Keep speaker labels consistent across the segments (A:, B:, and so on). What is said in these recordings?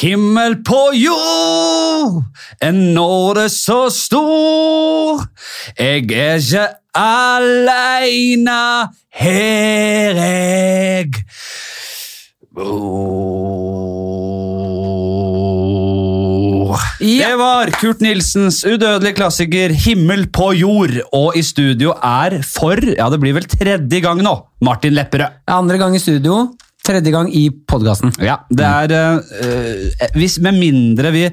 A: Himmel på jord, en nåde så stor. Jeg er ikke aleine her jeg bor.
B: Ja.
A: Det var Kurt Nilsens udødelige klassiker 'Himmel på jord'. Og i studio er for, ja det blir vel tredje gang nå, Martin Lepperød.
B: Andre gang i studio, tredje gang i podkasten.
A: Ja, det
B: Mm.
A: er eh, eh, hvis, Med mindre vi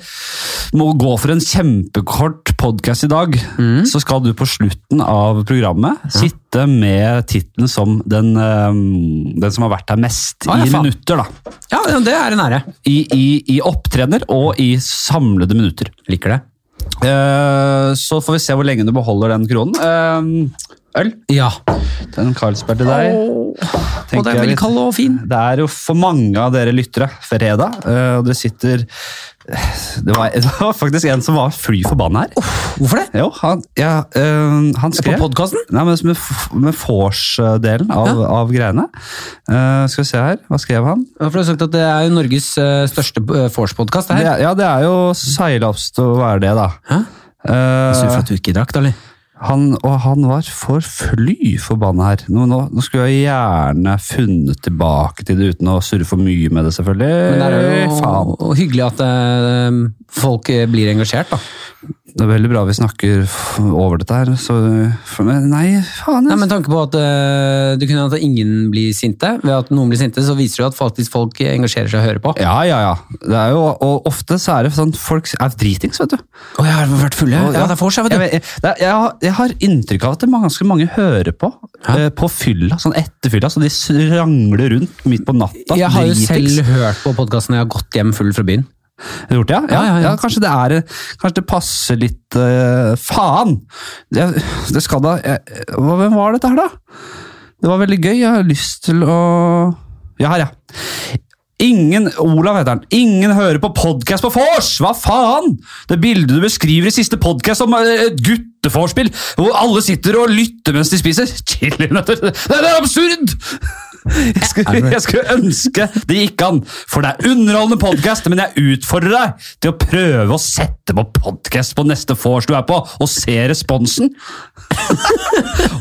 A: må gå for en kjempekort podkast i dag,
B: Mm.
A: så skal du på slutten av programmet sitte med tittelen som den, eh, den som har vært her mest
B: Ah, ja,
A: i
B: faen.
A: minutter. da.
B: Ja, det er en ære.
A: I, i, I opptredener og i samlede minutter.
B: Liker det.
A: Eh, så får vi se hvor lenge du beholder den kronen. Eh, øl.
B: Ja.
A: Den Carlsberg til deg.
B: Og den er veldig kald og fin.
A: Det er jo for mange av dere lyttere fredag, eh, og det sitter eh, det var, det var faktisk en som var fly forbanna her.
B: Hvorfor det?
A: Jo, han, ja, eh, han skrev
B: På podkasten?
A: Nei, men med, f- med vors-delen av, av greiene. Eh, skal vi se her, hva skrev han?
B: For du har sagt at det er jo Norges eh, største eh, vorspodkast.
A: Det,
B: det her.
A: er- ja, det er jo seilaps til å være det, da.
B: Hæ?
A: Eh,
B: Sur for at du ikke drakk, da, eller?
A: han, og han var for fly forbanna her. Nå, nå, nå skulle jeg gjerne funnet tilbake til det uten å surre for mye med det, selvfølgelig.
B: Men det er
A: Faen.
B: jo og hyggelig at eh, folk eh, blir engasjert, da.
A: Det er veldig bra vi snakker f- over dette her, så for, men Nei, faen. altså.
B: Nei,
A: Jeg.
B: men tanke på at eh, du kunne hatt at ingen blir sinte. Ved at noen blir sinte, så viser det jo at faktisk folk engasjerer seg og hører på.
A: Ja, ja, ja. Det er jo, og ofte så er det sånn folk er dritings, vet du.
B: Å, jeg har vært full,
A: Og-
B: Ja, det er vors,
A: Jeg,
B: vet du.
A: vet- jeg, det er- jeg, har- jeg har inntrykk av at det er ganske mange hører på eh, på fylla, sånn etter fylla, så de s- rangler rundt midt på natta.
B: Jeg har jo
A: dritings.
B: selv hørt på podkasten når jeg har gått hjem full fra byen.
A: Har du Gjort det, ja? Ja,
B: Ja,
A: ja,
B: ja, ja.
A: kanskje, det er, kanskje det passer litt eh, Faen! Det, det skal da jeg, hva, Hvem var dette her, da? Det var veldig gøy. Jeg har lyst til å Ja, her, ja. Ingen Olav heter han. Ingen hører på podkast på vors! Hva faen?! Det bildet du beskriver i siste podkast om eh, et guttevorspiel, hvor alle sitter og lytter mens de spiser chilinøtter Det det er absurd! Jeg skulle, jeg skulle ønske det gikk an, for det er underholdende podkast, men jeg utfordrer deg til å prøve å sette på podkast på neste vors du er på, og se responsen.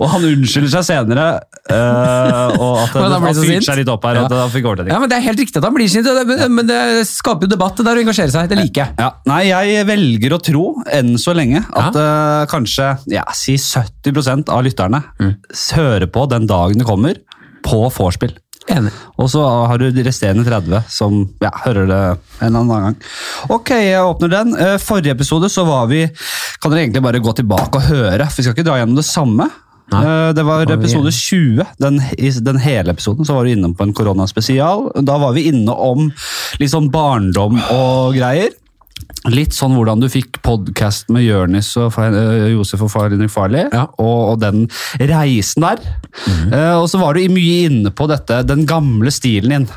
A: og han unnskylder seg senere, eh, og at
B: Men da
A: han
B: blir det så
A: fyrte
B: sint.
A: seg litt opp her. og
B: Ja.
A: at han fikk overtenning.
B: Ja, men Det er helt riktig at han blir sint, og det- men- men det skaper jo debatt. Det er å engasjere seg. Det liker jeg.
A: Ja, nei, jeg velger å tro, enn så lenge, at eh, kanskje ja, si 70 av lytterne
B: Mm.
A: s- hører på den dagen det kommer, på vorspiel.
B: Enig.
A: Og så har du de resterende 30 som ja, hører det en annen gang. Ok, jeg åpner den. Eh, Forrige episode så var vi Kan dere egentlig bare gå tilbake og høre? For vi skal ikke dra gjennom det samme. Eh, Det var
B: vi-
A: episode 20, den, i den hele episoden, så var du innom på en koronaspesial. Da var vi inne om litt sånn barndom og greier. Litt sånn hvordan du fikk podkast med Jørnis og Fa- eh, Josef og Far Henrik Farley,
B: Ja.
A: og, og den reisen der. Eh, og så var du i- mye inne på dette, den gamle stilen din.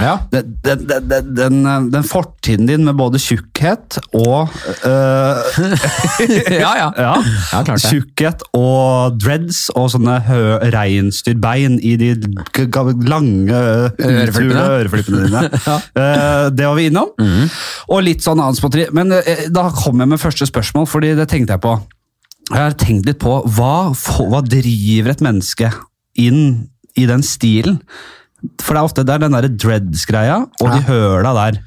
B: Ja.
A: Den, den, den- den, den, eh, den fortiden din med både tjukkhet og eh,
B: ja, ja.
A: ja,
B: Ja, klart det.
A: Tjukkhet og dreads og sånne hø- reinsdyrbein i de g- g- lange
B: Øreflippene.
A: uthule øreflippene dine. Eh, Det var vi innom.
B: Mhm.
A: Og litt sånn annen spotteri. Men eh, da kom jeg med første spørsmål, fordi det tenkte jeg på. Jeg har tenkt litt på hva, få- hva driver et menneske inn i den stilen? For det er ofte det er den der dreads-greia og de høla der.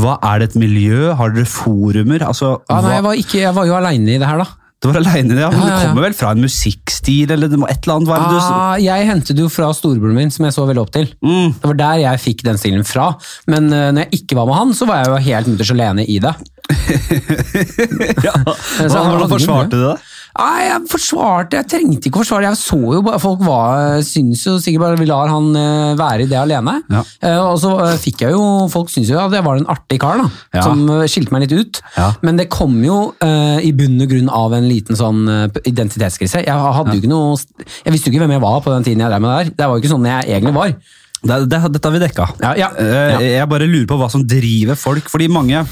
A: Hva er det et miljø? Har dere forumer? Altså,
B: Ja, nei,
A: hva-
B: jeg, var ikke, jeg var jo aleine i det her, da.
A: du var aleine i det, ja, men
B: Ja, ja,
A: det
B: ja.
A: kommer vel fra en musikkstil, eller det må et eller annet være du,
B: Ah, jeg hentet det jo fra storebroren min, som jeg så veldig opp til.
A: Mm.
B: Det var der jeg fikk den stilen fra. Men eh, når jeg ikke var med han, så var jeg jo helt mutters alene i det.
A: ja. Hvordan-
B: så han
A: Hvordan
B: hadde-
A: forsvarte du det?
B: Nei, jeg forsvarte, jeg trengte ikke å forsvare. Jeg så jo bare, folk var, synes jo sikkert bare vi lar han eh, være i det alene.
A: Ja.
B: Eh, og så eh, fikk jeg jo, folk synes jo at jeg var en artig kar da,
A: Ja.
B: som eh, skilte meg litt ut.
A: Ja.
B: Men det kom jo eh, i bunn og grunn av en liten sånn eh, identitetskrise. Jeg hadde jo ikke noe, jeg visste jo ikke hvem jeg var på den tiden jeg drev med det der. Det var jo ikke sånn jeg egentlig var.
A: Det, det, dette har vi dekka.
B: Ja, ja.
A: Eh, Jeg bare lurer på hva som driver folk, fordi mange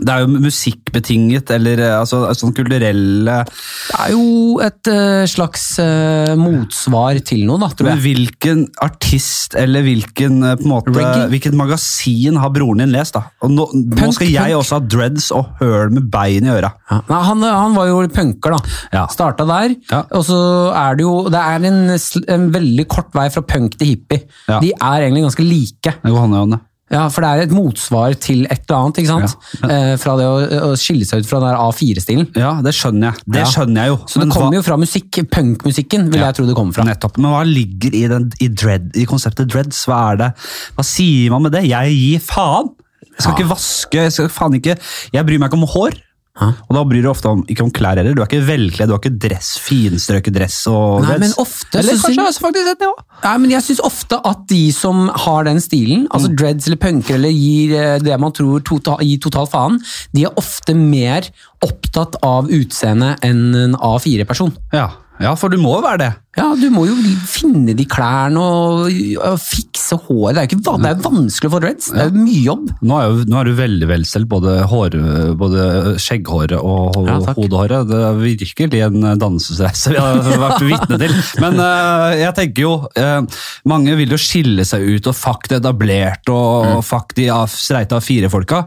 A: Det er jo musikkbetinget, eller eh, altså, sånn kulturelle
B: Det er jo et eh, slags eh, motsvar til noe, da, tror
A: Men
B: jeg.
A: hvilken artist eller hvilken, eh, på en måte,
B: Reggae?
A: hvilket magasin har broren din lest? da? Og nå, nå
B: Punk,
A: skal jeg
B: punk.
A: også ha dreads og høl med bein i øra.
B: Ja. Nei, han, han var jo punker, da.
A: Ja.
B: Starta der.
A: Ja.
B: Og så er det jo Det er en, sl- en veldig kort vei fra punk til hippie.
A: Ja.
B: De er egentlig ganske like.
A: Det går hånd i hånd. det.
B: Ja, For det er et motsvar til et eller annet. ikke sant? Eh, fra det å, å skille seg ut fra den der A4-stilen.
A: Ja, det skjønner jeg. Det
B: Ja.
A: skjønner jeg jo.
B: Så det kommer jo fra musikk, punkmusikken, vil jeg tro det kommer fra.
A: Nettopp. Men hva ligger i, den, i, dread, i konseptet dreads? Hva er det? Hva sier man med det? Jeg gir faen! Jeg skal
B: Ja.
A: ikke vaske, jeg skal faen ikke Jeg bryr meg ikke om hår.
B: Ja.
A: Og da bryr du ofte om, ikke om klær heller. Du er ikke velkledd, du har ikke dress, finstrøket dress og
B: Nei,
A: dreads.
B: men ofte
A: Eller
B: så
A: kanskje
B: syn-
A: jeg har faktisk sett det også.
B: Nei, men jeg syns ofte at de som har den stilen,
A: Mm.
B: altså dreads eller punker, eller gir eh, det man tror tota, gir total faen, de er ofte mer opptatt av utseende enn en A4-person.
A: Ja. ja, for du må jo være det.
B: Ja, du må jo finne de klærne og, og fikse håret. Det er jo ikke, va- det er jo vanskelig å få dreads. Det er jo mye jobb.
A: Nå er, jo, nå er du veldig velstelt, både, hår, både skjegghåret og ho-
B: Ja, takk.
A: hodehåret. Det er virkelig en dannelsesreise vi har vært vitne til. Men eh, jeg tenker jo, eh, mange vil jo skille seg ut, og fuck det etablerte, og,
B: Mm.
A: og fuck de av- streite av fire folka,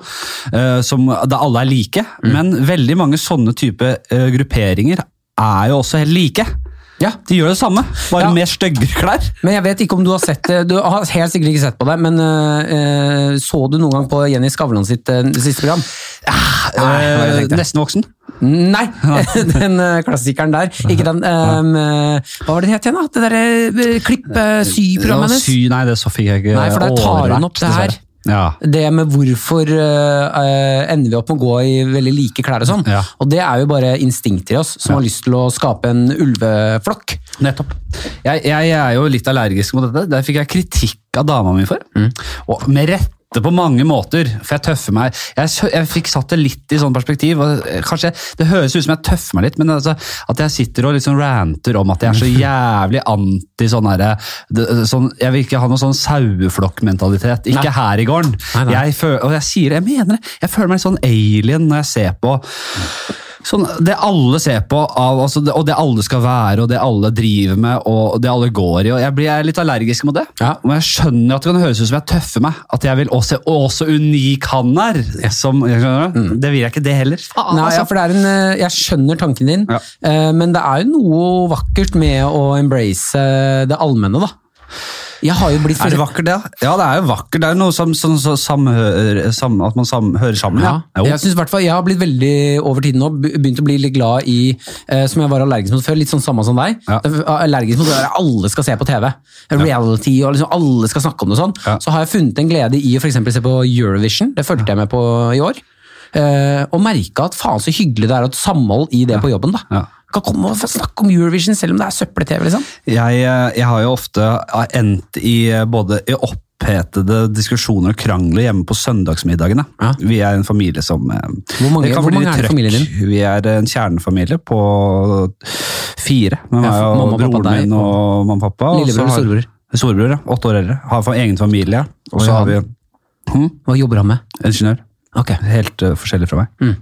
A: eh, som, da alle er like.
B: Mm.
A: Men veldig mange sånne type eh, grupperinger er jo også helt like.
B: Ja.
A: De gjør det samme, bare
B: Ja.
A: med styggere klær.
B: Men jeg vet ikke om du har sett det, du har helt sikkert ikke sett på det, men eh, eh, så du noen gang på Jenny Skavlan sitt eh, siste program? Ah, Nei, det var det jeg
A: Eh,
B: tenkte.
A: nesten voksen.
B: Nei, den eh, klassikeren der. Ikke den ehm, eh, Hva var det det het igjen, da? Det derre eh, klipp eh,
A: Ja,
B: sy-programmet hennes?
A: Sy, nei, det så fikk jeg ikke
B: Nei, for der tar hun
A: overvært,
B: opp det her.
A: dessverre. Ja.
B: Det med hvorfor eh, eh, ender vi opp med å gå i veldig like klær og sånn.
A: Ja.
B: Og det er jo bare instinkter i oss som har lyst til å skape en ulveflokk.
A: Nettopp. Jeg, jeg er jo litt allergisk mot dette. Der fikk jeg kritikk av dama mi for. Og med rette på mange måter, for jeg tøffer meg. Jeg, sø- jeg fikk satt det litt i sånn perspektiv. Og eh, kanskje, det høres ut som jeg tøffer meg litt, men altså, at jeg sitter og liksom ranter om at jeg er så jævlig anti sånn herre det- sånn, Jeg vil ikke ha noe sånn saueflokkmentalitet. Ikke
B: Nei.
A: her i gården.
B: Nei, nei.
A: Jeg føler, og jeg sier det, jeg mener det. Jeg føler meg litt sånn alien når jeg ser på Sånn, det alle ser på, av, altså, det, og det alle skal være, og det alle driver med, og det alle går i. og Jeg, blir, jeg er litt allergisk mot det.
B: Ja.
A: Men jeg skjønner at det kan høres ut som jeg tøffer meg. At jeg vil også se «Å, så unik han er. Som, skjønner du? Det vil jeg ikke, det heller. Faen,
B: Nei, ja,
A: altså.
B: for det er en, eh, jeg skjønner tanken din,
A: Ja.
B: eh, men det er jo noe vakkert med å embrace eh, det allmenne, da. Jeg har jo blitt
A: Er det vakkert, det? da? Ja, det er jo vakkert. Det er jo noe som, som, som samhører, sam, at man sam, hører sammen.
B: Ja.
A: Ja. Jo.
B: Jeg synes i hvert fall, jeg har blitt veldig over tiden nå, be- begynt å bli litt glad i, eh, som jeg var allergisk mot før, litt sånn samme som deg.
A: Ja.
B: Jeg er Allergisk mot det der alle skal se på TV. Reality og liksom alle skal snakke om det og sånn.
A: Ja.
B: Så har jeg funnet en glede i å for eksempel se på Eurovision, det fulgte jeg med på i år. Eh, og merka at faen så hyggelig det er å ha et samhold i det på jobben, da.
A: Ja.
B: Kan komme og få snakke om Eurovision selv om det er søppel-TV, liksom.
A: Jeg, eh, jeg har jo ofte eh, endt i både i opphetede diskusjoner og krangler hjemme på søndagsmiddagene.
B: Ja.
A: Vi er en familie som eh,
B: Hvor mange-
A: det kan
B: hvor
A: bli litt
B: mange er det i
A: trøkk.
B: familien
A: Vi er en kjernefamilie på fire. Med
B: Ja,
A: meg og
B: for mamma, pappa,
A: broren
B: deg
A: min og mamma og pappa. og så
B: Lillebror og
A: har-
B: storebror.
A: Storebror, ja. Åtte år eldre. Har for egen familie. Og
B: Oi,
A: så har vi
B: han. Hva jobber han med?
A: ingeniør.
B: Ok.
A: Helt eh, forskjellig fra meg.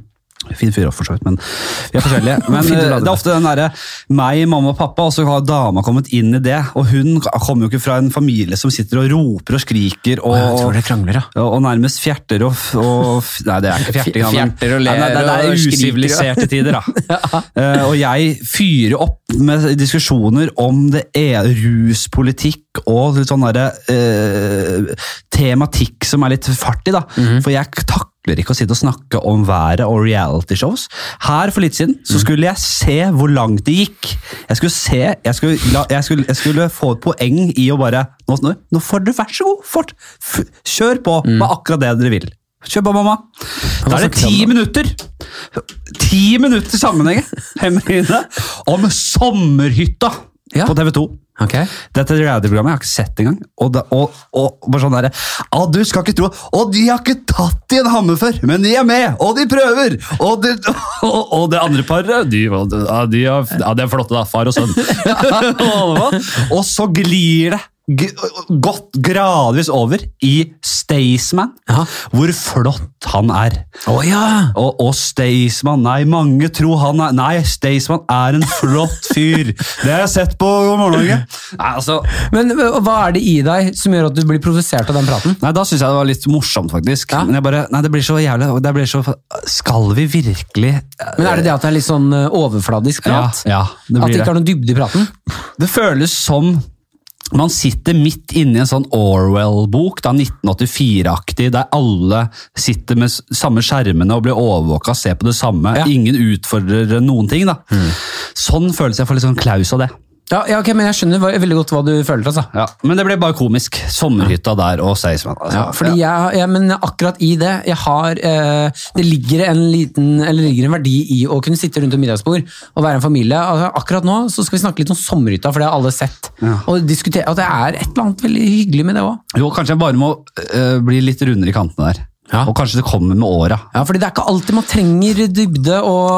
A: Fin fyr også, for så vidt, men vi er forskjellige. Men
B: Mm. Fin du
A: eh,
B: la det
A: det er
B: der.
A: ofte den derre meg, mamma og pappa, og så har dama kommet inn i det. Og hun kommer jo ikke fra en familie som sitter og roper og skriker og
B: Jeg tror det krangler, ja.
A: og og nærmest fjerter og, f- og f- Nei, det er ikke fjerting. da, men-
B: Fjerter og ler
A: Nei, nei, det, det
B: og
A: er
B: skriker, ja.
A: usiviliserte tider, da. Eh, og jeg fyrer opp med diskusjoner om det er ruspolitikk og litt sånn derre eh, tematikk som er litt fartig, da.
B: Mhm.
A: For jeg takler ikke å sitte og snakke om været og realityshows. Her for litt siden så
B: Mhm.
A: skulle jeg se hvor langt det gikk. Jeg skulle se, jeg skulle, la, jeg skulle, jeg skulle få et poeng i å bare Nå, nå, nå får dere vær så god, fort! F kjør på med akkurat det dere vil. Kjør på, mamma. Da er det
B: Mhm. snakker vi om
A: ti
B: da?
A: minutter! Ti minutter sammenheng Hemmingene, om sommerhytta
B: Ja.
A: på TV 2.
B: Ok.
A: Dette reality-programmet jeg har ikke sett engang. Og, da, og, og bare sånn derre «Ja, du skal ikke tro Og de har ikke tatt i en hammer før, men de er med! Og de prøver! Og det, og, og det andre paret de, var- ja, de, har- ja, de er flotte, da. Far og sønn. og, og så glir det g gått gradvis over i Staysman.
B: Ja.
A: Hvor flott han er.
B: Å ja!
A: Og, og Staysman Nei, mange tror han er Nei, Staysman er en flott fyr. Det har jeg sett på God morgen Norge. Nei, altså,
B: Men ø, hva er det i deg som gjør at du blir provosert av den praten?
A: nei, da syns jeg det var litt morsomt, faktisk.
B: Ja.
A: Men jeg bare Nei, det blir så jævlig det blir så, Skal vi virkelig
B: Men Er det det at det er litt sånn ø, overfladisk
A: Ja,
B: prat?
A: ja, det
B: at
A: blir
B: det
A: det.
B: ikke er noen dybde i praten?
A: Det føles som man sitter midt inne i en sånn Orwell-bok, da 1984-aktig, der alle sitter med s- samme skjermene og blir overvåka og ser på det samme.
B: Ja. Mm.
A: Ingen utfordrer noen ting, da. Sånn føles jeg for litt sånn klaus av det.
B: Ja, ja, ok, men Jeg skjønner hva- veldig godt hva du føler. altså.
A: Ja, men det ble bare komisk. Sommerhytta der og Seisman. Altså.
B: Ja, fordi Jeg, ja, men akkurat i det jeg har, eh, Det ligger en liten Eller det ligger en verdi i å kunne sitte rundt et middagsbord og være en familie. Altså, akkurat nå så skal vi snakke litt om sommerhytta, for det har alle sett. Og diskutere, at Det er et eller annet veldig hyggelig med det òg.
A: Jo, kanskje jeg bare må eh, bli litt rundere i kantene der.
B: Ja.
A: Og kanskje det kommer med åra.
B: Ja, fordi Det er ikke alltid man trenger dybde, og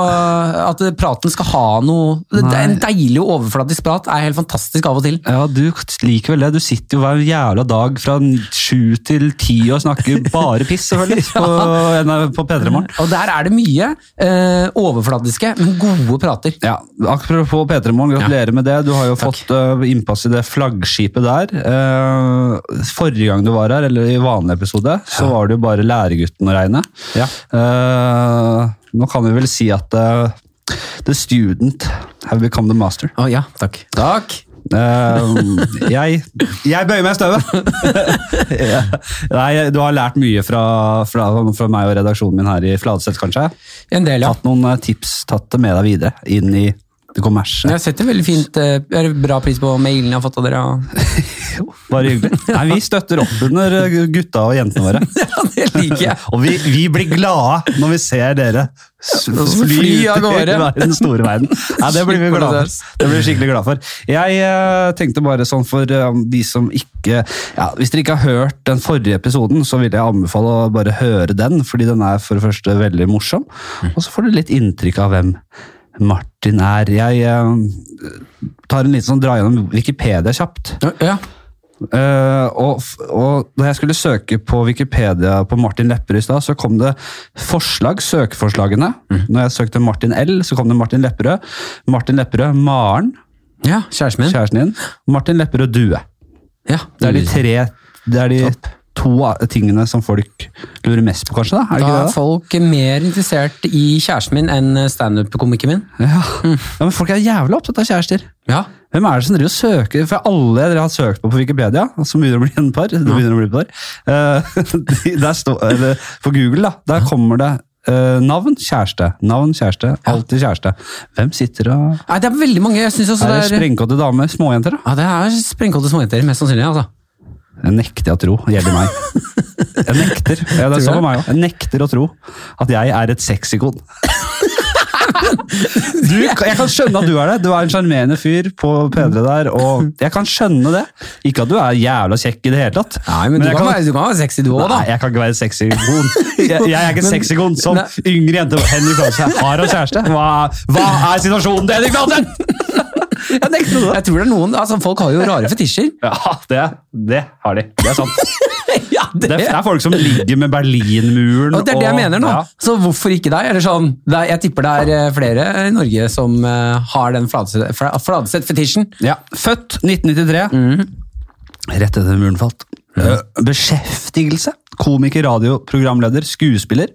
B: at praten skal ha noe det, det er En deilig og overflatisk prat er helt fantastisk av og til.
A: Ja, du liker vel det. Du sitter jo hver jævla dag fra sju til ti og snakker bare piss, selvfølgelig, på, på P3 Morgen.
B: Og der er det mye eh, overfladiske, men gode prater.
A: Ja, Apropos P3 Morgen, gratulerer med det. Du har jo
B: Takk.
A: fått eh, innpass i det flaggskipet der. Eh, forrige gang du var her, eller i vanlig episode, så var det jo bare læregutten å regne.
B: Ja.
A: Eh, nå kan vi vel si at eh, the student have become the master.
B: Å ja, takk. Takk.
A: Eh, jeg, jeg bøyer meg i støvet! Ja. Nei, du har lært mye fra, fra, fra meg og redaksjonen min her i Fladseth, kanskje.
B: En del, ja.
A: Tatt noen eh, tips, tatt det med deg videre inn i det kommersielle.
B: Jeg setter veldig fint eh, er det bra pris på mailen jeg har fått av dere. og-
A: Bare hyggelig. Nei, vi støtter opp under eh, gutta og jentene våre.
B: Ja, det liker jeg.
A: Og vi, vi blir glade når vi ser dere s- fly
B: Fly
A: ut i
B: av gårde.
A: verden, den store verden. Nei, det blir vi
B: Slipper
A: glad
B: det
A: for. Det blir vi skikkelig glad for. Jeg eh, tenkte bare sånn for eh, de som ikke ja, Hvis dere ikke har hørt den forrige episoden, så vil jeg anbefale å bare høre den, fordi den er for det første veldig morsom, og så får du litt inntrykk av hvem Martin er. Jeg eh, tar en liten sånn dra gjennom Wikipedia kjapt.
B: Ja,
A: Eh, og, og da jeg skulle søke på Wikipedia på Martin Lepperød i stad, så kom det forslag, søkeforslagene.
B: Mm.
A: Når jeg søkte Martin L, så kom det Martin Lepperød. Martin Lepperød Maren,
B: ja kjæresten min.
A: kjæresten din. Martin Lepperød Due.
B: Ja,
A: Det er de tre Det er de to a- tingene som folk lurer mest på, kanskje? Da er det
B: Da
A: ikke
B: er
A: det? da?
B: folk mer interessert i kjæresten min enn standup-komikeren min.
A: Ja. ja, men Folk er jævla opptatt av kjærester.
B: Ja.
A: Hvem er det som driver og søker? For alle dere har søkt på på Wikipedia, som begynner å bli en par, det begynner å bli et par. eh, de- der står, eller på Google da, der kommer det eh, navn, kjæreste, navn, kjæreste, alltid kjæreste. Hvem sitter og...
B: Nei, det er veldig mange. jeg synes også
A: Er
B: det
A: det
B: er...
A: sprengkåte damer, småjenter da?
B: Ja, det er sprengkåte småjenter, mest sannsynlig. altså.
A: Jeg nekter å tro, det gjelder meg. Jeg nekter, ja, det er sånn for meg også. Jeg nekter å tro at jeg er et sexikon. Du, jeg kan skjønne at du er det. Du er en sjarmerende fyr på P3 der, og jeg kan skjønne det. Ikke at du er jævla kjekk i det hele tatt.
B: Nei, men, du,
A: jeg
B: kan være, du kan være sexy du òg, da.
A: Nei, jeg kan ikke være sexikon. Jeg, jeg er ikke
B: Men-
A: sexikon som
B: Nei.
A: yngre jente. Henrik Fladseth har han kjæreste? Hva, hva er situasjonen til Henrik Fladseth?
B: Jeg, tror det er noen, altså Folk har jo rare fetisjer.
A: Ja, det, det har de. Det er sant.
B: ja, det,
A: Det er folk som ligger med Berlinmuren.
B: og det er det jeg mener nå. Så hvorfor ikke deg? Eller sånn, det er, jeg tipper det er eh, flere i Norge som eh, har den Fladseth-fetisjen.
A: Ja. Født 1993.
B: Mm.
A: Rett etter muren falt. Eh, Beskjeftigelse. Komiker, radioprogramleder, skuespiller.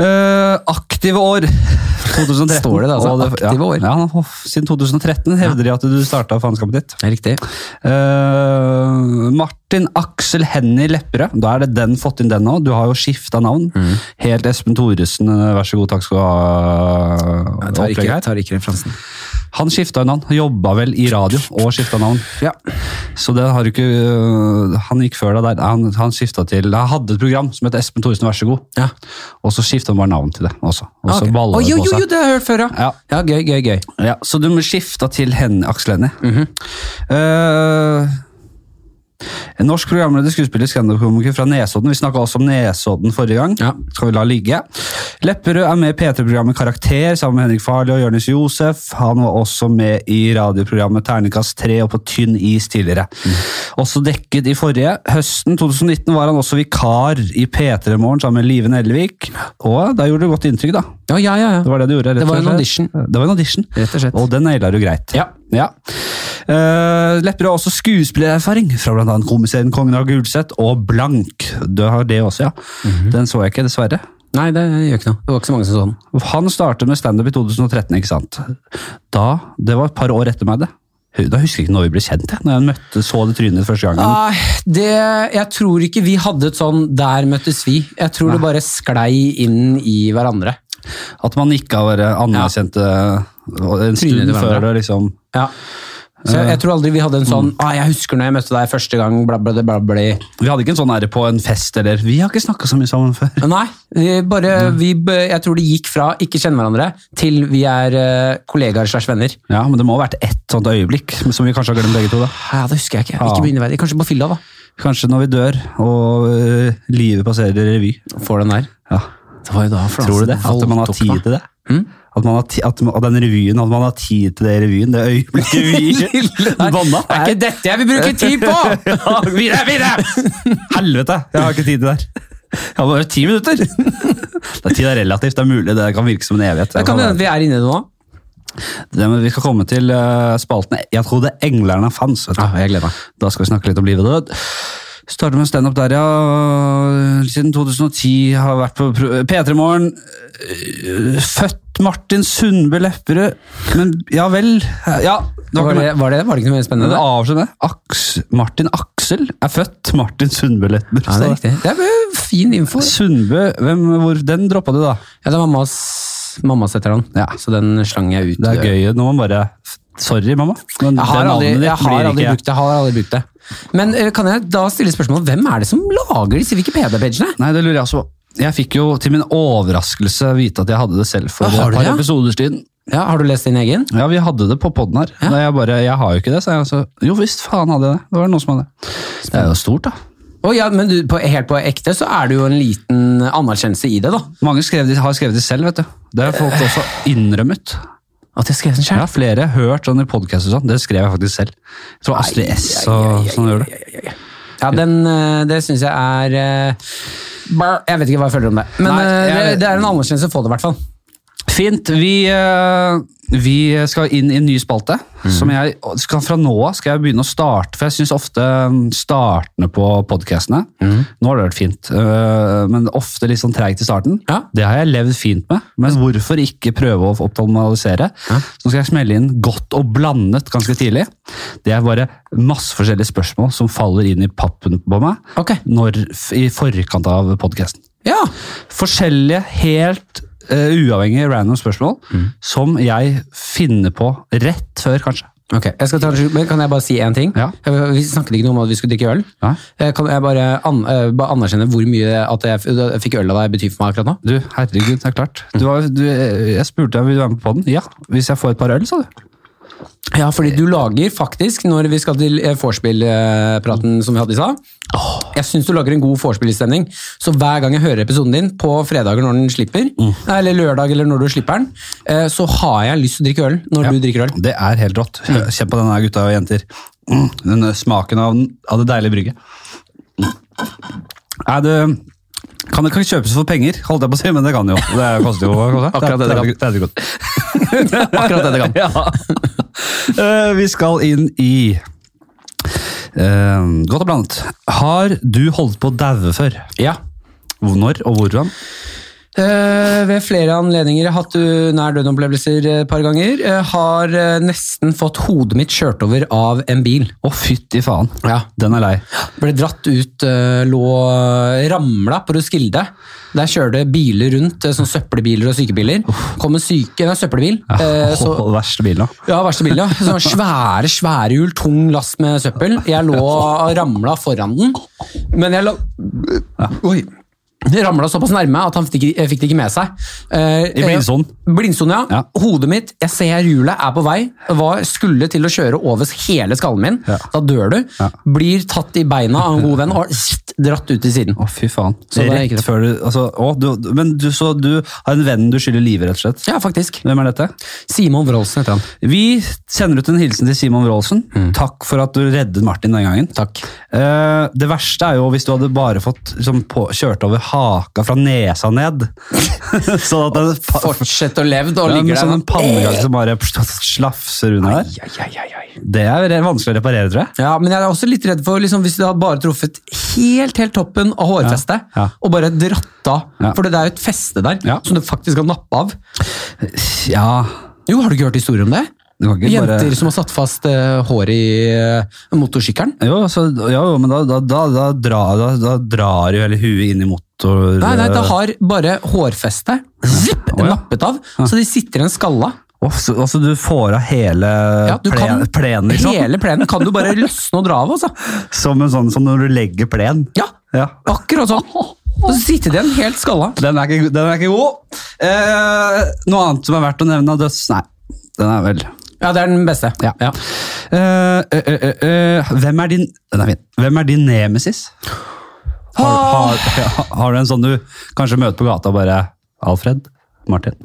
A: Eh, aktive år 2013.
B: Står det det, altså?
A: Og
B: Aktive
A: ja,
B: år?
A: Ja, hoff, siden 2013 hevder de at du starta faenskapet ditt.
B: Riktig.
A: Eh, Martin Aksel Henny Lepperød. Da er det den fått inn den nå. Du har jo skifta navn.
B: Mm.
A: Helt Espen Thoresen, eh, vær så god, takk skal du ha.
B: Jeg tar
A: opplegg
B: ikke,
A: her.
B: tar ikke referansen.
A: Han skifta jo navn. Jobba vel i radio og skifta navn.
B: Ja.
A: Så det har du ikke øh, Han gikk før deg der. Han, han skifta til Han hadde et program som het Espen Thoresen, vær så god.
B: Ja.
A: Og så skifta han bare navn til det også. Og så
B: Ah, Ok.
A: balla
B: Å,
A: det
B: jo,
A: på
B: jo,
A: seg.
B: jo, det har jeg hørt før, ja.
A: Ja.
B: ja gøy, gøy, gøy. Mhm.
A: Ja, så du skifta til henne, Aksel Hennie. Eh, En norsk programleder, skuespiller, standup-komiker fra Nesodden. Vi snakka også om Nesodden forrige gang.
B: Ja.
A: Skal vi la ligge. Lepperød er med i P3-programmet Karakter sammen med Henrik Farley og Jonis Josef. Han var også med i radioprogrammet Terningkast 3 og på Tynn is tidligere.
B: Mhm.
A: Også dekket i forrige. Høsten 2019 var han også vikar i P3-morgen sammen med Live Nelvik. Og da gjorde det godt inntrykk, da.
B: Ja, ja, ja. ja.
A: Det var det du gjorde. rett
B: Det var
A: og
B: en
A: slett.
B: audition.
A: Det var en audition.
B: Rett og slett.
A: Og den naila du greit.
B: Ja.
A: Ja. Eh, Lepperød har også skuespillererfaring fra bl.a. komiserien Kongen av Gulset og Blank. Du har det også, ja.
B: Mhm.
A: Den så jeg ikke, dessverre.
B: Nei, det gjør ikke noe. Det var ikke så mange som så den.
A: Han startet med standup i 2013, ikke sant. Da, Det var et par år etter meg, det. Da husker jeg ikke når vi ble kjent, jeg, når jeg møtte, så det trynet første gangen.
B: Nei, Ah, det, jeg tror ikke vi hadde et sånn 'der møttes vi'. Jeg tror det bare sklei inn i hverandre.
A: At man ikke har vært anerkjente eh, en
B: Trynet
A: stund
B: til hverandre.
A: før det liksom
B: Ja. Eh. Så jeg, jeg tror aldri vi hadde en sånn ah, 'jeg husker når jeg møtte deg første gang', bla, bla, bla, bla, bla.
A: Vi hadde ikke en sånn ære på en fest eller Vi har ikke snakka så mye sammen før.
B: Nei, vi bare, vi, b- jeg tror det gikk fra ikke kjenne hverandre til vi er eh, kollegaer slash venner.
A: Ja, Men det må ha vært ett sånt øyeblikk som vi kanskje har glemt begge to. da.
B: Ja, det husker jeg ikke.
A: Ja.
B: Ikke begynne å være- Kanskje på fylla, da.
A: Kanskje når vi dør og ø, livet passerer i revy.
B: Får den der.
A: Ja.
B: Det var jo da Flasen
A: Tror du det? At man har
B: voldtok
A: tid
B: meg.
A: til det? At, man har ti, at, man- at den revyen, at man har tid til det i revyen, det øyeblikket vi
B: Nei,
A: banna?
B: Det er ikke dette jeg vil bruke tid på!
A: Ja, videre, videre! Helvete, jeg har ikke tid til det her. Jeg har bare ti minutter! Det er tid er relativt, det er mulig, det kan virke som en evighet.
B: Det kan hende at vi er inne i det nå.
A: Det, men vi skal komme til eh, spalten Jeg trodde englerne fanns. Vet du.
B: Ja, jeg gleder meg.
A: Da skal vi snakke litt om liv og død. Starter med standup der, ja. Siden 2010 har jeg vært på pro- P3 Morgen. Øh, Født Martin Sundbø Lepperød. Men ja vel Ja, det var
B: Var
A: ikke meg.
B: det, var, det, var det ikke noe mer
A: Men
B: spennende?
A: det avslører det. Aks, Martin Aksel er født Martin Sundbø Lepperød.
B: Ja, det er riktig. Det er jo fin info.
A: Sundbø, hvem, hvor, den droppa du, da.
B: Ja, det er mammas, mammas heter han,
A: Ja.
B: så den slang jeg ut.
A: Det er gøy når man bare Sorry, mamma. Men
B: Jeg har
A: det
B: aldri,
A: navnet ditt
B: jeg har
A: blir
B: aldri
A: ikke
B: brukt det. jeg har aldri brukt det. Men eh, kan jeg da stille spørsmål, hvem er det som lager disse Wikipedia-pagene?
A: Nei, det lurer jeg også på. Jeg fikk jo til min overraskelse vite at jeg hadde det selv for
B: Ah,
A: et
B: har du
A: par
B: det, ja?
A: episoder siden.
B: Ja, har du lest din egen?
A: Ja, vi hadde det på podden her. Nei, jeg bare, jeg har jo ikke det, sa jeg. Så, jo visst, faen hadde jeg det. Det var noen som hadde det. Det er jo stort, da.
B: Å ja, men du, på, helt på ekte så er det jo en liten anerkjennelse i det, da.
A: Mange skrev de, har skrevet det selv, vet du. Det har folk også innrømmet.
B: At jeg skrev den
A: Ja,
B: sjøl.
A: flere har hørt sånn i podcast og sånn. Det skrev jeg faktisk selv. Jeg tror Astrid S og sånn gjør det.
B: Ja, den, eh, det syns jeg er eh, brr, Jeg vet ikke hva jeg føler om det. Men
A: Nei,
B: eh, det,
A: jeg-
B: det er en anerkjennelse å få det, i hvert fall.
A: Fint. Vi, eh, vi skal inn i en ny spalte.
B: Mhm.
A: Som jeg, skal, fra nå av skal jeg begynne å starte, for jeg syns ofte mm, startene på podkastene
B: Mhm.
A: Nå har det vært fint, eh, men ofte litt sånn treigt i starten.
B: Ja.
A: Det har jeg levd fint med, men hvorfor ikke prøve å optimalisere? Så nå skal jeg smelle inn godt og blandet ganske tidlig. Det er bare masse forskjellige spørsmål som faller inn i pappen på meg
B: Ok.
A: når, i forkant av podkasten
B: Ja.
A: forskjellige, helt eh, uavhengige random spørsmål som jeg finner på rett før, kanskje.
B: Ok, jeg skal ta en, men Kan jeg bare si én ting?
A: Ja.
B: Jeg- Vi snakket ikke noe om at vi skulle drikke øl.
A: Nei.
B: Eh, Kan jeg bare, an, eh, bare anerkjenne hvor mye at jeg, f- jeg fikk øl av deg betyr for meg akkurat nå?
A: Du, herregud, det er klart. Du var, du, eh, jeg spurte deg om du ville være med på den. Ja, hvis jeg får et par øl, sa du.
B: Ja, fordi du lager faktisk, når vi skal til eh, vorspiel-praten som vi hadde i stad Jeg syns du lager en god vorspiel-stemning. Så hver gang jeg hører episoden din, på fredager når den slipper, nei, eller lørdag eller når du slipper den, eh, så har jeg lyst til å drikke øl når du drikker øl.
A: Det er helt rått.
B: Mm.
A: Kjenn på denne her, gutta og jenter. Mm, Den smaken av, den, av det deilige brygget. Nei, du kan det kan ikke kjøpes for penger, holdt jeg på å si, men det kan jo. Det koster jo. hva koster
B: Akkurat det det kan.
A: er- Det er det godt.
B: Akkurat det det kan.
A: Eh, vi skal inn i eh, Godt og blandet. Har du holdt på å daue før?
B: Ja.
A: Hvor- Når og hvordan?
B: Eh, ved flere anledninger har hatt eh, nær døden-opplevelser et par ganger. Eh, har eh, nesten fått hodet mitt kjørt over av en bil.
A: Å, fytti faen.
B: Ja.
A: Den er lei.
B: Ble dratt ut, eh, lå ramla på Roskilde. Der kjørte biler rundt, eh, sånn søppelbiler og sykebiler. Kom en syke, nei, søppelbil. eh, så,
A: Åh, verste bilen. da.
B: ja, verste bilen, ja. Sånn svære, svære hjul, tung last med søppel. Jeg lå og ramla foran den, men jeg la Oi. ramla såpass nærme at han fikk, ikke- fikk det ikke med seg. Eh,
A: I blindsonen.
B: eh, blindsonen, ja.
A: Ja.
B: Hodet mitt, jeg ser hjulet, er på vei. Var, skulle til å kjøre over hele skallen min.
A: Ja.
B: Da dør du. Blir tatt i beina av en god venn og sht, dratt ut til siden.
A: Å, fy faen.
B: Så det er
A: rett
B: ikke det.
A: før du, altså, å, du, du- men du, så du har en venn du skylder livet, rett og slett.
B: Ja, faktisk.
A: Hvem er dette?
B: Simon Wroldsen heter han.
A: Vi sender ut en hilsen til Simon Wroldsen. Takk for at du reddet Martin den gangen.
B: Takk.
A: Eh, det verste er jo hvis du hadde bare fått liksom, på, kjørt over haka fra nesa ned. sånn at den pa-
B: Fortsett å leve, da
A: ja, men
B: ligger
A: sånn en
B: det
A: pannekake som bare slafser under der. Det er re- vanskelig å reparere, tror jeg.
B: Ja, men jeg er også litt redd for liksom, hvis det hadde bare truffet helt helt toppen av
A: Ja,
B: hårfestet,
A: ja.
B: og bare dratt av.
A: Ja.
B: For det er jo et feste der
A: Ja.
B: som du faktisk kan nappe av.
A: Ja,
B: Jo, har du ikke hørt historier om det?
A: du kan ikke
B: Jenter
A: bare...
B: som har satt fast eh, hår i uh, motorsykkelen.
A: Jo, altså, ja, jo, men da, da, da, da, dra, da, da drar jo hele huet inn i motor... eh,
B: Nei, nei, det har bare hårfestet zipp,
A: Å, ja.
B: nappet av, så de sitter i en skalla.
A: Åh, så- altså, du får av hele
B: Ja, du
A: plen,
B: kan-
A: plenen, liksom.
B: Hele plenen kan du bare løsne og dra av, altså.
A: Som, en sånn, som når du legger plen.
B: Ja,
A: Ja.
B: akkurat sånn. Og så sitter de i en helt skalla.
A: Den er ikke, den er ikke god. Eh, noe annet som er verdt å nevne av døds... Nei, den er vel...
B: Ja, det er den beste.
A: Ja.
B: Ja.
A: Eh, eh, eh, eh, hvem er din Den er fin. Hvem er din nemesis? Har,
B: Ah.
A: har, har du en sånn du kanskje møter på gata og bare Alfred? Martin?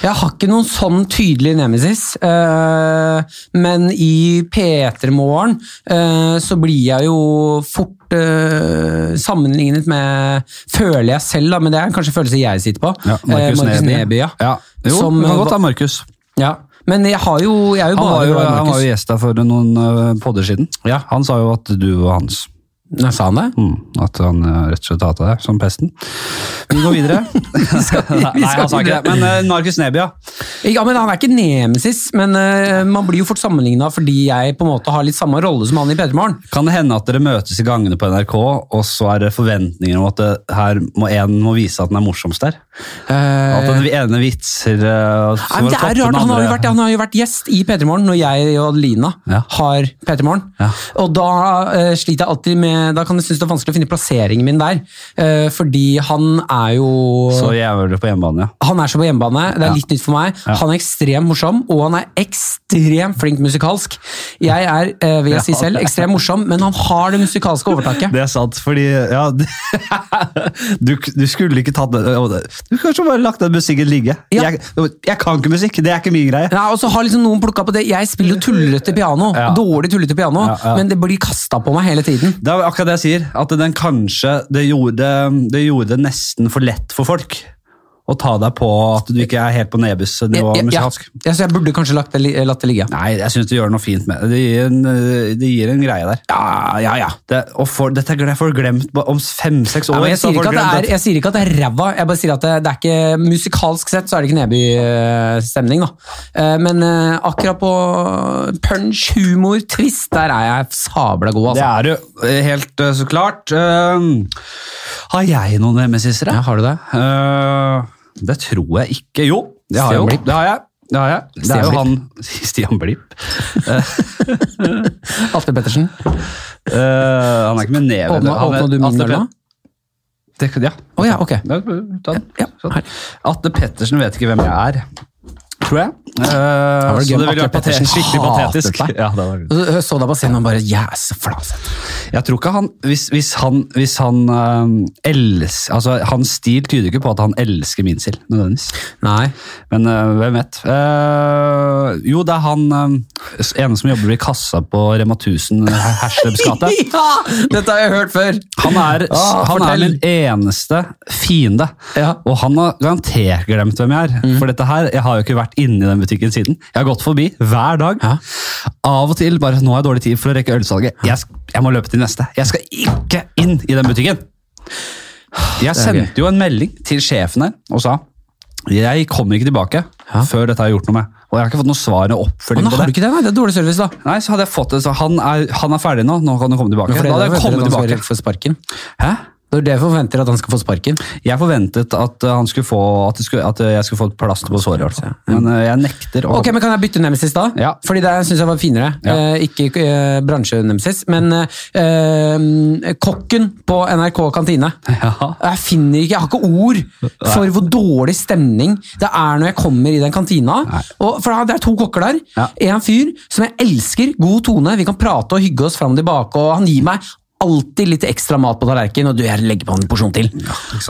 B: Jeg har ikke noen sånn tydelig nemesis, eh, men i P3-morgen eh, så blir jeg jo fort eh, sammenlignet med Føler jeg selv, da, men det er kanskje følelser jeg sitter på.
A: Markus
B: Eh, Markus Neby. ja.
A: ja. Jo,
B: Som,
A: det kan godt
B: eh,
A: ha Markus.
B: ja. Men jeg, har jo, jeg er jo
A: Han var
B: bare
A: jo,
B: glad i
A: han var
B: Markus.
A: jo gjest her for noen eh, podder siden.
B: Ja.
A: Han sa jo at du var hans.
B: Nei, Sa han det?
A: Mm, at han eh, rett og slett hata deg som pesten. Vi går videre. Nei, han sa ikke det. Men eh, Markus Neby, ja.
B: Ja, men Han er ikke nemesis, men eh, man blir jo fort sammenligna fordi jeg på en måte har litt samme rolle som han i P3-morgen.
A: Kan det hende at dere møtes i gangene på NRK, og så er det forventninger om at det, her må en må vise at den er morsomst der?
B: Eh,
A: At den ene vitser eh, så
B: Nei, men det
A: var
B: er
A: toppen
B: rart, altså, han har, jo
A: andre-
B: vært, han har jo vært gjest i P3 Morgen når jeg og Adelina
A: Ja.
B: har P3 Morgen.
A: Ja.
B: Og da eh, sliter jeg alltid med Da kan jeg synes det er vanskelig å finne plasseringen min der. eh, fordi han er jo
A: Så jævlig på hjemmebane, ja.
B: Han er så på hjemmebane, det er litt nytt for meg. Han er ekstremt morsom, og han er ekstremt flink musikalsk. Jeg er, eh, vil jeg si selv, ekstremt morsom, men han har det musikalske overtaket.
A: Det er sant, fordi ja, du, du skulle ikke tatt det å, det- Du kunne kanskje bare lagt den musikken ligge.
B: Ja.
A: Jeg, jeg kan ikke musikk, det er ikke min greie.
B: Nei, og så har liksom noen plukket på det. Jeg spiller jo tullete piano,
A: Ja.
B: dårlig tullete piano,
A: Ja, ja.
B: men det blir kasta på meg hele tiden.
A: Det er akkurat det jeg sier, at den kanskje det gjorde, det gjorde det nesten for lett for folk å ta deg på at du ikke er helt på Nebys nivå
B: Ja, ja, ja.
A: musikalsk.
B: Ja, så jeg burde kanskje lagt det, li- eh, latt det ligge.
A: Nei, jeg syns du gjør noe fint med det. Det gir en, øh, det gir en greie der. Ja, ja, ja. Det, og for, dette gle- får du glemt ba- om fem-seks år.
B: Nei, men jeg,
A: så får
B: sier ikke
A: du
B: at det
A: glemt
B: er, jeg sier ikke at det er ræva, jeg bare sier at det, det er ikke musikalsk sett så er det ikke Neby-stemning. da. Eh, Men eh, akkurat på punch, humor, twist, der er jeg sabla god,
A: Det
B: altså.
A: er du, eh, helt eh, så klart. Ehm, har jeg noen nemesisere?
B: Ja, har du det?
A: Eh, det tror jeg ikke. Jo, det har, jeg
B: Stian
A: jo.
B: Blipp.
A: Det har jeg. Det, har jeg. det
B: Stian
A: er jo
B: Blipp.
A: han Stian Blipp.
B: Atle Pettersen.
A: Eh, han er ikke med neve. han
B: Åpna,
A: er-
B: åpna du min
A: Atle
B: øl nå?
A: Pet- Det- Ja.
B: Å ja, ok.
A: Ja, ta den.
B: Ja,
A: Sånn. Atle Pettersen vet ikke hvem jeg er, tror jeg. Eh,
B: var det gøy
A: så
B: om
A: det ville
B: Atle
A: vært patet-
B: Pettersen
A: skikkelig
B: hatet
A: patetisk.
B: deg.
A: Ja, det var det.
B: Og så- Så deg på scenen og bare Yes, flaset.
A: Jeg tror ikke han Hvis, hvis han, hvis han eh, els- altså, Hans stil tyder ikke på at han elsker min sild, nødvendigvis.
B: Nei.
A: Men eh, hvem vet? Eh, jo, det er han eh, ene som jobber i kassa på Rema 1000 Herslebs gate.
B: Ja! Dette har jeg hørt før!
A: Han er,
B: Ah,
A: han er
B: fortell.
A: min eneste fiende.
B: Ja. Mm.
A: Og han har garantert glemt hvem jeg er. For dette her, jeg har jo ikke vært inni den butikken siden. Jeg har gått forbi hver dag.
B: Ja.
A: Av og til bare Nå har jeg dårlig tid for å rekke ølsalget. Jeg, sk- jeg må løpe til neste. Jeg skal ikke inn i den butikken! Jeg
B: Det er
A: sendte jo en melding til sjefen her og sa jeg kommer ikke tilbake før dette har gjort noe med. Og jeg har ikke fått noe svar og
B: Men
A: oppfølging
B: da
A: på det.
B: har du ikke det, nei. Det er dårlig service, da.
A: Nei, så hadde jeg fått det, så han er, han er ferdig nå, nå kan du komme tilbake.
B: For
A: Da
B: det er
A: hadde jeg
B: veldig
A: kommet
B: vanskelig
A: tilbake.
B: for sparken.
A: Hæ?
B: Det er jo det jeg forventer at han skal få sparken.
A: Jeg forventet at, eh, han skulle få, at, det skulle, at eh, jeg skulle få et plaster på såret. Altså. Men eh, jeg nekter å
B: Ok, men Kan jeg bytte nemesis da?
A: Ja.
B: Fordi det syns jeg var finere.
A: Ja.
B: Eh, ikke eh, bransjenemesis, men eh, eh, kokken på NRK kantine.
A: Ja.
B: Jeg finner ikke, jeg har ikke ord for hvor dårlig stemning det er når jeg kommer i den kantina.
A: Nei.
B: Og, for da- Det er to kokker der.
A: Ja.
B: En fyr som jeg elsker. God tone. Vi kan prate og hygge oss fram og tilbake. og Han gir meg alltid litt ekstra mat på tallerkenen, og du, jeg legger på en porsjon til.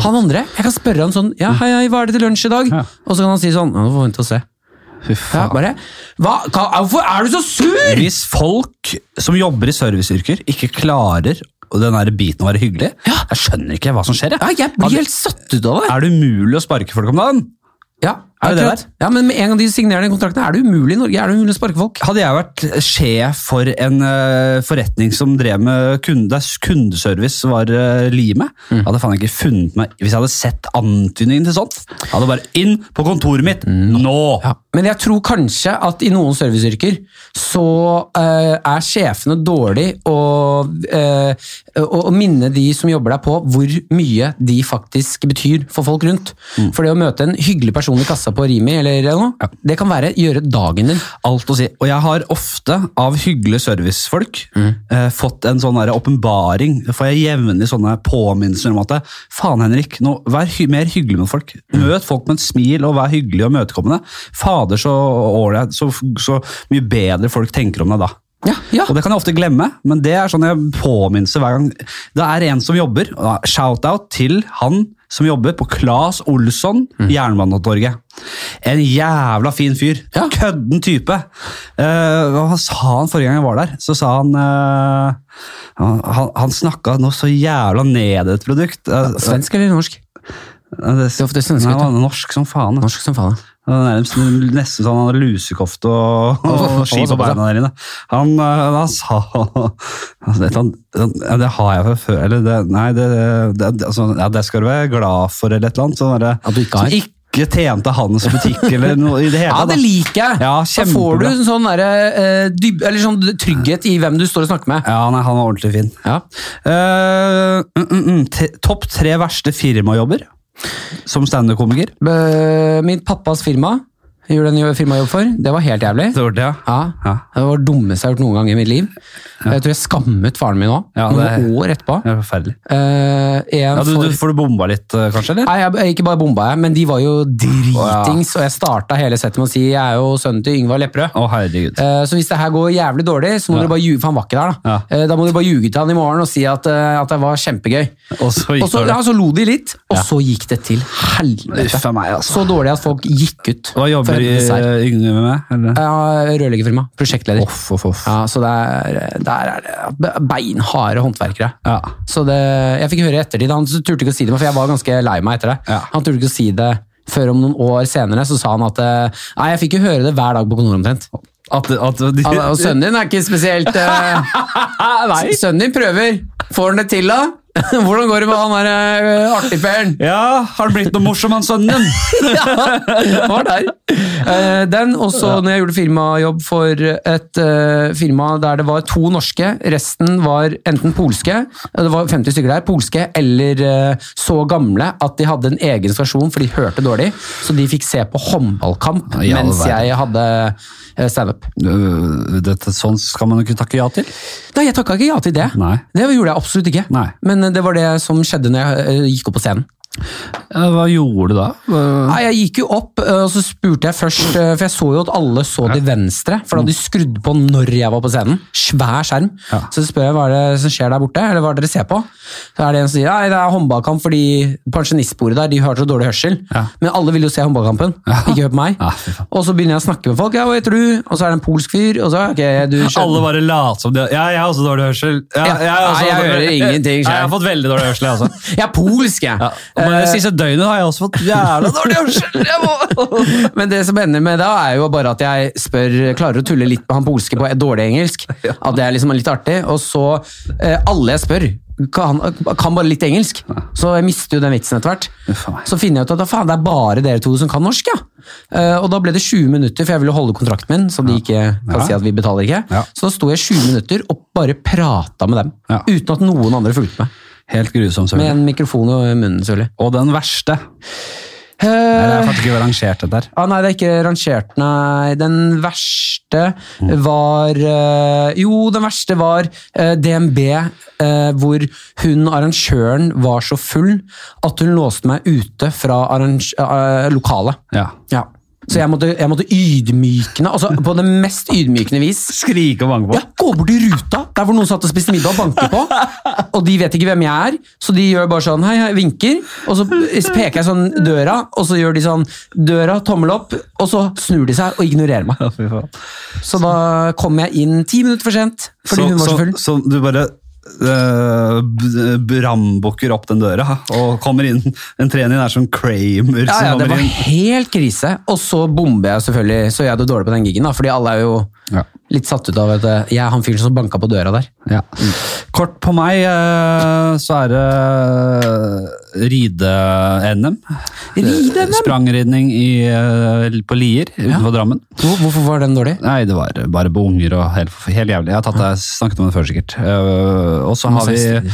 B: han andre, jeg kan spørre han sånn Ja, hei, hei, hva er det til lunsj i dag?
A: Mm. Ja.
B: Og så kan han si sånn Nå får vi vente og se.
A: Fy
B: Ja,
A: faen.
B: bare, hva, hva, hvorfor er du så sur?!
A: Hvis folk som jobber i serviceyrker ikke klarer og den der biten å være hyggelig, jeg skjønner ikke hva som skjer.
B: Ja, jeg blir helt satt ut av det.
A: Er det umulig å sparke folk om dagen?
B: Ja,
A: Er det det
B: akkurat. Ja, Men med en gang de signerer den kontrakten, er det umulig i Norge er det umulig å sparke folk.
A: Hadde jeg vært sjef for en eh, forretning som drev med kunde, der kundeservice var uh, limet,
B: Mm.
A: hadde jeg faen ikke funnet meg Hvis jeg hadde sett antydningen til sånt, hadde jeg bare inn på kontoret mitt
B: Mm.
A: nå!
B: Men jeg tror kanskje at i noen serviceyrker så eh, er sjefene dårlig å, eh, å, å minne de som jobber der på hvor mye de faktisk betyr for folk rundt. For det å møte en hyggelig person i kassa på Rimi eller noe, det kan være gjøre dagen din.
A: Alt å si. Og jeg har ofte, av hyggelige servicefolk, eh, fått en sånn der åpenbaring. Får jeg jevnlig sånne påminnelser om at faen, Henrik, nå, vær hy mer hyggelig med folk. Møt folk med et smil, og vær hyggelig og imøtekommende. Fader, så ålreit, så, så mye bedre folk tenker om deg da.
B: Ja, ja.
A: Og det kan jeg ofte glemme, men det er sånn jeg påminnelse hver gang. Det er en som jobber, og da, shout-out til han som jobber på Claes Olsson,
B: Mm.
A: Jernbanetorget. En jævla fin fyr.
B: Ja.
A: Kødden type. Eh, hva sa han forrige gang jeg var der? Så sa han eh, Han, han- han snakka noe så jævla ned et produkt. Eh,
B: Svensk eller norsk?
A: eh, det,
B: er ofte sånn svensk,
A: Nei,
B: vet du.
A: han var norsk som faen. altså. ass.
B: Norsk som faen.
A: Det er nærmest, nesten sånn han hadde lusekofte og, og
B: Å,
A: ski på
B: såpass, ja.
A: beina der inne. Han, eh, han sa altså, vet han, han- ja, Det har jeg fra før eller det, Nei, det, det, det- altså, ja, det skal du være glad for, eller et eller annet. Sånn derre-
B: At du ikke har?
A: som ikke tjente hans butikk eller noe i det hele
B: Ja,
A: tatt, da.
B: det liker jeg!
A: Ja,
B: da får du
A: kjempebra.
B: en sånn, derre, eh, dyb, eller sånn trygghet i hvem du står og snakker med.
A: Ja, nei, han var ordentlig fin.
B: Ja.
A: Eh, mm, mm, mm, te, topp tre verste firmajobber som standup-komiker?
B: Eh, Min pappas firma, jeg gjorde en jo- firmajobb for, det var helt jævlig.
A: Det var det, ja.
B: Ja,
A: Ja.
B: Det var det dummeste jeg har gjort noen gang i mitt liv. Jeg tror jeg skammet faren min òg,
A: Ja, det-
B: noen år etterpå.
A: Det er Forferdelig.
B: Eh, en
A: Ja, du,
B: for...
A: du, for du bomba litt, eh, kanskje? eller?
B: Nei, jeg, Ikke bare bomba jeg, men de var jo dritings, og jeg starta hele settet med å si jeg er jo sønnen til Yngvar Lepperød.
A: Å, herregud.
B: Eh, Så hvis det her går jævlig dårlig, så må dere bare ljuge, for han var ikke der da.
A: Ja.
B: Eh, Da må dere bare ljuge til han i morgen og si at, eh, at det var kjempegøy.
A: Og så
B: Og
A: gikk
B: så,
A: det
B: ja, så lo de litt, og
A: Ja.
B: så gikk det til helvete.
A: Uff a meg, altså.
B: Så dårlig at folk gikk ut.
A: Hva jobber
B: for en dessert.
A: eh, Yngve med? meg, Eller?
B: Ja, Rørleggerfirma. Prosjektleder.
A: Off, off, off.
B: Ja, så der, der er det beinharde håndverkere.
A: Ja.
B: Så det, jeg fikk høre i ettertid, han turte ikke å si det, meg, for jeg var ganske lei meg etter det.
A: Ja.
B: Han turte ikke å si det før om noen år senere, så sa han at eh, nei, jeg fikk jo høre det hver dag på kontoret omtrent.
A: At, at de,
B: Han, og sønnen din er ikke spesielt eh, s- Sønnen din prøver. Får han det til, da? Hvordan går det med han der uh, artigperen?
A: Ja, har det blitt noe morsom, han sønnen din?
B: Han var der. Eh, den, og så når jeg gjorde firmajobb for et eh, firma der det var to norske, resten var enten polske, eh, det var 50 stykker der, polske, eller eh, så gamle at de hadde en egen stasjon, for de hørte dårlig, så de fikk se på håndballkamp
A: Ja, i all
B: mens
A: verden.
B: jeg hadde eh, standup.
A: Øh, Dette, sånn skal man jo ikke takke ja til.
B: Nei, jeg takka ikke ja til det.
A: Nei.
B: Det gjorde jeg absolutt ikke.
A: Nei.
B: Men eh, det var det som skjedde når jeg eh, gikk opp på scenen.
A: Ja, Hva gjorde du da? Øh,
B: Nei, Jeg gikk jo opp, eh, og så spurte jeg først eh, For jeg så jo at alle så til venstre, for da hadde de skrudd på når jeg var på scenen. Svær skjerm.
A: Mm. Ja.
B: Så spør jeg hva er det som skjer der borte, eller hva er det dere ser på? Så er det en som sier nei, det er håndballkamp fordi pensjonistbordet der de har så dårlig hørsel.
A: Ja.
B: Men alle vil jo se håndballkampen, ikke hør på meg.
A: Ja, fy faen.
B: Og så begynner jeg å snakke med folk. Ja, hva heter du? Og så er det en polsk fyr. Og så, ok, du skjønner.
A: Alle bare later som de Ja, jeg har også dårlig hørsel. Ja,
B: Ja.
A: har også
B: Nei, jeg hører ingenting selv.
A: Nei, Jeg har fått veldig dårlig hørsel, jeg også.
B: Jeg er polsk, jeg. Eh,
A: Ja. Og bare det siste døgnet har jeg også fått jævla dårlig hørsel. Jeg må.
B: Men det som ender med da, er jo bare at jeg spør, klarer å tulle litt med han polske på dårlig engelsk. At det er liksom litt artig. Og så eh, alle jeg spør, kan, kan bare litt engelsk. Så jeg mister jo den vitsen etter hvert.
A: Uff a meg.
B: Så finner jeg ut at da faen, det er bare dere to som kan norsk, ja. Eh, og da ble det 20 minutter, for jeg ville holde kontrakten min, så de ikke kan
A: Ja.
B: si at vi betaler ikke.
A: Ja.
B: Så da sto jeg 20 minutter og bare prata med dem.
A: Ja.
B: Uten at noen andre fulgte med.
A: Helt grusom,
B: Med
A: selvfølgelig.
B: en mikrofon i munnen, selvfølgelig.
A: Og den verste. Nei, det er
B: Eh,
A: faktisk ikke rangert, dette her.
B: ah, nei, det er ikke rangert, nei. Den verste var eh, Jo, den verste var eh, DNB, eh, hvor hun, arrangøren, var så full at hun låste meg ute fra arrange- eh, lokalet.
A: Ja.
B: Ja. Så jeg måtte, jeg måtte ydmykende, altså på det mest ydmykende vis
A: Skrike og banke på.
B: ja, gå bort til ruta, der hvor noen satt og spiste middag og banker på. Og de vet ikke hvem jeg er, så de gjør bare sånn, hei, hei, vinker. Og så peker jeg sånn døra, og så gjør de sånn, døra, tommel opp, og så snur de seg og ignorerer meg.
A: Ja, fy faen.
B: Så da kom jeg inn ti minutter for sent, fordi hun var så full.
A: Så, så du bare eh, b- brambukker opp den døra og kommer inn. En trener er som Kramer
B: Ja, ja,
A: som
B: det
A: kommer
B: var
A: inn.
B: helt krise. Og så bomber jeg selvfølgelig, så jeg er dårlig på den giggen da, fordi alle er jo
A: Ja.
B: litt satt ut av at eh, jeg er han fyren som banket på døra der.
A: Ja. Kort på meg, eh, så er eh, det ride-NM.
B: Ride-NM?
A: Sprangridning i, eh, på Lier utenfor Drammen.
B: Hvor- Hvorfor var den dårlig?
A: Nei, det var bare på unger og helt, helt jævlig. Jeg har tatt det, snakket om det før sikkert. Eh, og så har vi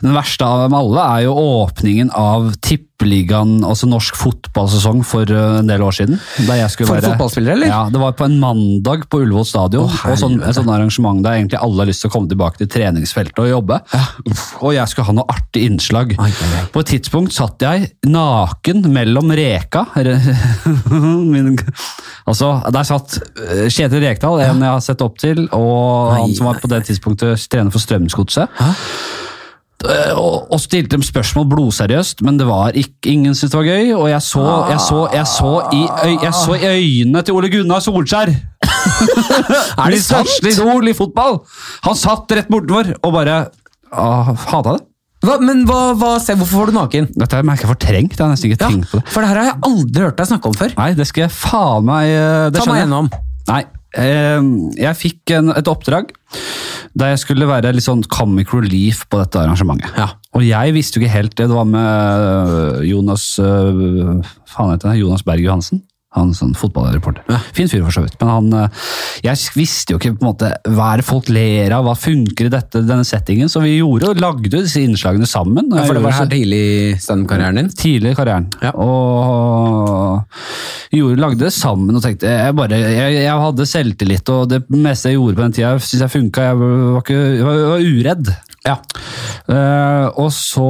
A: Den verste av dem alle er jo åpningen av tippeligaen, altså norsk fotballsesong for eh, en del år siden. Der jeg skulle
B: For
A: være,
B: fotballspillere, eller?
A: Ja, det var på en mandag på Ullevål stadion. og sånn, et sånt arrangement der egentlig alle har lyst til å komme tilbake til treningsfeltet og jobbe. Uff, Og jeg skulle ha noe artig innslag.
B: Ai, ai, ai.
A: På et tidspunkt satt jeg naken mellom reka. Min, altså, der satt eh, Kjetil Rekdal, en jeg har sett opp til, og han som var på det tidspunktet trener for Strømsgodset. Eh, Og, og stilte dem spørsmål blodseriøst, men det var ikke, ingen syntes det var gøy. Og jeg så, jeg så, jeg så, i, øy, jeg så i øynene til Ole Gunnar Solskjær!
B: Er det
A: Mitt største
B: sant?
A: idol i fotball! Han satt rett bortenfor og bare ah, hata det.
B: Hva, men hva, hva, se, hvorfor var du naken?
A: Dette har jeg merket fortrengt. Jeg har nesten ikke
B: Ja,
A: tenkt på det.
B: for det her har jeg aldri hørt deg snakke om før.
A: Nei, det skal jeg faen meg eh, det
B: Ta meg
A: skjønner jeg.
B: gjennom.
A: Nei. eh, Jeg fikk en, et oppdrag der jeg skulle være litt sånn comic relief på dette arrangementet.
B: Ja.
A: Og jeg visste jo ikke helt det. Det var med øh, Jonas øh, faen heter han, Jonas Berg Johansen. Han sånn fotballreporter. Fin fyr, for så vidt. Men han, øh, jeg visste jo ikke på en måte, hva er det folk ler av, hva funker i dette, denne settingen. Så vi gjorde og lagde jo disse innslagene sammen. og
B: Ja,
A: jeg
B: for det var
A: gjorde
B: så tidlig i standup-karrieren din.
A: tidlig i karrieren.
B: Ja.
A: Og gjorde, lagde det sammen og tenkte jeg, bare, jeg, jeg hadde selvtillit, og det meste jeg gjorde på den tida, syns jeg funka. Jeg var, ikke, jeg var, jeg var uredd. Eh, og så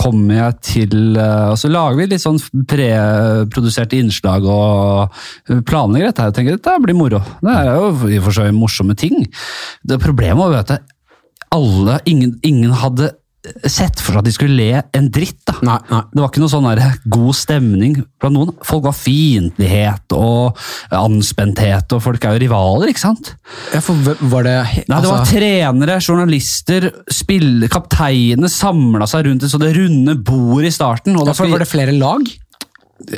A: kommer jeg til eh, Og så lager vi litt sånn preproduserte innslag og planlegger dette. her. Jeg tenker dette blir moro. Det er jo i og for seg morsomme ting. Det Problemet var jo at alle, ingen, ingen hadde sett for seg at de skulle le en dritt. da.
B: Nei, nei.
A: Det var ikke noe sånn der god stemning blant noen. Folk var fiendtlighet og anspenthet, og folk er jo rivaler, ikke sant?
B: Ja, for hva- var det
A: Nei, det var
B: altså,
A: trenere, journalister, spille, kapteinene samla seg rundt et sånt runde bord i starten. Og
B: ja,
A: da
B: for Var
A: skulle
B: det flere lag?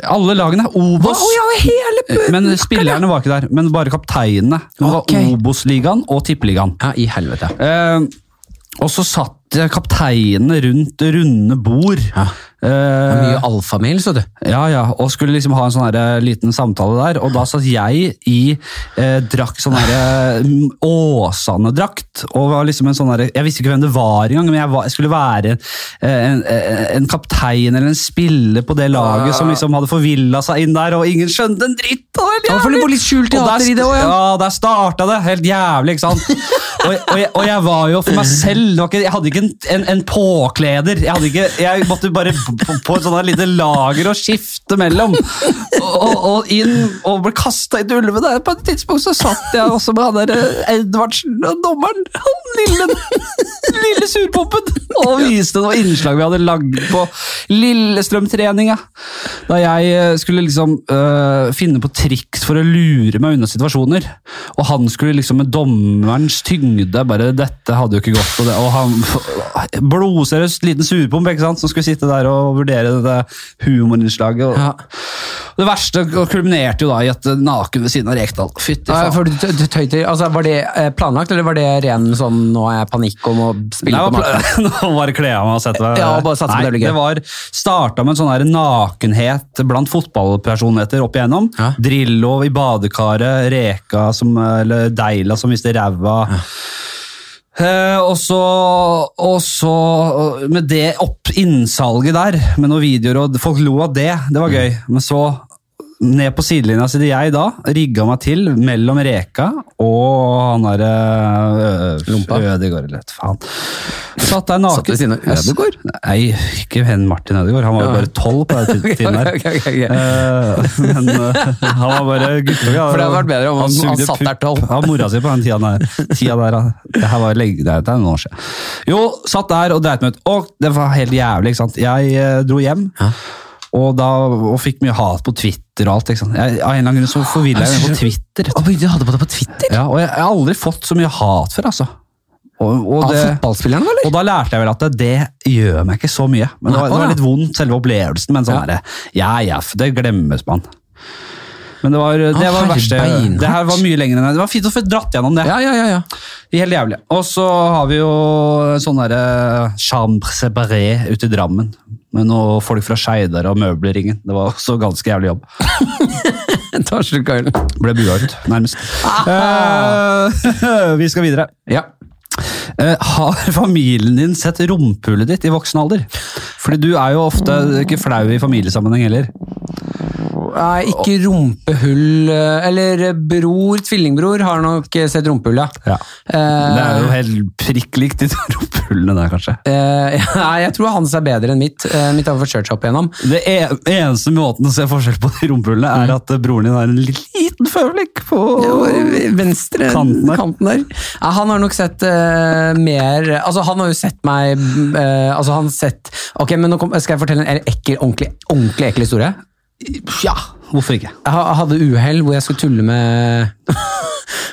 A: alle lagene Obos.
B: Å, ja, hele
A: Men spillerne var ikke der, men bare kapteinene. Det var
B: Ok.
A: Obos-ligaen og Tippeligaen.
B: Ja, i helvete.
A: Eh, og så satt kapteinene rundt det runde bord.
B: Ja.
A: Eh,
B: Mye alfamil, så du.
A: Ja, ja, og skulle liksom ha en sånn her, eh, liten samtale der, og da satt jeg i eh, drakk sånn her eh, Åsane-drakt, og var liksom en sånn her, jeg visste ikke hvem det var engang, men jeg, var, jeg skulle være eh, en, eh, en kaptein eller en spiller på det laget
B: Ah.
A: som liksom hadde forvillet seg inn der, og ingen skjønte en dritt, og det
B: Ja,
A: var
B: for det
A: jævlig.
B: var litt skjult
A: Og
B: teater
A: der,
B: i det også, ja.
A: ja, der starta det. Helt jævlig, ikke sant? Og, og, jeg, og jeg var jo for meg selv. Det var ikke, jeg hadde ikke en, en, en påkleder. Jeg, hadde ikke, jeg måtte bare på, på et sånt her lite lager og skifte mellom. Og, og, og inn og ble kasta inn til ulvene. På et tidspunkt så satt jeg også med han der eh, Edvardsen og dommeren. Han lille, lille surpompen. Og viste noe innslag vi hadde lagd på Lillestrøm-treninga. Da jeg eh, skulle liksom eh, finne på triks for å lure meg unna situasjoner. Og han skulle liksom med dommerens tyngde bare Dette hadde jo ikke gått. Og, det, og han blodseriøst liten surpomp ikke sant, som skulle sitte der og vurdere dette humorinnslaget. Og,
B: Ja.
A: Det verste kulminerte jo da i at eh, naken ved siden av Rekdal. Fytti
B: Ja,
A: faen.
B: for du, du tøy til, altså, var det eh, planlagt, eller var det ren sånn nå er jeg panikk om å spille
A: Nei,
B: på natten?
A: nå bare kle av meg og sette meg
B: Ja, bare satse på
A: Nei,
B: det blir gøy.
A: Det var starta med en sånn her nakenhet blant fotballpersonligheter opp igjennom.
B: Ja.
A: Drillo i badekaret, Reka som, eller Deila som viste ræva. Eh, og så, og så og Med det opp innsalget der, med noen videoer og Folk lo av det, det var gøy.
B: Mm.
A: Men så, ned på sidelinja, sitter jeg da, rigga meg til mellom Reka og han derre
B: Lompa.
A: Ødegård, eller hva faen. Satt der
B: Satt ved
A: naken.
B: siden av Ødegård?
A: Nei, ikke hen Martin Ødegård. Han var jo
B: Ja.
A: bare tolv på den
B: Ok,
A: tiden der.
B: ok, ok, ok.
A: Eh, men eh, han var bare guttunge.
B: For det hadde vært bedre om han- han
A: sugde
B: satt der
A: pupp
B: tolv.
A: Av mora si på den tida der. Tida der ja. det her var lenge, det er det er noen år siden. Jo, satt der og dreit meg ut. Og det var helt jævlig, ikke sant. Jeg eh, dro hjem. Og, da, og fikk mye hat på Twitter og alt. Ikke sant? Jeg, av en eller annen grunn så forvilla jeg meg på Twitter.
B: Å, men Du hadde på det på Twitter?
A: Ja, og jeg, jeg har aldri fått så mye hat før, altså. Og, og
B: Av
A: det,
B: fotballspillerne, eller?
A: og da lærte jeg vel at det, det gjør meg ikke så mye. Men det var,
B: Nei, å,
A: det var
B: ja.
A: litt vondt, selve opplevelsen, men sånn
B: Ja.
A: er det. Ja, ja, f- det glemmes man. Men det var det, var det
B: herre
A: verste.
B: beinhardt.
A: Det her var mye lenger enn jeg. Det var fint å få dratt gjennom det.
B: Ja, ja, ja. ja.
A: Helt jævlig. Og så har vi jo en sånn derre chambre séparé ute i Drammen. Med noen folk fra Skeidar og Møbelringen. Det var også ganske jævlig jobb.
B: Ta slutt av ølen.
A: Ble bua ut, nærmest. Eh, vi skal videre.
B: Ja.
A: Eh, har familien din sett rumpehullet ditt i voksen alder? Fordi du er jo ofte ikke flau i familiesammenheng heller.
B: Nei, ikke rumpehull eh, Eller eh, bror, tvillingbror, har nok eh, sett rumpehullet.
A: Ja.
B: Eh,
A: Det er jo helt prikk likt de to rumpehullene der, kanskje.
B: eh, nei, jeg tror hans er bedre enn mitt. Eh, mitt har vi fått kjørt seg opp igjennom.
A: Det e- eneste måten å se forskjell på de rumpehullene, er at eh, broren din har en liten føflekk på eh,
B: Venstre
A: Kanten
B: kanten
A: der.
B: der. Ja, han har nok sett eh, mer Altså, han har jo sett meg eh, Altså, han har sett Ok, men nå kom, skal jeg fortelle en ekkel, ordentlig, ordentlig ekkel historie.
A: Ja, hvorfor ikke?
B: Jeg ha- hadde uhell hvor jeg skulle tulle med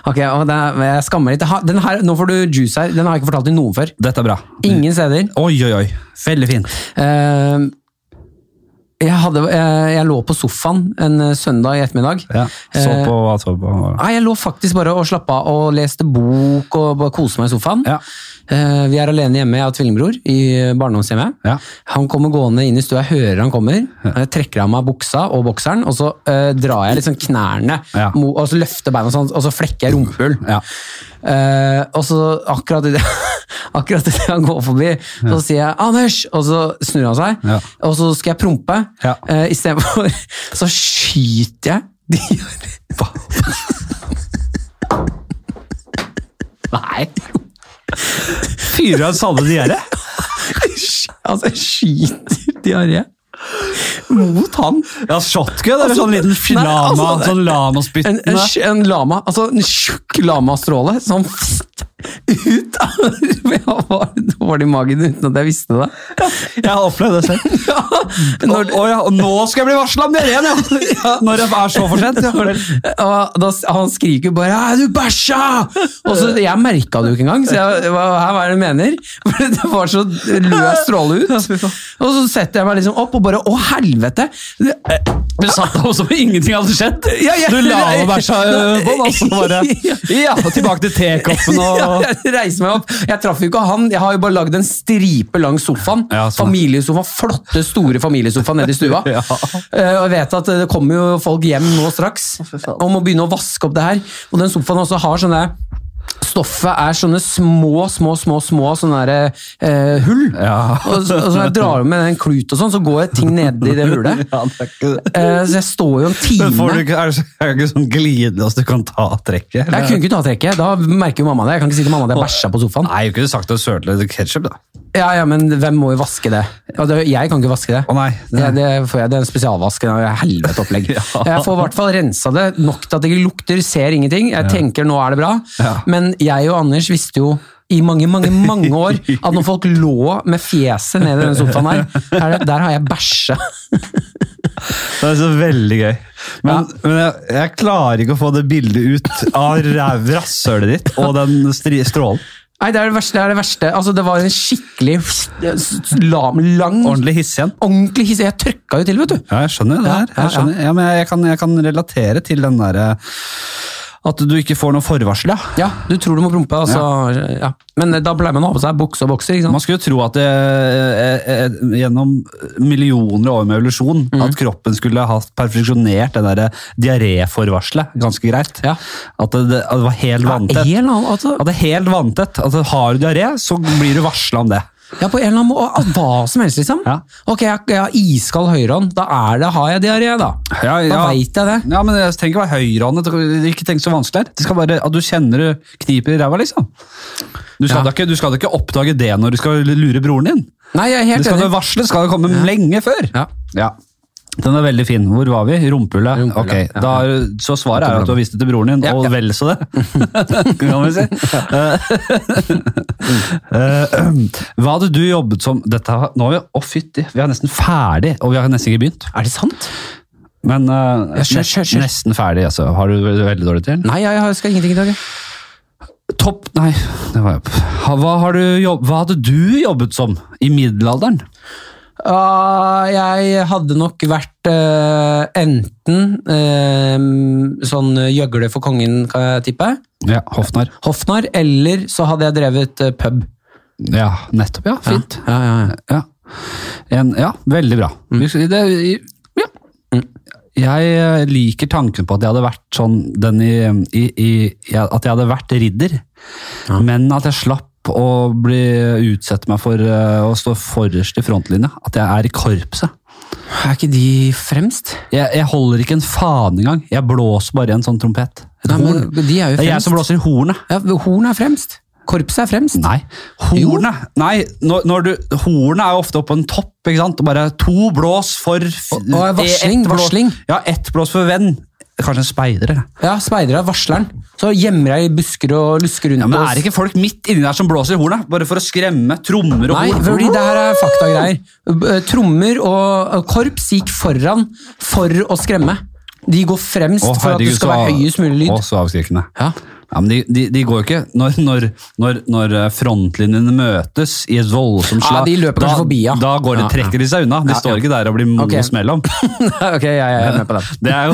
B: Ok, og det, er- jeg skammer litt. Jeg har- Den her, nå får du juice her. Den har jeg ikke fortalt til noen før.
A: Dette er bra.
B: Ingen steder.
A: Oi, oi, oi. Veldig fint.
B: Eh, jeg, hadde, eh, jeg lå på sofaen en eh, søndag i ettermiddag.
A: Ja. Så
B: Eh,
A: på hva så på.
B: Nei, jeg lå faktisk bare og slappa av og leste bok og bare koste meg i sofaen.
A: Ja.
B: Eh, vi er alene hjemme, jeg og tvillingbror, i barndomshjemmet.
A: Ja.
B: Han kommer gående inn i stua, jeg hører han kommer. Jeg trekker av meg buksa og bokseren, og så eh, drar jeg liksom knærne,
A: Ja.
B: mo- og så løfter beina sånn, og så flekker jeg rumpehull.
A: Ja.
B: Eh, og så akkurat i det Akkurat i det han går forbi, så sier jeg 'Anders!', og så snur han seg.
A: Ja.
B: Og så skal jeg prompe.
A: Ja.
B: Uh, Istedenfor så skyter jeg de Hva? Nei.
A: Fyrer av salve diaré?
B: Altså, jeg skyter diaré mot han.
A: Ja, shotgun eller
B: Altså,
A: sånn liten
B: nei, altså,
A: lama,
B: det-
A: sånn
B: En, en,
A: lamaspyttende?
B: sj- en lama, altså en tjukk lamastråle som fst, ut av Jeg var dårlig i magen uten at jeg visste det.
A: Jeg har opplevd det selv.
B: Ja, når,
A: Å, å ja, og nå skal jeg bli varsla om det igjen, ja! Når det er så for sent. Ja.
B: og da, han skriker jo bare «Æ, 'du bæsja!' Og så, Jeg merka det jo ikke engang, så jeg, hva, her, hva er det du mener? For det var så løs stråle ut. Og så setter jeg meg liksom opp og bare 'å, helvete'.
A: Du satt der som ingenting hadde skjedd.
B: Ja, ja.
A: Du la og bæsja øh, på den, og så bare Ja, og tilbake til tekoppen
B: Ja,
A: og
B: jeg reiser meg opp. Jeg traff jo ikke han. Jeg har jo bare lagd en stripe lang sofaen.
A: Ja, sånn.
B: Familiesofa, Flotte, store familiesofaen nede i stua.
A: Ja.
B: Eh, Og jeg vet at det kommer jo folk hjem nå straks og må begynne å vaske opp det her. Og den sofaen også har sånne Stoffet er sånne små, små, små små sånne der, eh, hull.
A: Ja.
B: Og, så- og så når jeg drar med en klut og sånn, så går ting nedi det hullet.
A: Ja, det er ikke det.
B: Eh, så jeg står jo en time
A: Men får du ikke, er det så- er det ikke sånn glidelås du kan ta trekket?
B: Jeg kunne ikke ta trekket. Da merker jo mamma det. Jeg kan ikke si til mamma at jeg bæsja på sofaen.
A: Eh. Nei, jeg kunne sagt det sølte ketsjup, da.
B: Ja, ja, men hvem må jo vaske det? Ja, det jeg kan ikke vaske det.
A: Å nei.
B: Det, det, får jeg, det er en spesialvask. Det er helvete opplegg. Jeg får i hvert fall rensa det nok til at det ikke lukter, ser ingenting. Jeg tenker nå er det bra.
A: Ja.
B: Men jeg og Anders visste jo i mange mange, mange år at når folk lå med fjeset ned i den sofaen her, er det, der har jeg bæsja.
A: Det er så veldig gøy. Men,
B: Ja.
A: men jeg, jeg klarer ikke å få det bildet ut av ræv- rasshølet ditt og den stri, strålen.
B: Nei, det er det verste. Det, er det, verste. Altså, det var en skikkelig lam, lang,
A: Ordentlig hissig igjen.
B: ordentlig hisse. Jeg trøkka jo til, vet du.
A: Ja, jeg skjønner jo det
B: Ja,
A: her.
B: ja,
A: Jeg, skjønner. Ja, men jeg, jeg, kan, jeg kan relatere til den derre eh, At du ikke får noe forvarsel, ja.
B: Ja, du tror du må prompe, og så ja. Men eh, da pleier man å ha på seg bukse og bokser, ikke sant?
A: Man skulle jo tro at det, eh, eh, gjennom millioner år med evolusjon at kroppen skulle ha perfeksjonert det der eh, diaréforvarselet ganske greit.
B: Ja.
A: At, det, at det var helt
B: Ja,
A: vanntett.
B: en eller annen, altså,
A: At det er helt vanntett. At har du diaré, så blir du varsla om det.
B: ja, på en eller annen måte, og hva som helst, liksom.
A: Ja.
B: Ok, jeg, jeg har iskald høyrehånd, da er det, har jeg diaré, da.
A: Ja,
B: Da
A: ja.
B: vet jeg det.
A: Ja, men jeg trenger ikke være høyrehåndet. Ikke tenk så vanskelig. her. Det skal bare at du kjenner du kniper i ræva, liksom. Du skal,
B: Ja.
A: da ikke, du skal da ikke oppdage det når du skal lure broren din.
B: Nei, jeg er
A: Det
B: helt
A: skal
B: enig.
A: du varsle, skal det komme lenge før.
B: Ja.
A: Ja. Den er veldig fin. Hvor var vi? Rumpehullet.
B: Rumpehullet,
A: Ok,
B: ja.
A: da, er- Så svaret er at du har vist det til broren din,
B: Ja,
A: og
B: ja.
A: vel så det. kan vi si. Eh, Hva hadde du jobbet som Dette har- nå er vi, Å, fytti, vi er nesten ferdig, og vi har nesten ikke begynt.
B: Er det sant?
A: Men eh,
B: Ja, kjør,
A: nes-
B: kjør, kjør.
A: nesten ferdig, altså. Har du veldig, veldig dårlig til?
B: Nei, jeg har- skal ingenting i dag. jeg.
A: Topp Nei, det var jeg på. Ha- Hva, har du jobb, hva hadde du jobbet som i middelalderen?
B: Ah, jeg hadde nok vært eh, enten eh, sånn gjøgle for kongen, kan jeg tippe,
A: Ja, Hoffnarr.
B: hoffnarr, eller så hadde jeg drevet eh, pub.
A: Ja, nettopp. Ja, fint.
B: Ja, ja, ja.
A: Ja, en, ja veldig bra.
B: Mm.
A: Vi- Det, i- ja. Jeg eh, liker tanken på at jeg hadde vært sånn den i, i, i ja, At jeg hadde vært ridder, men at jeg slapp å bli utsette meg for eh, å stå forrest i frontlinja. At jeg er i korpset.
B: Er ikke de fremst?
A: Jeg, jeg holder ikke en faen engang. Jeg blåser bare i en sånn trompet. Et
B: Nei, men
A: horn.
B: de er jo
A: Det er jeg
B: fremst.
A: som blåser i hornet.
B: Ja, horn er fremst. Korpset er fremst.
A: Nei, hornet Nei, når, når du, hornet er jo ofte oppe på en topp, ikke sant? Og bare to blås for f-
B: Og- og varsling,
A: ett blå-
B: varsling.
A: Ja, ett blås for venn. Kanskje en speider, eller?
B: Ja, speidere er varsleren. Så gjemmer jeg i busker og lusker rundt
A: Ja, men
B: på
A: er det ikke folk midt inni der som blåser i hornet? Bare for å skremme trommer og
B: Nei,
A: horn?
B: fordi det her er faktagreier. Eh, Trommer og og korps gikk foran for å skremme. De går fremst
A: Å,
B: for at det
A: herregud,
B: skal
A: så-
B: være høyest mulig lyd.
A: Å, så avskrekkende.
B: Ja.
A: Ja, men de, de, de går jo ikke Når, når, når, når eh, frontlinjene møtes i et voldsomt
B: Ja,
A: slag
B: de løper
A: da,
B: kanskje forbi, ja.
A: Da går de,
B: Ja, ja.
A: trekker de seg unna. De
B: Ja,
A: står
B: ja.
A: ikke der og blir
B: Ok.
A: mos mellom.
B: ok, jeg, jeg er med på den.
A: Det er jo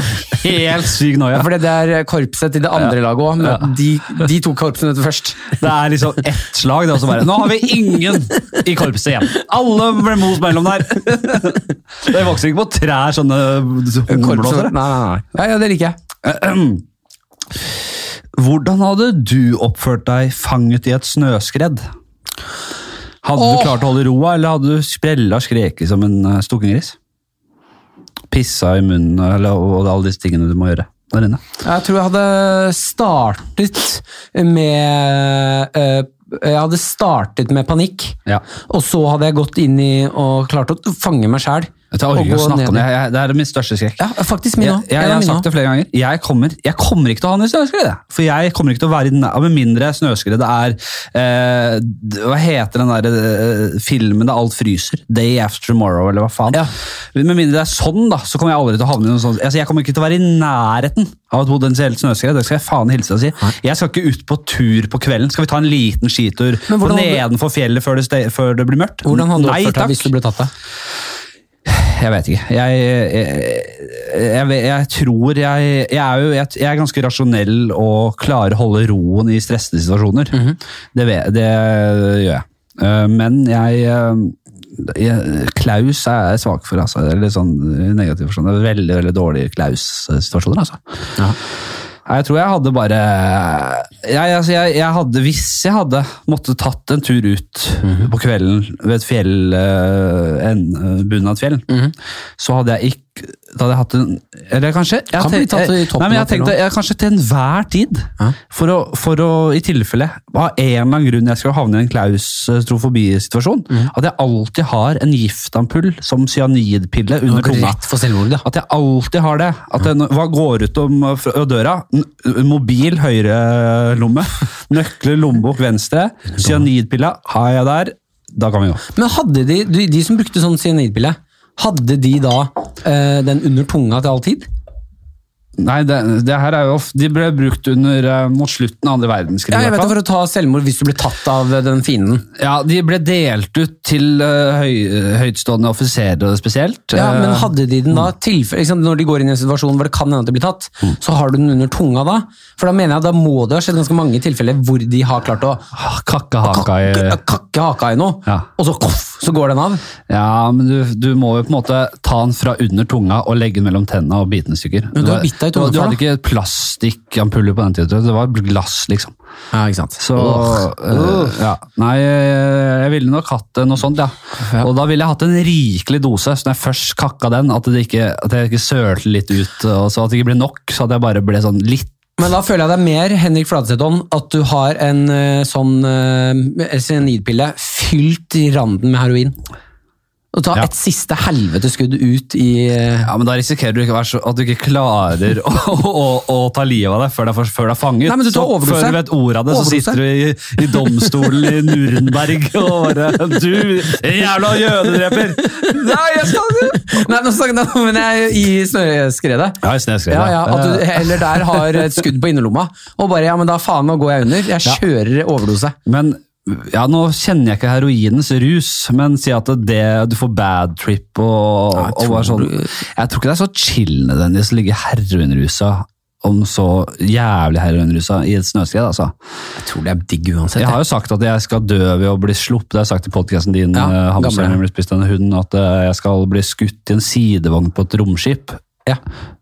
A: helt syk noia.
B: Ja, for det er korpset til det andre laget òg. De, de to korpsene først.
A: Det er liksom ett slag, det er også bare Nå har vi ingen i korpset igjen! Alle ble mos mellom der! Det vokser ikke på trær, sånne
B: Korpset. Nei,
A: hornblåsere.
B: nei, nei. Ja, ja, det liker jeg.
A: Hvordan hadde du oppført deg fanget i et snøskredd? Hadde
B: Åh.
A: du klart å holde roa, eller hadde du sprella og skreket som en eh, stukkengris? Pissa i munnen eller, og alle disse tingene du må gjøre der inne.
B: Jeg tror jeg hadde startet med eh, Jeg hadde startet med panikk.
A: Ja.
B: Og så hadde jeg gått inn i og klart å fange meg sjæl.
A: Jeg orker ikke å snakke om det. Jeg, jeg, det er min største skrekk.
B: Ja, faktisk min
A: Jeg,
B: òg.
A: jeg, jeg har sagt det flere ganger. Jeg kommer, jeg kommer ikke til å ha noe snøskred. jeg. For jeg kommer ikke til å være i den Med mindre snøskredet er eh, d- Hva heter den der eh, filmen der alt fryser? Day After Tomorrow, eller hva faen.
B: Ja.
A: Med mindre det er sånn, da, så kommer jeg aldri til å havne i noe sånt. Altså, jeg kommer ikke til å være i nærheten av et potensielt snøskred. Det skal jeg faen hilse og si. Jeg skal ikke ut på tur på kvelden. Skal vi ta en liten skitur
B: Men hvordan hadde-
A: nedenfor fjellet før det, ste- før det blir mørkt?
B: Hvordan hadde du
A: Nei,
B: oppført deg
A: takk.
B: hvis du ble tatt av?
A: Jeg vet ikke. Jeg, jeg, jeg, vet- jeg tror jeg, jeg er jo jeg, jeg er ganske rasjonell og klarer å holde roen i stressende situasjoner. det, vet- det gjør jeg. Eh, Men jeg, eh, jeg Klaus er jeg svak for, altså. Eller sånn i negativ forstand. Det er Veldig veldig dårlige Klaus-situasjoner, altså.
B: Ja.
A: Nei, Jeg tror jeg hadde bare jeg, altså jeg, jeg hadde, Hvis jeg hadde måttet tatt en tur ut
B: Mhm.
A: på kvelden ved et fjell, eh, en, eh, bunnen av et fjell,
B: Mhm.
A: så hadde jeg ikke Da hadde jeg hatt en Eller kanskje jeg
B: Kan
A: hadde
B: bli
A: tenkt-
B: tatt i toppen
A: Nei, men jeg
B: av fjellet
A: tenkte jeg, kanskje til enhver tid.
B: Ja.
A: For å, for å i tilfelle av en eller annen grunn jeg skal havne i en klaustrofobi-situasjon,
B: Mhm.
A: at jeg alltid har en giftampull som cyanidpille under tunga.
B: Rett for selvmordet.
A: At jeg alltid har det. At jeg, hva går ut om fra døra? N- Mobil høyre lomme. Nøkler, lommebok venstre. Cyanidpilla har jeg der. Da kan vi gå.
B: Men hadde de, de, de som brukte sånn cyanidpille, hadde de da eh, den under tunga til all tid?
A: Nei, det, det her er jo of- De ble brukt under, eh, mot slutten av andre verdenskrig.
B: Ja,
A: i hvert
B: jeg vet det,
A: fall.
B: For å ta selvmord hvis du blir tatt av eh, den fienden.
A: Ja, De ble delt ut til eh, høy, høytstående offiserer spesielt.
B: Ja,
A: Eh,
B: Men hadde de den da tilfelle, ikke sant, Når de går inn i en situasjon hvor det kan hende at de blir tatt,
A: Mm.
B: så har du den under tunga da? For da mener jeg da må det ha skjedd ganske mange tilfeller hvor de har klart å
A: ah, Kakke haka i
B: kakke, kakke haka i noe,
A: Ja.
B: og så koff, så går den av.
A: Ja, men du, du må jo på en måte ta den fra under tunga og legge den mellom tennene og bite den i stykker.
B: Men du har
A: Det var-
B: bitt deg i tunga
A: Du, du
B: før,
A: hadde ikke plastikkampuller på den tiden, det var glass, liksom.
B: Ja, ikke sant.
A: Så eh, ja. Nei, eh, jeg ville nok hatt eh, noe sånt, ja.
B: Ja.
A: Og da ville jeg hatt en rikelig dose, så når jeg først kakka den, at, det ikke, at jeg ikke sølte litt ut, og så at det ikke ble nok, så at jeg bare ble sånn litt
B: Men da føler jeg det er mer Henrik Fladsethon at du har en eh, sånn uh, cyanidpille fylt i randen med heroin. Og ta
A: Ja.
B: et siste helveteskudd ut i eh,
A: ja, men Da risikerer du ikke å være så, at du ikke klarer å, å, å ta livet av deg før du er, for- før du er fanget.
B: Nei, men du tar
A: så,
B: overdose.
A: før du vet ordet av det, så
B: Overdose.
A: sitter du i, i domstolen i Nurenberg og bare Du jævla jødedreper! Nei, jeg skal
B: Nei, nå snakket jeg om men jeg er i snøskredet.
A: Ja, i snøskredet.
B: Ja, ja,
A: Eh,
B: at du heller der har et skudd på innerlomma, og bare ja, men da faen, nå går jeg under. Jeg kjører overdose.
A: Men ja, nå kjenner jeg ikke heroinens rus, men si at det, du får bad trip og,
B: Ja, jeg
A: og bare
B: tror
A: sånn. Jeg tror ikke det er så chill nødvendigvis å ligge heroinrusa, om så jævlig heroinrusa, i et snøskred, altså.
B: Jeg tror det er digg uansett.
A: Jeg
B: Jeg
A: har jo sagt at jeg skal dø ved å bli sluppet. Det har jeg sagt i podkasten din, eh,
B: Ja,
A: ja,
B: gamle.
A: hamsteren min ble spist av en hund, at eh, jeg skal bli skutt i en sidevogn på et romskip.
B: Ja.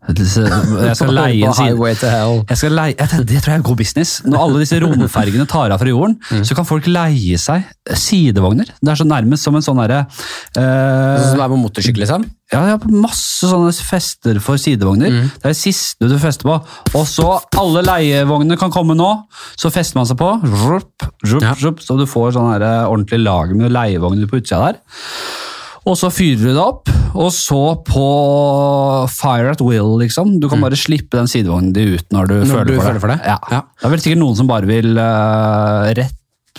A: Jeg skal leie en
B: På
A: side...
B: Highway to hell.
A: Jeg skal leie, jeg, tenker- det tror jeg er god business. Når alle disse romfergene tar av fra jorden,
B: Mm.
A: så kan folk leie seg sidevogner. Det er så nærmest som en sånn derre
B: Sånn
A: eh,
B: som det er på motorsykkel, liksom.
A: ja, jeg har masse sånne fester for sidevogner.
B: Mm.
A: Det er det siste du fester på. Og så alle leievognene kan komme nå, så fester man seg på. Rup, rup,
B: Ja.
A: rup, så du får sånn her, eh, ordentlig lag med leievogner på utsida der. Og så fyrer du det opp, og så på fire at will, liksom. Du kan bare slippe den sidevognen din ut når du, føler,
B: Mm. du
A: for
B: føler for det?
A: Ja.
B: Ja.
A: Det er vel sikkert noen som bare vil eh, rett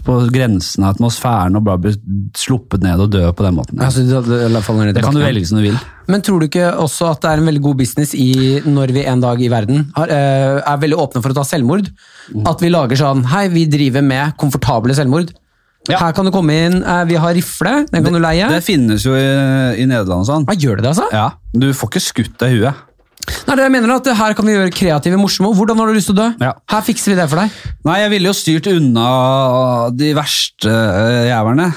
A: på grensen av atmosfæren og bare bli sluppet ned og dø på den måten.
B: Altså, du hadde i hvert fall ned i
A: Det kan du
B: bakken.
A: velge som du vil.
B: Men tror du ikke også at det er en veldig god business i når vi en dag i verden har, eh, er veldig åpne for å ta selvmord?
A: Mm.
B: At vi lager sånn Hei, vi driver med komfortable selvmord.
A: Ja.
B: Her kan du komme inn. eh, vi har rifle. Den kan du leie.
A: Det finnes jo i, i Nederland og sånn.
B: Hva gjør det, altså?
A: Ja, Du får ikke skutt deg i huet.
B: Nei, det jeg mener er at Her kan vi gjøre kreative, morsomme. Hvordan har du lyst til å dø?
A: Ja.
B: Her fikser vi det for deg.
A: Nei, jeg ville jo styrt unna de verste eh, jævlene.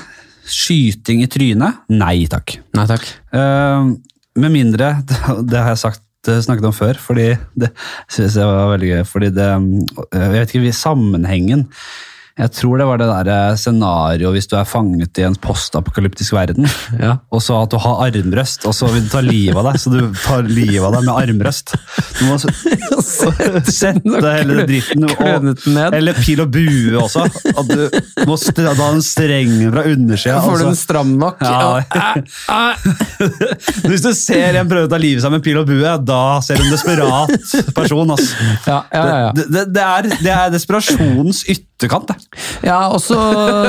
A: Skyting i trynet? Nei takk.
B: Nei takk.
A: Eh, med mindre Det, det har jeg sagt, eh, snakket om før, fordi det synes jeg var veldig gøy. Fordi det eh, Jeg vet ikke sammenhengen Jeg tror det var det der scenarioet hvis du er fanget i en postapokalyptisk verden.
B: Ja.
A: Og så at du har armrøst, og så vil du ta livet av deg. Så du tar livet av deg med armrøst. Du må så- sette hele dritten
B: klønet den ned.
A: og, Eller pil og bue også. At du må st- ta en streng fra altså. undersida.
B: Da får du
A: og
B: den
A: så-
B: stram nok.
A: Ja. Hvis du ser en prøve å ta livet seg med pil og bue, da ser du en desperat person. ass.
B: Ja, ja, ja, ja.
A: Det, det, det, er, det er desperasjonens ytterkant. Det.
B: Ja, og så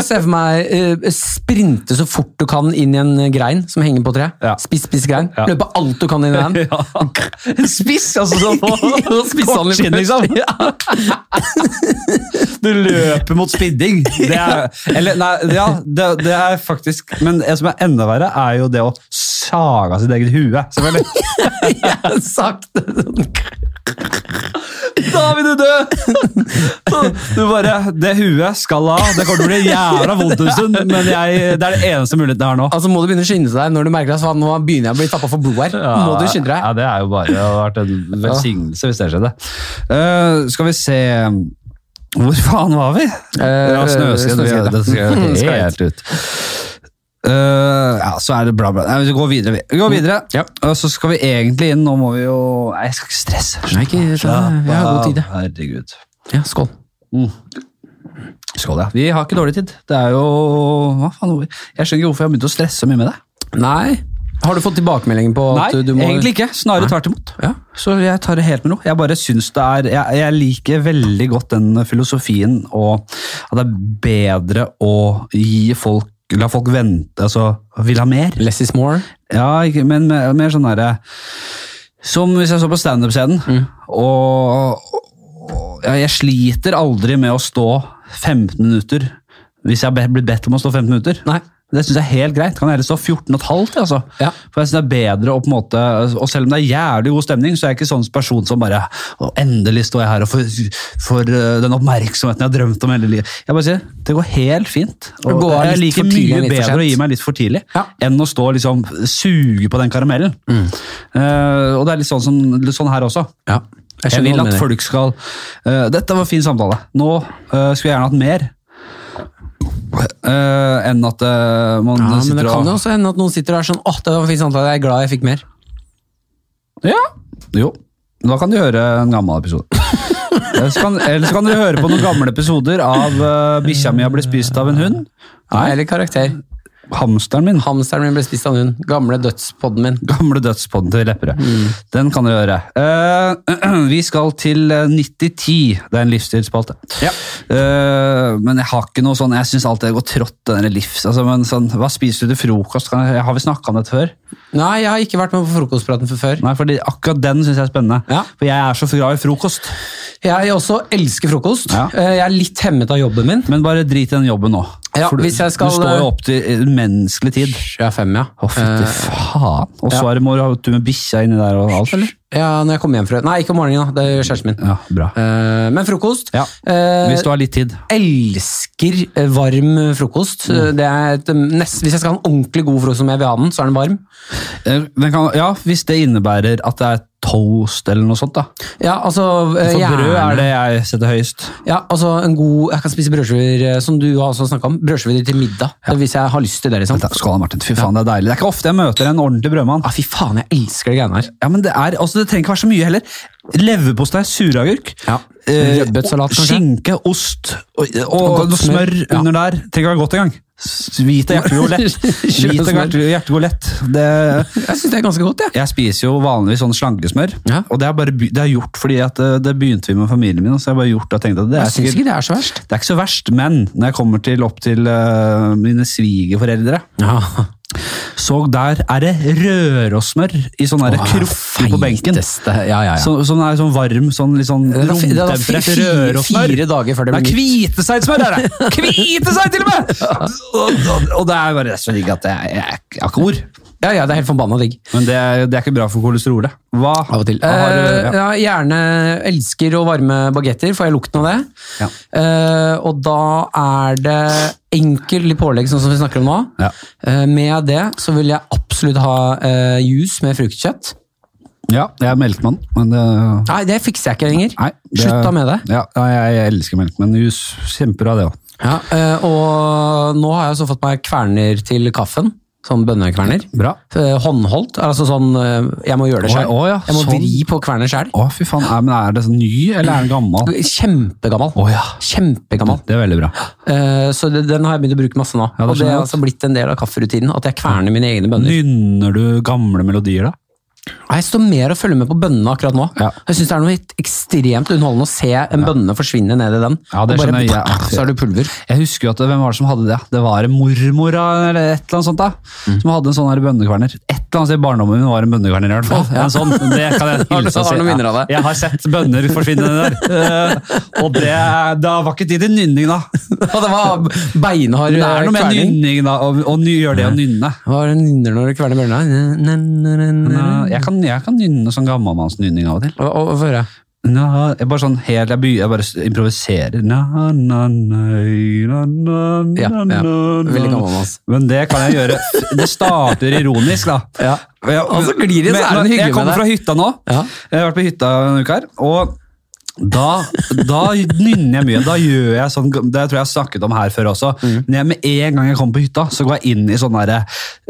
B: se for meg eh, sprinte så fort du kan inn i en grein som henger på treet.
A: Ja.
B: Spiss, spiss grein.
A: Ja.
B: Løpe alt du kan inn i den.
A: Ja. En spiss, altså sånn på
B: Og spisse han litt
A: kortskinn, liksom.
B: først. Ja.
A: Du løper mot spidding. Det er, eller, nei, ja, det, det er faktisk Men det som er enda verre, er jo det å saga sitt eget hue. Selvfølgelig.
B: Jeg Sakte. sånn.
A: Da vil du dø! Du bare, Det huet skal av. Det kommer til å bli jævla vondt en stund, men jeg, det er det eneste muligheten jeg har nå.
B: Altså må du begynne å skynde deg når du merker at faen, nå begynner jeg å bli tappa for blod her. Må du skynde deg.
A: Ja, Det er jo bare det har vært en velsignelse hvis det skjedde. Eh, skal vi se um, Hvor faen var vi? ja, snøskred.
B: Eh, snøskred, ja.
A: Det skal
B: Mm, skal
A: helt ut. Eh, ja, så er det bla, bla. Nei, vi går videre. vi. Vi går videre.
B: Mm, Ja.
A: Og så skal vi egentlig inn Nå må vi jo Nei, jeg skal ikke stresse.
B: Nei, ikke-
A: Slapp
B: vi har
A: av.
B: god tid, ja.
A: Herregud.
B: Ja, skål.
A: Skål, ja. Vi har ikke dårlig tid. Det er jo Hva faen? hvor- Jeg skjønner ikke hvorfor jeg har begynt å stresse så mye med det.
B: Nei. Har du fått tilbakemelding på
A: Nei,
B: at du må
A: egentlig ikke. Snarere tvert imot.
B: Ja.
A: Så jeg tar det helt med ro. Jeg bare synes det er, jeg, jeg liker veldig godt den filosofien, og at det er bedre å gi folk, la folk vente, altså vil ha mer.
B: Less is more.
A: Ja, ikke, men mer, mer sånn derre Som hvis jeg så på standup-scenen, og, og ja, jeg sliter aldri med å stå 15 minutter hvis jeg be- blir bedt om å stå 15 minutter.
B: Nei.
A: Det syns jeg er helt greit. Kan jeg heller stå 14 15, altså.
B: Ja.
A: For jeg synes det er bedre å på en måte Og selv om det er jævlig god stemning, så er jeg ikke sånn person som bare «Å, Endelig står jeg her og får, får eh, den oppmerksomheten jeg har drømt om hele livet. Jeg bare sier, Det går helt fint. Og
B: Gå av
A: jeg
B: litt
A: liker
B: for tidlig,
A: mye
B: litt for
A: bedre
B: sent.
A: å gi meg litt for tidlig
B: Ja. Mm.
A: enn å stå og liksom suge på den karamellen. Eh, og det er litt sånn, som, litt sånn her også.
B: Ja. Jeg
A: Jeg,
B: skjønner
A: vil
B: hva du
A: at
B: mener.
A: folk skal eh, Dette var en fin samtale. Nå eh, skulle jeg gjerne hatt mer. Eh, enn at eh, man
B: Ja, men
A: sitter
B: det
A: og
B: kan jo også hende at noen sitter og er sånn åh, det var en fin samtale, jeg er glad jeg fikk mer.
A: Ja. Jo. Da kan du høre en gammel episode. Eller så kan, eller så kan du høre på noen gamle episoder av uh, 'Bikkja mi har blitt spist av en hund'. Nei.
B: Eller karakter.
A: Hamsteren min.
B: Hamsteren min ble spist av en hund. Gamle dødspodden min.
A: Gamle dødspodden til Lepperød. Den kan dere høre. Eh, vi skal til eh, 9010. Det er en livsstilsspalte.
B: Ja.
A: Eh, men jeg har ikke noe sånn Jeg syns alltid det går trått, denne livs... Altså, men sånn, hva spiser du til frokost? Kan jeg, har vi snakka om dette før?
B: Nei, jeg har ikke vært med på frokostpraten for før.
A: Nei, for akkurat den syns jeg er spennende.
B: Ja.
A: For jeg er så glad i frokost.
B: Jeg også elsker frokost.
A: Ja.
B: Eh, Jeg er litt hemmet av jobben min.
A: Men bare drit i den jobben nå.
B: Ja,
A: For du,
B: hvis jeg skal- eh,
A: du står jo opp til menneskelig tid.
B: Jeg er fem, ja.
A: Å, fytti faen. Og så
B: Eh, ja.
A: er det må du ha du med bikkja inni der og alt, eller?
B: Eh, ja, når jeg kommer hjem fra Nei, ikke om morgenen, da. det gjør kjæresten min.
A: Ja, bra.
B: Eh, Men frokost.
A: Ja.
B: Eh,
A: Hvis du har litt tid.
B: elsker eh, varm frokost. Eh, Det er et, eh, nest, hvis jeg skal ha en ordentlig god frokost som jeg vil ha den, så er den varm.
A: Eh, Den kan, ja, hvis det innebærer at det er toast eller noe sånt, da.
B: Ja, altså eh,
A: For brød
B: gjerne-
A: er det jeg setter høyest.
B: Ja, altså en god Jeg kan spise brødskiver, eh, som du har også snakket om. Brødskiver til middag, hvis jeg har lyst til det. liksom
A: Da, Skål, Martin. Fy faen, det er deilig. Det er ikke ofte jeg møter en ordentlig brødmann.
B: ah, Fy faen, jeg elsker de greiene her.
A: Ja, men Det er, altså det trenger ikke være så mye heller. Leverpostei, suragurk,
B: Ja.
A: eh, og-
B: Rødbetsalat, kanskje?
A: skinke, ost og, og,
B: Og godt
A: noe smør
B: smør, ja.
A: under der. Trenger ikke være godt engang. S- Hvit og hjertegulett.
B: Kjør
A: Hvit og
B: smør.
A: hjerte- hjertegulett. Det-
B: Jeg syns det er ganske godt, jeg.
A: Jeg spiser jo vanligvis sånn slangesmør,
B: Ja.
A: og det er, bare, by- det er gjort fordi at eh, det begynte vi med familien min. og Så jeg bare gjort det og tenkte at det er
B: Jeg syns
A: sikkert
B: ikke det er så verst.
A: det er ikke så verst, men når jeg kommer til, opp til eh, mine svigerforeldre, så der er det rørosmør i sånne der kruffer på benken.
B: Feiteste. Ja, ja, ja.
A: Så, sånn er sånn varm, sånn litt sånn
B: er da fi- det er da fi-
A: romtemperert
B: fire-
A: rørosmør.
B: fire dager før det blir
A: er kviteseidsmør, er det! Kviteseit til og med! Og, og, og det er bare så digg at jeg, jeg, jeg har ikke ord.
B: ja, ja, det er helt forbanna digg.
A: Men det, er- det er ikke bra for kolesterolet. Hva?
B: Av og til.
A: Hva har, du-
B: Eh,
A: ja.
B: ja, gjerne elsker å varme bagetter, får jeg lukten av det.
A: Ja.
B: Eh, og da er det enkel pålegg, sånn som vi snakker om nå.
A: Ja.
B: Eh, med det så vil jeg absolutt ha eh, juice med fruktkjøtt.
A: ja, jeg er melkmann, men det,
B: Nei, det fikser jeg ikke lenger.
A: nei, det
B: Slutta med det.
A: Ja, jeg, jeg elsker melkmann. Jus kjemper av det òg.
B: Ja, eh, og nå har jeg også fått meg kverner til kaffen. Sånn bønnekverner.
A: Bra.
B: Eh, Håndholdt. Altså sånn eh, Jeg må gjøre det
A: Å,
B: sjøl.
A: å ja,
B: Jeg må
A: sånn.
B: vri på kverner sjøl.
A: Å, fy faen. Er, men er det sånn ny, eller er den gammel?
B: Kjempegammal.
A: Å ja.
B: Kjempegammal.
A: Det er veldig bra.
B: Eh, Så det- den har jeg begynt å bruke masse nå.
A: Ja, det
B: og det
A: skjønner jeg
B: har altså blitt en del av kafferutinen at jeg kverner mine egne bønner.
A: Nynner du gamle melodier, da?
B: Nei, Jeg står mer og følger med på bønnene akkurat nå.
A: Ja.
B: Jeg syns det er noe helt ekstremt underholdende å se en bønne forsvinne ned i den.
A: Ja, det
B: og bare
A: skjønner jeg.
B: så er det pulver.
A: Jeg husker jo at hvem var det som hadde det? Det var en mormora eller et eller annet sånt da, som hadde en sånn her bønnekverner. Et eller annet sted i barndommen min var en bønnekverner i hvert fall. En sånn, det kan jeg
B: Har du-
A: hilse og
B: har du
A: si.
B: noen minner av det?
A: Jeg har sett bønner forsvinne der. Eh, Og det, da var ikke tid til nynning da.
B: Og det var beinhard eh,
A: Det er Mm. noe med
B: kverning.
A: nynning da, og, og ny, gjør det å nynne.
B: Hva er det nynner når du kverner bjørna?
A: eh, Jeg kan, jeg kan nynne sånn gammelmannsnynning av og til.
B: Hva hva- hva hører jeg?
A: Na, jeg bare sånn helt, jeg, by, jeg bare s- improviserer. Na, na, nei, na, na, na,
B: Ja, ja.
A: na, na.
B: Veldig gammelmanns.
A: Men det kan jeg gjøre. Det starter ironisk, da.
B: Ja.
A: Jeg,
B: Og så glir det,
A: Men-
B: så er det noe
A: men
B: hyggelig
A: Jeg kommer
B: med det.
A: fra hytta nå.
B: Ja.
A: Jeg har vært på hytta en uke her. og da, da nynner jeg mye. Da gjør jeg sånn, Det tror jeg jeg har snakket om her før også.
B: Mm.
A: Men jeg, med en gang jeg kommer på hytta, så går jeg inn i sånn derre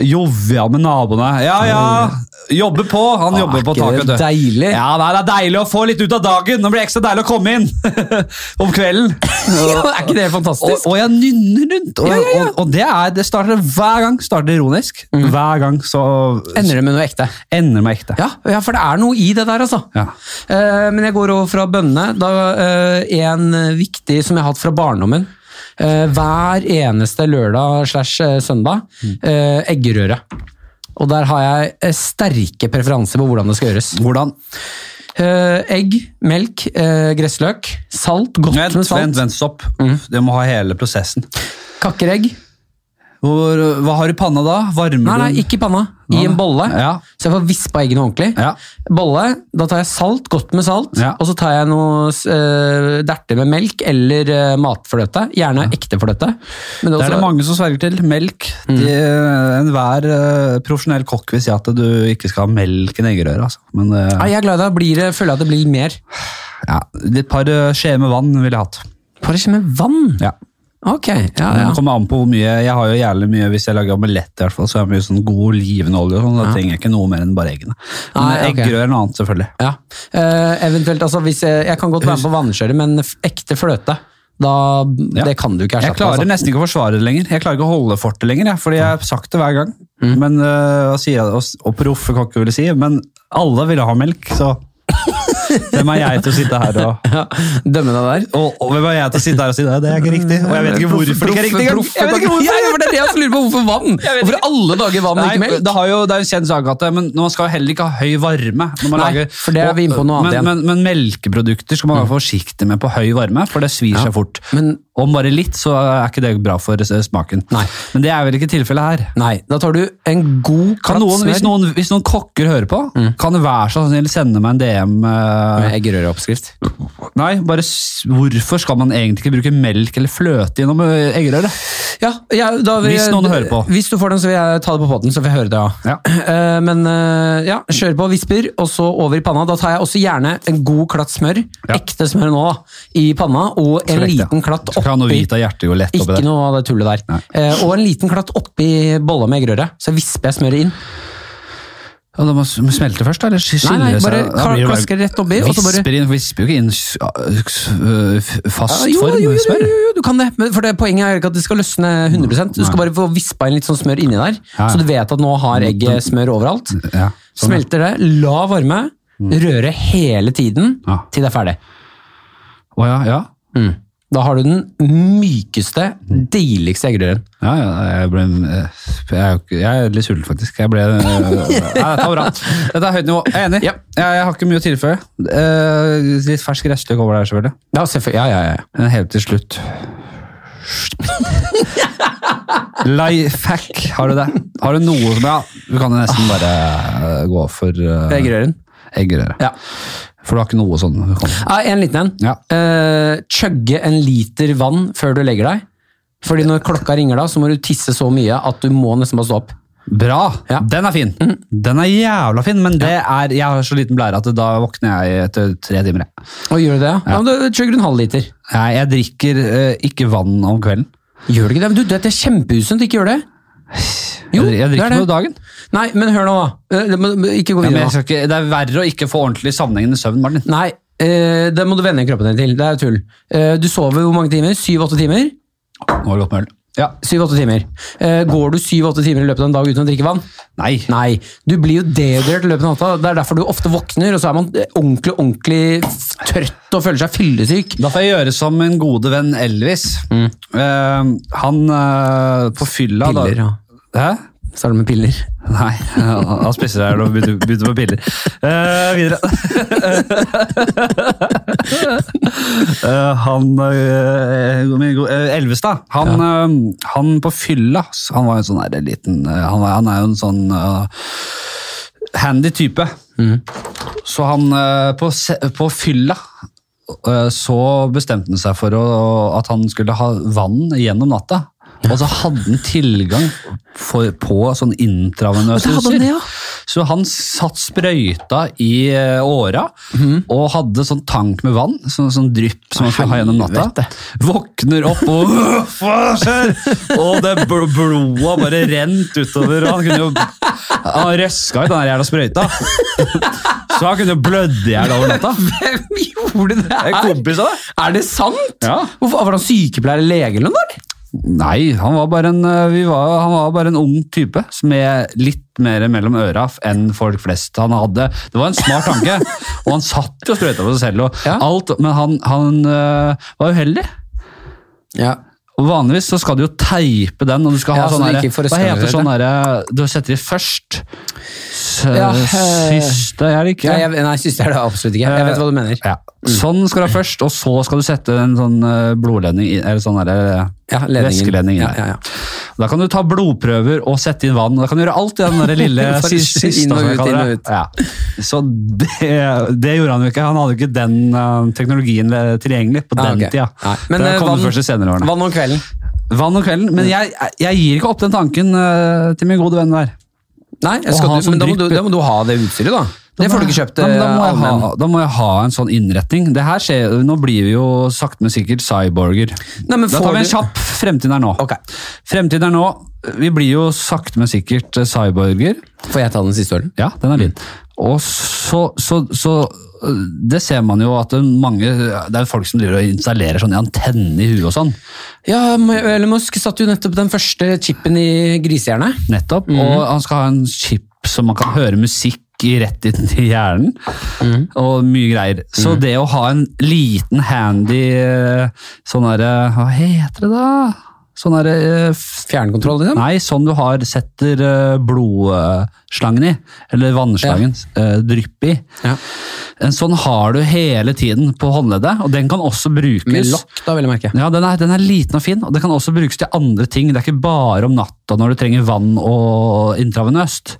A: Jovial med naboene. Ja, ja! Jobber på! Han
B: Ah,
A: jobber på
B: er
A: taket.
B: ikke
A: vet
B: det
A: du.
B: deilig?
A: Ja, nei, det er deilig å få litt ut av dagen. Nå blir det ekstra deilig å komme inn om kvelden.
B: er ikke det
A: Og,
B: fantastisk?
A: og jeg nynner rundt. Og, og, og det, er, det starter hver gang starter ironisk. Hver gang så
B: Ender det med noe ekte?
A: ender det med ekte.
B: Mm. Ja, ja, for det er noe i det der, altså.
A: Ja.
B: Eh, men jeg går over fra bønnene. Da, eh, en viktig som jeg har hatt fra barndommen.
A: Mm.
B: Eh, hver eneste lørdag slash eh, søndag. Eh, eggerøre. Og der har jeg eh, sterke preferanser på hvordan det skal gjøres.
A: Hvordan?
B: Eh, egg, melk, eh, gressløk, salt, godt
A: Vent,
B: med salt, Mhm.
A: vent, vent, stopp. Det må ha hele prosessen.
B: kakkeregg.
A: Hvor, hva har du i panna da? Varmer
B: Nei, nei,
A: du?
B: ikke i panna.
A: Nei,
B: I en bolle.
A: Ja.
B: Så jeg får vispa eggene ordentlig.
A: Ja.
B: Bolle, da tar jeg salt, godt med salt,
A: Ja.
B: og så tar jeg noe eh, derter med melk eller eh, matfløte. Gjerne ekte fløte.
A: Det
B: Men
A: er det
B: også-
A: mange som sverger til. Melk.
B: Mhm.
A: De, enhver eh, profesjonell kokk vil si at du ikke skal ha melk i eggerøre. Altså. Men eh,
B: Nei, jeg er glad i det. Blir det. Føler jeg at det blir mer.
A: ja, et par eh, skjeer med vann ville jeg hatt.
B: Bare ikke med vann.
A: Ja.
B: Ok, ja,
A: Det
B: ja.
A: kommer an på hvor mye Jeg har jo jævlig mye hvis jeg lager omelett, i hvert fall, så har jeg mye sånn god livende olje. og sånn, Da trenger jeg ikke noe mer enn bare eggene. Men
B: Nei, ok.
A: Eggerøre er noe annet, selvfølgelig.
B: ja. Eh, eventuelt, altså hvis jeg, jeg kan godt være med på vannskjøret, men f- ekte fløte, da,
A: Ja.
B: det kan du ikke
A: Jeg
B: erstatte.
A: klarer
B: altså.
A: nesten ikke å forsvare det lenger. Jeg klarer ikke å holde fortet lenger, jeg, fordi jeg har sagt det hver gang.
B: Mm.
A: Men, øh, hva sier jeg, og, s- og proffe kokker ville si, men alle ville ha melk, så hvem er jeg til å sitte her og
B: Ja, Dømmende der.
A: og, og hvem er jeg til å sitte her og si det? Det er ikke riktig. Og jeg vet ikke hvorfor det ikke er riktig. engang. Jeg vet ikke hvorfor.
B: Ja, ja, for det er det jeg også lurer på. Hvorfor vann? Hvorfor i alle dager vann, og ikke
A: Nei,
B: melk?
A: det, har jo, det er jo en kjent sak at det- men man skal heller ikke ha høy varme. Når man
B: Nei,
A: lager,
B: for det er vi inne på noe annet Mm.
A: men, men, men melkeprodukter skal man være forsiktig med på høy varme, for det svir seg fort.
B: Men
A: Om bare litt, så er ikke det bra for eh, smaken.
B: Nei.
A: Men det er vel ikke tilfellet her.
B: nei, da tar du en god
A: Kan
B: klatt
A: noen, hvis,
B: smør
A: noen, hvis noen kokker hører på,
B: Mm.
A: kan det være sånn så snill sende meg en DM eh,
B: med eggerøreoppskrift.
A: Nei, bare s- hvorfor skal man egentlig ikke bruke melk eller fløte gjennom eh, eggerøre?
B: Ja, jeg- da vil
A: Hvis
B: jeg-
A: noen hører på.
B: Hvis du får den, så vil jeg ta det på poden, så får jeg høre det. Ja.
A: Ja.
B: Eh, Men eh, ja, kjør på visper, og så over i panna. Da tar jeg også gjerne en god klatt smør,
A: Ja.
B: ekte smør nå, da, i panna, og en
A: Korrekt, ja.
B: liten klatt
A: Skal ikke ha noe
B: oppi
A: hvit av hjertet jo lett oppi
B: Ikke
A: der.
B: noe av det tullet der. Eh, og en liten klatt oppi bolla med eggerøre. Så visper jeg smøret inn.
A: Ja, da må s- må smelte først, da? Eller sk-
B: Nei,
A: skille
B: nei, bare
A: seg? Da
B: kla-
A: blir det bare-
B: klasker rett oppi, og så bare
A: Visper, inn, visper jo ikke inn s- s- øh, f- fast
B: Ah, jo,
A: form
B: jo, jo,
A: smør.
B: jo, jo, du kan det. Men for det Poenget er jo ikke at det skal løsne 100 Du skal bare få vispa inn litt sånn smør inni der,
A: Ja, ja.
B: så du vet at nå har egget smør overalt.
A: Ja, sånn, ja.
B: Smelter det, la varme, røre hele tiden
A: Ja.
B: til det er ferdig. Mm.
A: Å ja, ja.
B: Da har du den mykeste,
A: Mm.
B: deiligste eggerøren.
A: Ja, ja, jeg ble eh, Jeg er, jo ikke, jeg er litt sulten, faktisk. Jeg ble eh, Nei, Dette var bra. Dette er høyt nivå. Jeg er enig.
B: Ja.
A: Jeg, jeg har ikke mye å tilføye. Eh, litt fersk restløk over der, selvfølgelig.
B: Ja, selvfølgelig. Ja, ja, ja.
A: Men Helt til slutt Life hack, har du det? Har du noe som Ja, du kan jo nesten bare eh, gå for eh,
B: Eggerøren.
A: eggerøre.
B: Ja.
A: For du har ikke noe sånn du kan-
B: Ja, Ah, en liten en.
A: Ja.
B: Eh, chugge en liter vann før du legger deg. Fordi når klokka ringer da, så må du tisse så mye at du må nesten bare stå opp.
A: Bra!
B: Ja. Mhm.
A: Den er fin. Den er jævla fin, men det er, jeg har så liten blære at da våkner jeg etter tre timer. jeg.
B: Og gjør du det, ja? ja. men da chugger du en halv liter.
A: Nei, jeg drikker eh, ikke vann om kvelden.
B: Gjør du ikke det? Men du, det er kjempeusunt, ikke gjør det. Jo,
A: jeg, dri- jeg
B: det er
A: drikker
B: det.
A: noe dagen.
B: Nei, men hør nå, da. Eh, men- men Ikke gå
A: Ja, men jeg
B: videre nå.
A: skal ikke, det er verre å ikke få ordentlig sammenhengende søvn, Martin.
B: Nei, eh, det må du venne kroppen din til. Det er jo tull. Eh, du sover hvor mange timer? Syv-åtte timer?
A: Nå har det gått med øl. Ja.
B: Syv-åtte timer. Eh, går du syv-åtte timer i løpet av en dag uten å drikke vann?
A: Nei.
B: Nei. Du blir jo dehydrert i løpet av natta. Det er derfor du ofte våkner, og så er man eh, ordentlig, ordentlig f- trøtt og føler seg fyllesyk.
A: Da får jeg gjøre som en gode venn Elvis.
B: Mm.
A: Eh, han eh, på fylla da-
B: Piller, ja.
A: Hæ?
B: Starter med piller.
A: Nei, han han spiser her og begynte begynte på piller. Eh, videre. Eh, han eh, min go- eh, Elvis, da. Han, eh, han på fylla s- Han var jo en sånn der liten eh, han, var, han er jo en sånn eh, handy type.
B: Mm.
A: Så han eh, på, se- på fylla eh, så bestemte han seg for å, at han skulle ha vann gjennom natta. Og så hadde han tilgang for, på sånn intravenøse
B: Og da hadde han det, ja.
A: Så han satt sprøyta i eh, åra og hadde sånn tank med vann, sånn, sånn drypp som man skulle ha gjennom natta. Våkner opp og Hva skjer? Og det bl blodet bare rent utover. og Han kunne jo Han røska ut den der jævla sprøyta. Så han kunne jo blødd i hjel over natta.
B: Hvem gjorde det
A: En
B: her?
A: kompis av deg?
B: Er det sant?
A: Ja.
B: Hvorfor, var han sykepleier eller lege eller noe? eller?
A: Nei, han var, bare en, eh, vi var, han var bare en ung type med litt mer mellom øra f- enn folk flest. Han hadde, det var en smart tanke, og han satt jo og sprøyta på seg selv. Og
B: Ja.
A: alt, men han, han eh, var uheldig.
B: Ja.
A: Og Vanligvis så skal du jo teipe den, og du skal ha
B: Ja, så
A: sånn
B: det
A: derre-
B: ikke
A: Hva
B: forstørrer
A: heter
B: det?
A: sånn derre Du setter i først s-
B: Ja, eh,
A: Siste er det ikke.
B: Nei, jeg, Mm. nei, synes det er det absolutt ikke. Jeg vet hva du mener.
A: Ja. Sånn skal du ha først, og så skal du sette en sånn eh, blodledning i- Eller sånn derre
B: Ja, ledningen.
A: Væskeledningen.
B: Ja, ja, ja.
A: Da kan du ta blodprøver og sette inn vann. Da kan du gjøre alt i den der lille
B: For
A: sis- siste.
B: inn og
A: som jeg
B: ut,
A: kaller
B: inn og
A: det.
B: ut.
A: Ja. Så det, det gjorde han jo ikke. Han hadde jo ikke den eh, teknologien eh, tilgjengelig på
B: Ah,
A: den
B: ok.
A: tida.
B: Nei, men,
A: det
B: eh,
A: kom
B: vann-
A: først i senere årene.
B: Vann Mm. om kvelden.
A: Vann om kvelden, men jeg, jeg gir ikke opp den tanken eh, til min gode venn der.
B: Nei, jeg
A: Og
B: skal,
A: ha
B: du,
A: som
B: men da må, du,
A: drypp-
B: da må du ha det utstyret, da.
A: Da
B: Det
A: må
B: får du ikke
A: jeg-
B: kjøpt.
A: Ja, men
B: eh,
A: da, må jeg
B: allmenn.
A: ha, da må jeg ha en sånn innretning. Det her skjer, nå blir vi jo sakte, men sikkert cyborger.
B: Nei, men
A: da
B: får
A: tar vi en
B: du-
A: kjapp fremtid her nå.
B: Ok.
A: Fremtiden er nå. Vi blir jo sakte, men sikkert eh, cyborger.
B: Får jeg ta den siste ølen?
A: Ja, den er din. Og så, så, så øh, Det ser man jo at det er mange Det er folk som driver og installerer sånne antenner i huet og sånn.
B: Ja, Elon Musk satte jo nettopp den første chipen i grisehjernet.
A: Nettopp. Og han skal ha en chip som man kan høre musikk i rett inn til hjernen. Og mye greier. Så det å ha en liten handy øh, sånn derre Hva heter det da? Sånn derre øh, f-
B: Fjernkontroll, liksom.
A: Nei, sånn du har setter øh, blodslangen i. Eller vannslangen. øh, Drypp i.
B: Ja.
A: En sånn har du hele tiden på håndleddet, og den kan også brukes
B: Med lokk, da, vil jeg merke.
A: Ja, den er, den er liten og fin, og den kan også brukes til andre ting. Det er ikke bare om natta når du trenger vann og intravenøst.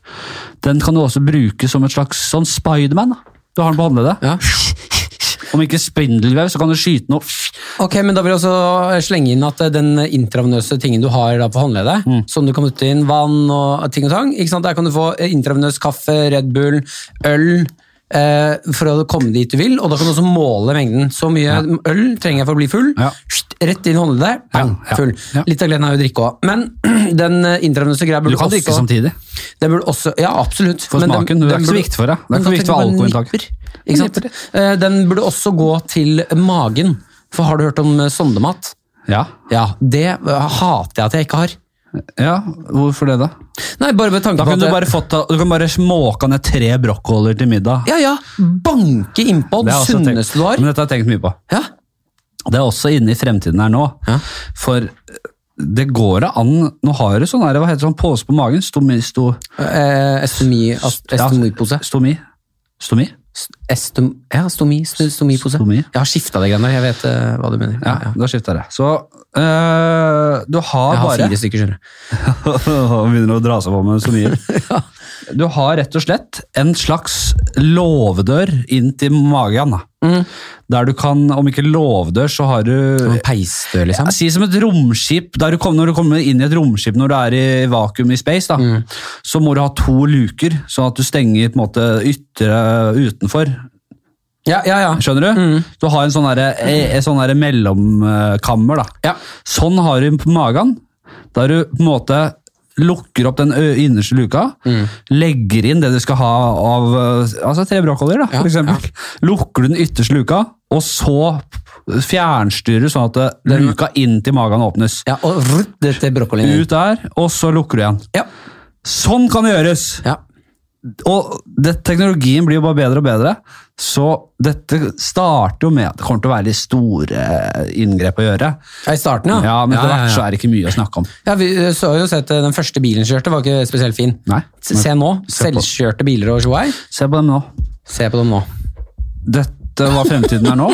A: Den kan du også bruke som et slags sånn Spiderman. da. Du har den på håndleddet.
B: Ja.
A: Om ikke spindelvev, så kan du skyte noe
B: Ok, men da vil jeg også eh, slenge inn at den intravenøse tingen du har da på håndleddet,
A: Mm.
B: som du kan putte inn vann og ting og tang, ikke sant? der kan du få eh, intravenøs kaffe, Red Bull, øl, eh, for å komme dit du vil, og da kan du også måle mengden. Så mye øl trenger jeg for å bli full.
A: Ja.
B: Sht, Rett inn i håndleddet, bang,
A: Ja, ja,
B: full.
A: ja.
B: Litt av gleden er jo å drikke òg. Men den eh, intravenøse greia
A: Du
B: burde
A: kan drikke
B: også,
A: samtidig.
B: den burde også Ja, absolutt.
A: For
B: Men den-
A: smaken. Det
B: den
A: er ikke så
B: burde-
A: viktig for deg. Det er
B: men
A: ikke
B: da
A: så viktig for
B: tenker jeg bare
A: alkoholinntaket.
B: nipper, Ikke sant? Eh, Den burde også gå til magen. For har du hørt om eh, sondemat?
A: Ja.
B: Ja, det eh, hater jeg at jeg ikke har.
A: ja, hvorfor det, da?
B: Nei, bare med tanke
A: Da kan
B: på at
A: du
B: jeg-
A: bare, fått, du kan bare småka ned tre brokkoler til middag.
B: Ja, ja. Banke innpå
A: Det
B: det
A: har jeg også tenkt-
B: sunneste du har.
A: Men dette har jeg tenkt mye på.
B: Ja.
A: Det er også inne i fremtiden her nå.
B: Ja.
A: For eh, det går da an Nå har du sånn her, hva heter det, sånn pose på magen? Stomi? Sto,
B: Eh, estomi,
A: ja,
B: estomipose.
A: Stomi? Stomi?
B: Estom, ja, stomi, st- stomipose.
A: Stomi.
B: Jeg har skifta det greiene der, jeg vet eh, hva du mener.
A: Ja,
B: Ja, ja.
A: da skifter det. Så øh, du har,
B: Jeg har
A: bare
B: fire stykker, skjønner du.
A: Han Begynner å dra seg på med stomier. Du har rett og slett en slags låvedør inn til magen. da. Der du kan, om ikke låvedør, så har du
B: Sånn Peisdør, liksom.
A: Si som et romskip, der du kommer, når du kommer inn i et romskip når du er i vakuum i space, da, så må du ha to luker, sånn at du stenger på en måte ytre utenfor.
B: Ja, ja, ja.
A: Skjønner du? Du har en sånn derre- eh, en sånn derre mellomkammer. da.
B: ja.
A: Sånn har du den på magen, der du på en måte lukker opp den ø- innerste luka,
B: Mm.
A: legger inn det du skal ha av eh, altså tre brokkolier, da,
B: Ja,
A: for eksempel. Lukker du den ytterste luka, og så fjernstyrer du sånn at det- luka inn til magen åpnes.
B: Mm. ja og rutt det til brokkolien. din.
A: Ut der, og så lukker du igjen.
B: Ja.
A: Sånn kan det gjøres!
B: ja.
A: Og det, teknologien blir jo bare bedre og bedre. Så dette starter jo med at det kommer til å være litt store eh, inngrep å gjøre.
B: Ja, I starten, ja.
A: Ja, men
B: ja,
A: etter
B: ja,
A: hvert så
B: ja.
A: er det ikke mye å snakke om.
B: ja, vi eh, så har jo sett eh, den første bilen som kjørte, var ikke spesielt fin.
A: Nei.
B: Se se nå.
A: Se på-
B: Selvkjørte biler og tjoei.
A: Se på dem nå.
B: Se på dem nå.
A: Dette var fremtiden er nå.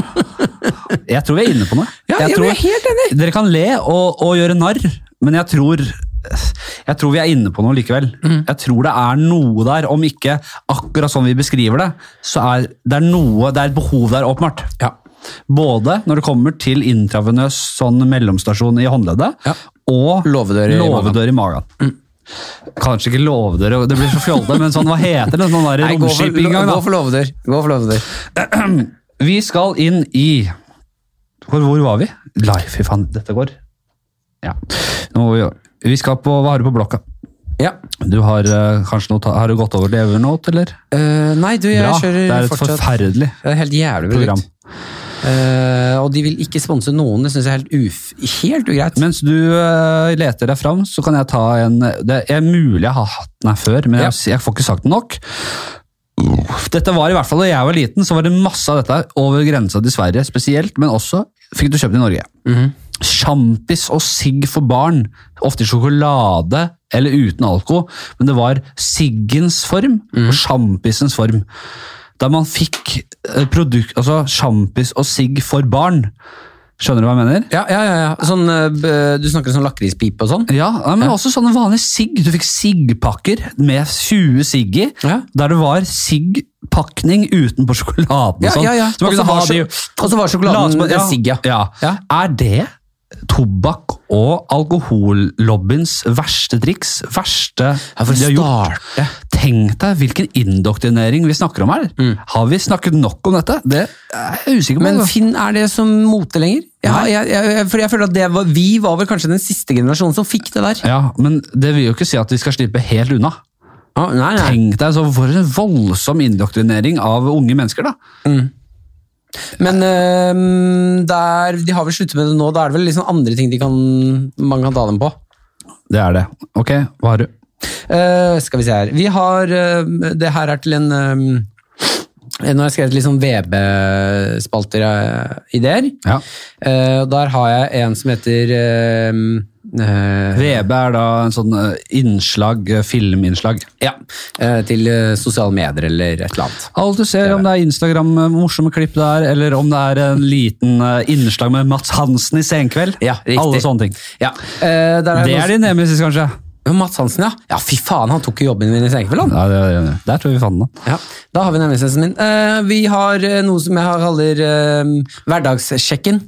A: Jeg tror vi er inne på noe.
B: Ja, jeg
A: tror,
B: er helt enig.
A: Dere kan le og, og gjøre narr, men jeg tror, jeg tror vi er inne på noe likevel.
B: Mm.
A: Jeg tror det er noe der, om ikke akkurat sånn vi beskriver det, så er det er noe, det er et behov der åpenbart.
B: Ja.
A: Både når det kommer til intravenøs sånn mellomstasjon i håndleddet,
B: Ja.
A: og
B: Låvedør i magen. Mm.
A: låvedør i magen. Kanskje ikke låvedør, det blir så fjollete, men sånn, hva heter det? Sånn der
B: Nei, gå for,
A: romskip i gang,
B: gå
A: da.
B: for låvedør. Gå for låvedør.
A: Vi skal inn i Hvor, hvor var vi? Live, fy faen, dette går. Ja. Nå må vi, gjøre- vi skal på Hva har du på blokka?
B: Ja.
A: Du har eh, kanskje noe ta- Har du gått over til Evernote, eller?
B: Eh, nei, du, jeg
A: Bra. Det
B: kjører
A: er et
B: fortsatt
A: forferdelig
B: Det er et helt jævlig
A: program.
B: produkt. Eh, og de vil ikke sponse noen. Det syns jeg er helt, uf helt ugreit.
A: Mens du eh, leter deg fram, så kan jeg ta en Det er mulig jeg har hatt den her før, men
B: Ja.
A: jeg, jeg får ikke sagt den nok. Dette var i hvert fall Da jeg var liten, så var det masse av dette over grensa til Sverige spesielt, men også fikk du kjøpt i Norge.
B: Mhm.
A: Sjampis og sigg for barn, ofte i sjokolade eller uten alkohol, men det var siggens form
B: Mhm.
A: og sjampisens form. Da man fikk eh, produkt, altså sjampis og sigg for barn. Skjønner du hva jeg mener?
B: Ja, ja, ja. ja. Sånn, eh, b- du snakker om sånn lakrispipe og sånn?
A: Ja, nei, men også sånne vanlige sigg. Du fikk siggpakker med 20 sigg i,
B: Ja.
A: der det var siggpakning utenpå sjokoladen og sånn. Så man
B: Og Altså, så
A: kunne ha
B: var,
A: de-
B: sjo- og så var
A: La oss
B: sjokoladen
A: bare- ja.
B: sigg, ja.
A: Ja.
B: Ja.
A: Er det tobakk og alkohollobbyens verste triks? Verste
B: for
A: de har gjort?
B: starte.
A: Tenk deg hvilken indoktrinering vi snakker om her. Har vi snakket nok om dette? Det er jeg usikker på.
B: Mm. Men
A: altså.
B: Finn, er det som mote lenger? Ja, jeg, jeg, jeg, for jeg føler at det var, Vi var vel kanskje den siste generasjonen som fikk det der.
A: ja, men det vil jo ikke si at vi skal slippe helt unna.
B: Ja, nei, nei.
A: Tenk deg så for en voldsom indoktrinering av unge mennesker, da.
B: Men øhm, der, de har vel sluttet med det nå. Da er det vel liksom andre ting de kan, man kan ta dem på.
A: Det er det. Ok, hva har du?
B: Eh, skal vi se her. Vi har eh, Det her er til en eh, Nå har jeg skrevet litt sånn VB-spalter eh, ideer.
A: Ja.
B: Eh, og der har jeg en som heter eh, eh,
A: VB er da en sånn eh, innslag, eh, filminnslag.
B: Ja. eh, til eh, sosiale medier eller et eller annet.
A: Alt du ser, om det er Instagram, eh, morsomme klipp der, eller om det er en liten eh, innslag med Mats Hansen i Senkveld.
B: Ja, riktig.
A: Alle sånne ting.
B: Ja. eh, der
A: Det er
B: noen-
A: din nemesis, kanskje?
B: Ja, Mats Hansen, ja. Ja, fy faen, han tok jo jobben min i senkveld, han.
A: Ja, det, det- der tror jeg vi fant den.
B: Ja, da har vi nemmesensen min. Eh, vi har eh, noe som jeg kaller eh, hverdagssjekken,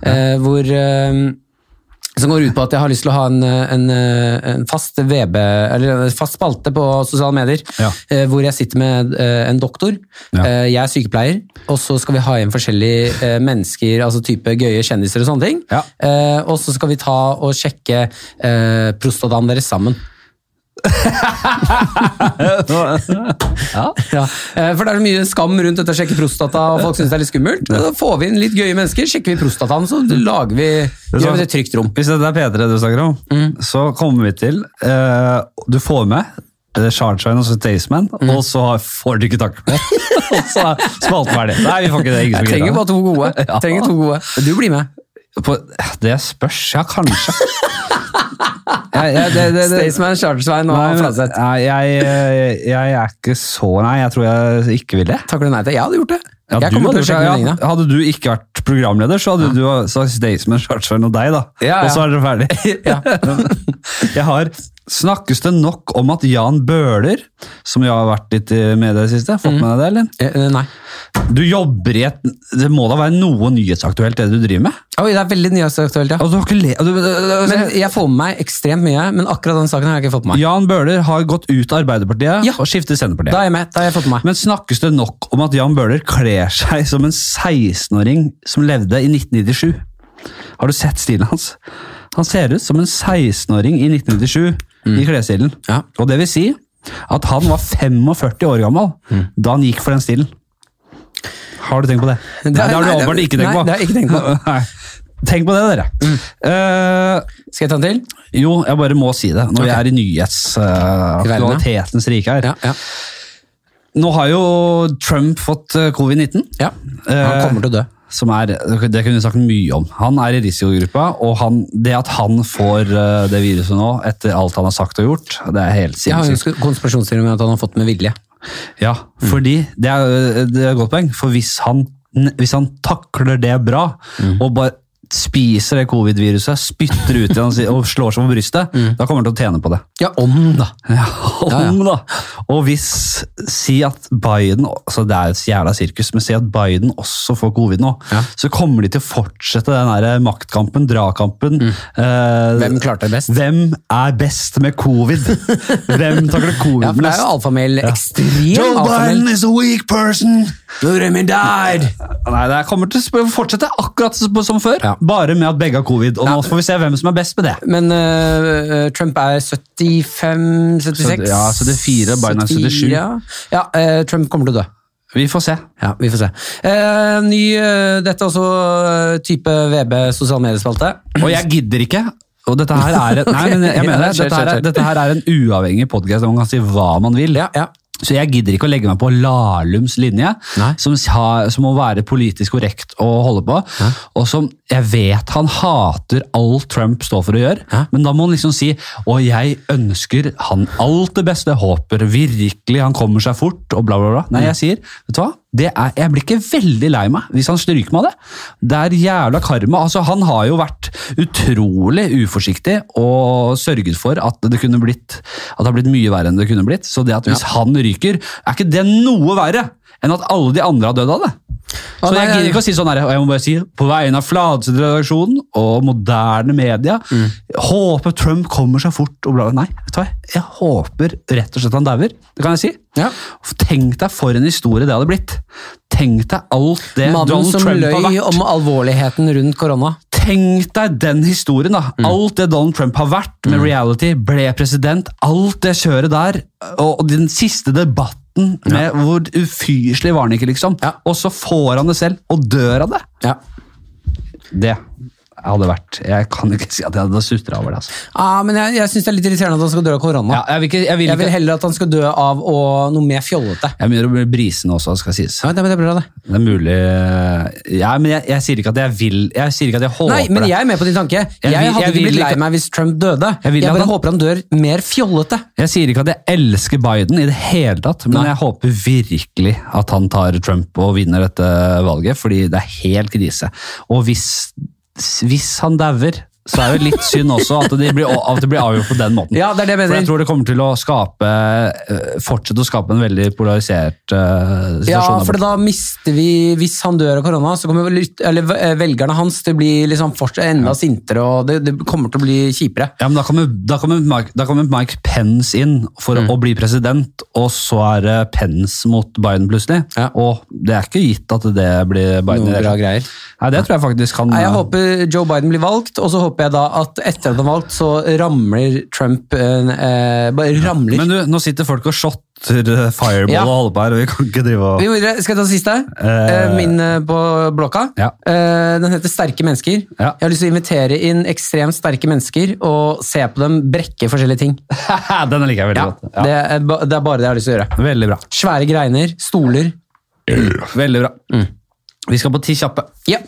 B: eh, hvor eh, som går ut på at jeg har lyst til å ha en, eh, en, eh, en fast VB, eller en fast spalte på sosiale medier,
A: Ja.
B: eh, hvor jeg sitter med eh, en doktor,
A: Ja.
B: eh, jeg er sykepleier, og så skal vi ha igjen forskjellige eh, mennesker, altså type gøye kjendiser og sånne ting,
A: Ja.
B: eh, og så skal vi ta og sjekke eh, prostataen deres sammen.
A: Ja.
B: Ja, eh, for det er så mye skam rundt dette å sjekke prostata, og folk syns det er litt skummelt. Da får vi inn litt gøye mennesker, sjekker vi prostataen, så lager vi, gjør vi det i et trygt rom.
A: Hvis dette er P3 du snakker om, så kommer vi til eh, Du får med eh, Shardshine og så Staysman, og så har- får du ikke takke for det. og så er spalten ferdig. Nei, vi får ikke det. Ingen som
B: Jeg
A: gidder det.
B: trenger bare to gode. Trenger to gode. Du blir med.
A: På, det spørs, ja, kanskje. jeg, jeg, det, det, det,
B: Staysman, Chartersveien og
A: nei, men-
B: Fladseth.
A: nei, jeg, jeg, jeg er ikke så Nei, jeg tror jeg ikke vil det.
B: Takker du nei til? Jeg hadde gjort det.
A: Ja,
B: jeg
A: du
B: kommer
A: hadde
B: til å
A: gjort
B: sjekke
A: det,
B: mine
A: ja.
B: egne.
A: Hadde du ikke vært programleder, så hadde du sagt Staysman, Chartsveien og deg, da.
B: Ja, ja.
A: Og så er dere ferdig. jeg har Snakkes det nok om at Jan Bøhler, som jo har vært litt i media i det siste, fått med deg det, eller?
B: Eh, eh, Nei.
A: Du jobber i et Det må da være noe nyhetsaktuelt, det du driver med?
B: Oi, det er veldig nyhetsaktuelt, ja.
A: Altså, du har ikke le... Du,
B: Men jeg får med meg ekstremt mye, men akkurat den saken har jeg ikke fått med meg.
A: Jan Bøhler har gått ut av Arbeiderpartiet
B: Ja.
A: og skiftet til Senterpartiet.
B: Da er jeg med. Da har jeg fått med meg.
A: Men snakkes det nok om at Jan Bøhler kler seg som en 16-åring som levde i 1997? Har du sett stilen hans? Han ser ut som en 16-åring i 1997 i klesstilen.
B: Mm. Ja.
A: Og det vil si at han var 45 år gammel
B: Mm.
A: da han gikk for den stilen. Har du tenkt på det? Nei, det har du
B: nei, det-
A: åpenbart ikke tenkt
B: nei,
A: på.
B: det har jeg ikke tenkt på.
A: Nei. Tenk på det, dere. Eh,
B: Skal jeg ta en til?
A: jo, jeg bare må si det, når vi
B: Ok.
A: er i nyhetsaktualitetens rike her.
B: Ja, ja.
A: Nå har jo Trump fått eh, covid-19,
B: ja. Han
A: Eh,
B: kommer til å dø.
A: som er, det kunne vi sagt mye om. Han er i risikogruppa, og han, det at han får eh, det viruset nå, etter alt han har sagt og gjort, det er helt
B: Jeg har
A: sinnssykt.
B: en konspirasjonsteori om at han har fått med vilje.
A: Ja, fordi, det er, det er et godt poeng, for hvis han, hvis han takler det bra, og bare spiser det covid-viruset, spytter ut i han og slår seg på brystet, da kommer han til å tjene på det.
B: Ja, om da.
A: Ja, om
B: Ja, ja.
A: da. Og hvis Si at Biden altså Det er et jævla sirkus, men si at Biden også får covid nå.
B: Ja.
A: Så kommer de til å fortsette den der maktkampen, dragkampen. Eh,
B: Mm. Hvem klarte det best?
A: hvem er best med covid? hvem takler covid
B: Ja, for det er jo alfamil. Ekstrem
A: Joe Biden
B: alfamil.
A: is a weak person!
B: Biden died!
A: Nei, Det kommer til å sp- fortsette akkurat som som før,
B: Ja.
A: bare med at begge har covid. Og nå får vi se hvem som er best med det.
B: Men øh, øh, Trump er 75-76?
A: Ja, 74, Biden er 77.
B: Ja, ja øh, Trump kommer til å dø.
A: Vi får se.
B: Ja, vi får se. Eh, ny, øh, dette er også øh, type VB sosiale mediespalte.
A: Og jeg gidder ikke. Og dette her er en, nei, men jeg
B: Ja,
A: mener det.
B: kjør,
A: Dette her
B: kjør,
A: er,
B: kjør.
A: dette her er en uavhengig podkast hvor man kan si hva man vil.
B: Ja, ja.
A: Så jeg gidder ikke å legge meg på Lahlums linje,
B: Nei.
A: som, har, som må være politisk korrekt å holde på, og som jeg vet han hater alt Trump står for å gjøre,
B: Ja.
A: men da må han liksom si «Og jeg ønsker han alt det beste, håper virkelig han kommer seg fort», og bla bla bla. Nei, jeg sier, vet du hva? Det er, jeg blir ikke veldig lei meg hvis han stryker meg av det. Det er jævla karma. Altså, han har jo vært utrolig uforsiktig og sørget for at det kunne blitt at det har blitt mye verre enn det kunne blitt. Så det at hvis han ryker, er ikke det noe verre enn at alle de andre har dødd av det. Så
B: Ja, nei,
A: jeg
B: nei.
A: gidder ikke å si sånn her, og jeg må bare si, på vegne av Fladseth-redaksjonen og moderne media,
B: Mm.
A: håper Trump kommer seg fort og bla bla. Nei, vet du hva? Jeg håper rett og slett han dauer. Det kan jeg si.
B: Ja.
A: Tenk deg for en historie det hadde blitt. Tenk deg alt det
B: Mannen
A: Donald
B: som
A: Trump har
B: løy
A: vært.
B: om alvorligheten rundt korona.
A: Tenk deg den historien, da. Alt det Donald Trump har vært med reality, ble president, alt det kjøret der, og og den siste debatten med hvor ufyselig var han ikke, liksom.
B: Ja.
A: Og så får han det selv, og dør av det.
B: Ja.
A: Det hadde vært Jeg kan ikke si at jeg hadde sutra over det, altså.
B: Ah, men jeg, jeg syns det er litt irriterende at han skal dø av korona.
A: Ja, jeg vil ikke Jeg, vil
B: Jeg vil
A: ikke.
B: heller at han skal dø av å, noe mer fjollete.
A: jeg begynner å bli brisen også, skal sies.
B: Ja, det, men det er bra, det.
A: Det er mulig Ja, men jeg, jeg sier ikke at jeg vil Jeg sier ikke at jeg håper
B: Nei, men
A: det.
B: jeg er med på din tanke. Jeg,
A: vil-
B: hadde
A: jeg
B: ikke
A: vil
B: blitt lei
A: ikke-
B: meg hvis Trump døde.
A: Jeg
B: Jeg,
A: vil at
B: bare
A: han-
B: håper han dør mer fjollete.
A: Jeg sier ikke at jeg elsker Biden i det hele tatt, men jeg håper virkelig at han tar Trump og vinner dette valget, fordi det er helt krise. Og hvis, hvis han dauer, så er det litt synd også at det blir, at det blir avgjort på den måten.
B: Ja, det er det jeg
A: For jeg
B: mener.
A: tror det kommer til å skape, eh, fortsette å skape en veldig polarisert eh, situasjon.
B: Ja,
A: der
B: for
A: borte.
B: da mister vi Hvis han dør av korona, så kommer lyt- eller, eh, velgerne hans til å bli liksom fortsatt enda sintere, og det, det kommer til å bli kjipere.
A: Ja, men da kommer, da, kommer Mike, da kommer Mike Pence inn for
B: Mm.
A: å bli president, og så er det Pence mot Biden plutselig.
B: Ja.
A: Og det er ikke gitt at det blir Biden. i det
B: Noen
A: hele
B: bra
A: tatt.
B: greier.
A: Nei, det tror jeg faktisk kan
B: Nei, jeg håper Joe Biden blir valgt, og så håper jeg da at etter at han er valgt, så ramler Trump eh, eh, Bare ramler.
A: Men du, nå sitter folk og shotter eh, fireball
B: Ja.
A: og holder på her, og vi kan ikke drive
B: Vi
A: og
B: må videre. Skal jeg ta den siste?
A: Eh,
B: Eh, Min eh, på blokka.
A: Ja.
B: Eh, Den heter Sterke mennesker.
A: Ja.
B: Jeg har lyst til å invitere inn ekstremt sterke mennesker og se på dem brekke forskjellige ting.
A: Den liker jeg veldig
B: Ja.
A: godt. Ja.
B: Det, er, eh, ba- det er bare det jeg har lyst til å gjøre.
A: Veldig bra.
B: Svære greiner, stoler.
A: Veldig bra.
B: Mm.
A: Vi skal på Ti kjappe.
B: Ja.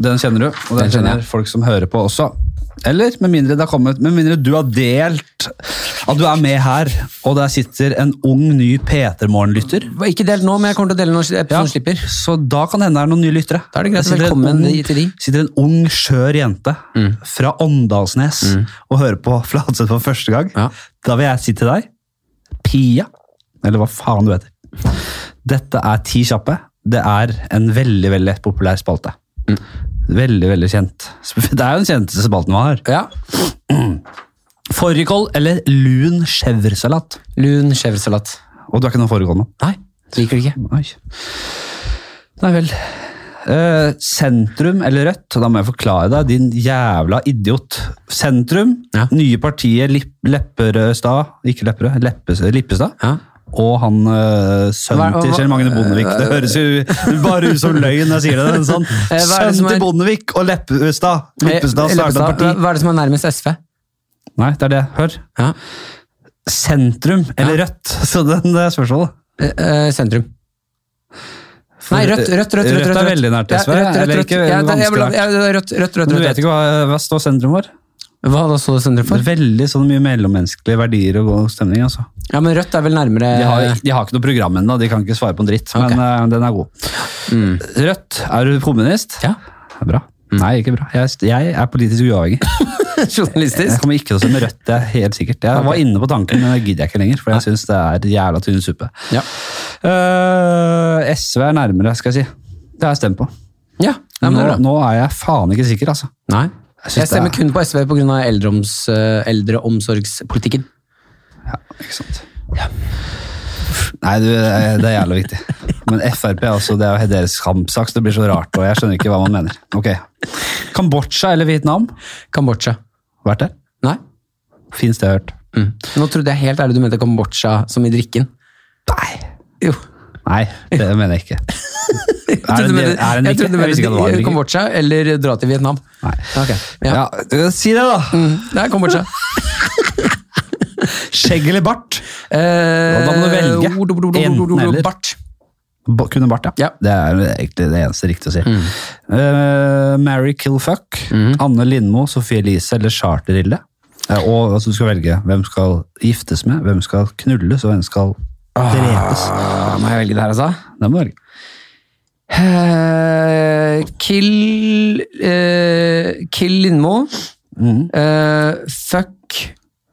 A: Den kjenner du, og den,
B: Den kjenner
A: kjenner folk som hører på også. Eller med mindre, det har kommet, med mindre du har delt at du er med her, og der sitter en ung, ny P3morgen-lytter.
B: Ikke delt nå, men jeg kommer til å dele når episoden slipper.
A: Så da kan det hende det er noen nye lyttere.
B: Da er det greit.
A: sitter en
B: Velkommen
A: ung-
B: til de. Mm.
A: sitter en ung, skjør jente fra Åndalsnes og hører på Fladseth for første gang.
B: Ja.
A: Da vil jeg si til deg, Pia, eller hva faen du heter. Dette er Ti kjappe. Det er en veldig, veldig populær spalte.
B: Mm.
A: Veldig, veldig kjent. Det er jo den kjenteste spalten vi har.
B: Ja.
A: Fårikål eller lun chèvresalat.
B: Lun chèvresalat.
A: Og du er ikke noen fårikål nå?
B: Nei, liker du ikke.
A: Oi. Nei vel. Eh, sentrum eller Rødt? Da må jeg forklare deg, din jævla idiot. Sentrum,
B: Ja.
A: nye partiet Lipp, Lepperødstad Ikke Lepperød, Leppes, Lippestad.
B: Ja.
A: Og han eh, sønnen
B: Hva-
A: til
B: hva-
A: Kjell Magne Bondevik. Det høres jo bare ut som løgn når jeg sier det. men Sånn.
B: Eh, hva er det
A: Sønnen
B: som er-
A: til Bondevik og Leppestad! Leppestad
B: Eh,
A: starta
B: Leppestad.
A: parti.
B: Hva er det som er nærmest SV?
A: Nei, det er det. Hør.
B: Ja.
A: Sentrum eller Rødt? Så den, det er spørsmålet.
B: Eh, eh, Sentrum. Nei, rødt, rødt, rødt.
A: Rødt er veldig nært SV,
B: Ja, rødt, rødt,
A: eller
B: rødt.
A: ikke
B: Ja, det- jeg
A: vanskelig
B: vil ha- ja, det er rødt, rødt, rødt,
A: Men
B: rødt,
A: du vet
B: rødt.
A: ikke hva, hva står sentrum for?
B: Hva da står det sentrum
A: Det
B: for?
A: er veldig sånn mye mellommenneskelige verdier og god stemning. altså.
B: Ja, men rødt er vel nærmere
A: De har, de har ikke noe program ennå, de kan ikke svare på en dritt, men eh, den er god. Rødt, er du kommunist?
B: Mm. Ja. Mm.
A: Bra. Nei, ikke bra. Jeg, jeg er politisk uavhengig. Jeg
B: Journalistisk.
A: kommer ikke til å stemme Rødt, det er helt sikkert. Jeg var inne på tanken, men det gidder jeg ikke lenger, for jeg syns det er jævla tynn suppe.
B: Ja.
A: Eh, SV er nærmere, skal jeg si. Det har jeg stemt på.
B: ja. Nei, men
A: Nå,
B: det er bra.
A: nå er jeg faen ikke sikker, altså.
B: Nei.
A: Jeg synes
B: Jeg stemmer
A: det
B: kun på SV pga. Eldreoms, eh, eldreomsorgspolitikken.
A: Ikke sant? Nei, du, det er jævla viktig. Men Frp altså, det er jo deres kampsak, så det blir så rart. og Jeg skjønner ikke hva man mener. Ok. Kambodsja eller Vietnam?
B: Kambodsja.
A: Vært der?
B: Nei.
A: Fins det jeg har hørt?
B: Mm. Nå trodde jeg helt ærlig du mente Kambodsja som i drikken.
A: Nei.
B: Jo.
A: Nei, det mener jeg ikke. Er
B: Jeg
A: det,
B: trodde
A: er det en
B: du mente- jeg
A: drikke?
B: trodde du
A: Jeg visste ikke at det var en
B: mente
A: drikke.
B: Kambodsja eller dra til Vietnam.
A: Nei.
B: Ok. Ja.
A: Ja, si det, da!
B: Mm. Det er Kambodsja.
A: Skjegg eller bart?
B: Eh,
A: da må du velge.
B: ord, ord, ord, ord,
A: Enten
B: ord, ord,
A: eller.
B: Bart.
A: Ba- Kunne bart, ja.
B: Ja. Mm.
A: Det er jo egentlig det eneste riktige å si. Eh, Mary Kill Fuck, Anne Lindmo, Sofie Elise eller Charter-Hilde. Eh, og altså, du skal velge hvem skal giftes med, hvem skal knulles, og hvem skal drepes.
B: Ah, må jeg velge det her, altså?
A: Det må du velge.
B: Eh, kill eh, Kill Lindmo.
A: Mm.
B: Eh, fuck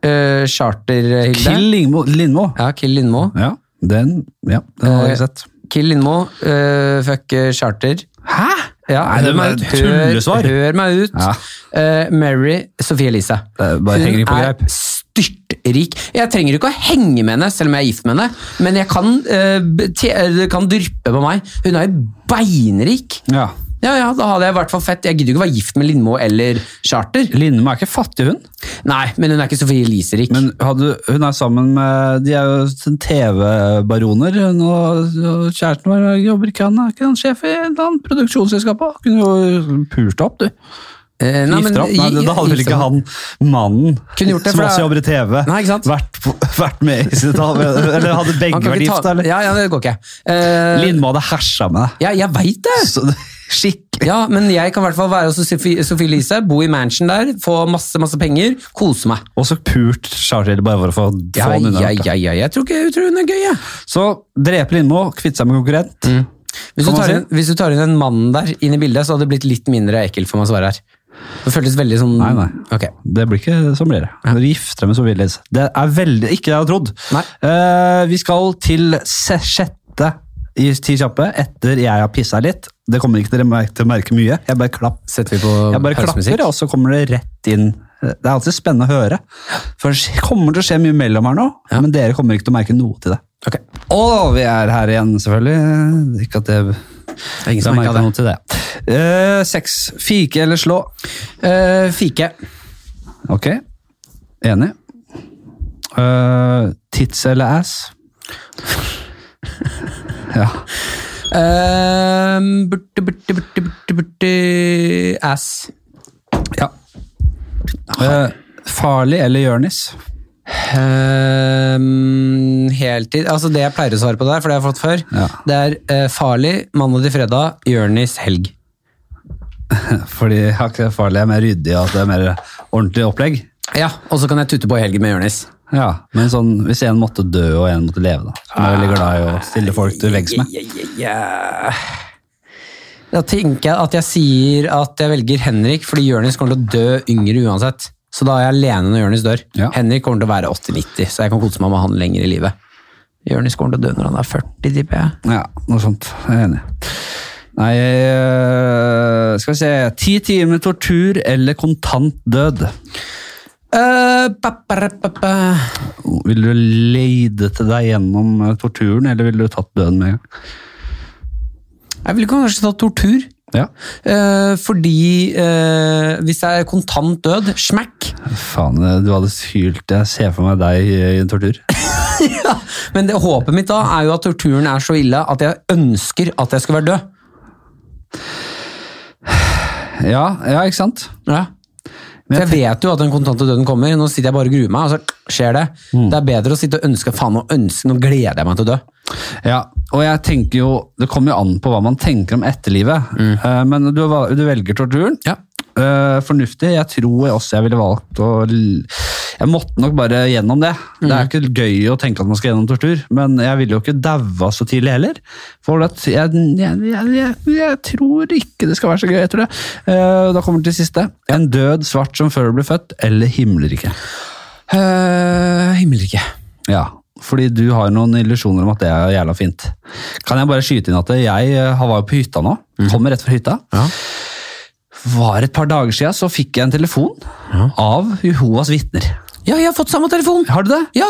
B: eh, Charter-Hilde.
A: Kill Lindmo. Lindmo.
B: Ja, Kill Lindmo.
A: Ja, den, ja, den har
B: Eh,
A: jeg sett.
B: Kill Lindmo. eh, fuck eh, Charter.
A: Hæ?!
B: Ja,
A: Nei, det
B: hør,
A: var
B: meg ut,
A: et tullesvar.
B: hør, hør meg ut.
A: Ja.
B: Eh, Mary Sophie Elise.
A: Det er bare henger ikke på greip.
B: styrtrik. Jeg trenger ikke å henge med henne, selv om jeg er gift med henne, men jeg kan, eh, be- te- eh, det kan dryppe på meg. Hun er jo beinrik.
A: Ja.
B: Ja, ja, da hadde jeg i hvert fall fett. Jeg gidder jo ikke å være gift med Lindmo eller Charter.
A: Lindmo er ikke fattig, hun.
B: Nei, men hun er ikke Sophie Elise-rik.
A: Men hadde, hun er sammen med De er jo TV-baroner. Hun og, og kjæresten vår jobber ikke han, er ikke han sjef i et eller annet produksjonsselskap? også? Kunne jo pult opp, du.
B: Eh, nei, men-
A: Gifter opp. Nei, da hadde vel
B: gifter
A: ikke
B: opp.
A: han mannen
B: Kunne gjort det,
A: som
B: for
A: også
B: det-
A: jobber i TV,
B: Nei, ikke sant?
A: Vært, på- vært med i sitt av- Eller hadde
B: Han
A: begge
B: kan
A: vært
B: ikke
A: gift,
B: ta-
A: eller?
B: Ja, ja, det går ikke. Eh,
A: Lindmo hadde hersa med deg.
B: ja, jeg veit det!
A: Så det- Skikkelig.
B: Ja, men jeg kan i hvert fall være hos Sophie Sophie Elise, bo i mansion der, få masse masse penger, kose meg.
A: Og så pult Charter bare for å få, få
B: Ja,
A: han unna.
B: ja,
A: dette.
B: ja, ja, jeg tror ikke jeg tror hun er gøy, jeg.
A: Så drepe Lindmo, kvitte seg med konkurrent.
B: Hvis du,
A: Kan man
B: tar
A: si?
B: inn, hvis du tar inn en mann der inn i bildet, så hadde det blitt litt mindre ekkelt for meg å svare her. Det føltes veldig sånn
A: Nei, nei.
B: Ok.
A: Det blir ikke som blir det. Når du gifter deg med Sofie Elise. Det er veldig ikke det jeg hadde trodd.
B: Nei.
A: Eh, vi skal til se- sjette i Ti kjappe, etter jeg har pissa litt. Det kommer ikke dere mer- til å merke mye. Jeg bare, klapp.
B: Setter vi på
A: jeg bare klapper,
B: pausemusikk?
A: og så kommer det rett inn. Eh, Det er alltid spennende å høre. For det kommer til å skje mye mellom her nå, men dere kommer ikke til å merke noe til det.
B: Ok.
A: Og vi er her igjen, selvfølgelig. Ikke at det,
B: er ingen som
A: merker
B: merker det.
A: noe til det. Eh, seks. Fike eller slå?
B: Eh, fike.
A: Ok, enig. Eh, tits eller ass? ja.
B: Eh, burte, burte, burte, burte, burte, ass.
A: ja. Eh, farlig eller Jørnis?
B: Eh, heltid Altså Det jeg pleier å svare på der, for det har jeg fått før,
A: Ja.
B: det er eh, Farlig, mandag til fredag, Jørnis helg.
A: Fordi jeg har ikke farlig, jeg er mer ryddig og at det er mer ordentlig opplegg.
B: Ja, Og så kan jeg tutte på i helgen med Jørnis.
A: Ja, men sånn, hvis en måtte dø og en måtte leve, da. Som jeg er veldig glad i å stille folk til veggs med.
B: Ja, ja, ja. Da tenker jeg at jeg sier at jeg velger Henrik, fordi Jørnis kommer til å dø yngre uansett. Så da er jeg alene når Jørnis dør.
A: Ja.
B: Henrik kommer til å være 80-90, så jeg kan kose meg med han lenger i livet. Jørnis kommer til å dø når han er 40, tipper jeg.
A: Ja, noe sånt. Jeg er enig. Nei, eh, skal vi se. Ti timer med tortur eller kontant død?
B: Eh, pa, pa, ra, pa, pa.
A: Vil du leide til deg gjennom eh, torturen, eller ville du tatt døden med en gang?
B: Jeg ville kanskje tatt tortur.
A: Ja.
B: Eh, fordi eh, hvis jeg er kontant død, smekk,
A: Faen, eh, du hadde hylt. Jeg ser for meg deg eh, i en tortur.
B: Ja, men det, håpet mitt da er jo at torturen er så ille at jeg ønsker at jeg skal være død.
A: Ja, ja ikke sant?
B: For jeg vet jo at den kontante døden kommer. Nå sitter jeg bare og gruer meg, og så skjer det.
A: Mm.
B: Det er bedre å sitte og ønske faen nå ønske, nå gleder jeg meg til å dø.
A: Ja, og jeg tenker jo, det kommer jo an på hva man tenker om etterlivet. Eh, Men du, val- du velger torturen.
B: Ja.
A: Eh, fornuftig. Jeg tror jeg også jeg ville valgt å l- Jeg måtte nok bare gjennom det. Det er ikke gøy å tenke at man skal gjennom tortur, men jeg ville jo ikke daua så tidlig heller. For at jeg, jeg, jeg, jeg, jeg tror ikke det skal være så gøy, jeg tror det. Eh, da kommer det til siste. En død svart som før du ble født, eller himmelrike.
B: Uh, Himmelrike.
A: Ja, fordi du har noen illusjoner om at det er jævla fint. Kan jeg bare skyte inn at jeg eh, var jo på hytta nå, kommer rett fra hytta.
B: Mhm. Ja.
A: Var et par dager siden så fikk jeg en telefon av Jehovas vitner.
B: Ja, jeg har fått samme telefon!
A: Har du det?
B: Ja!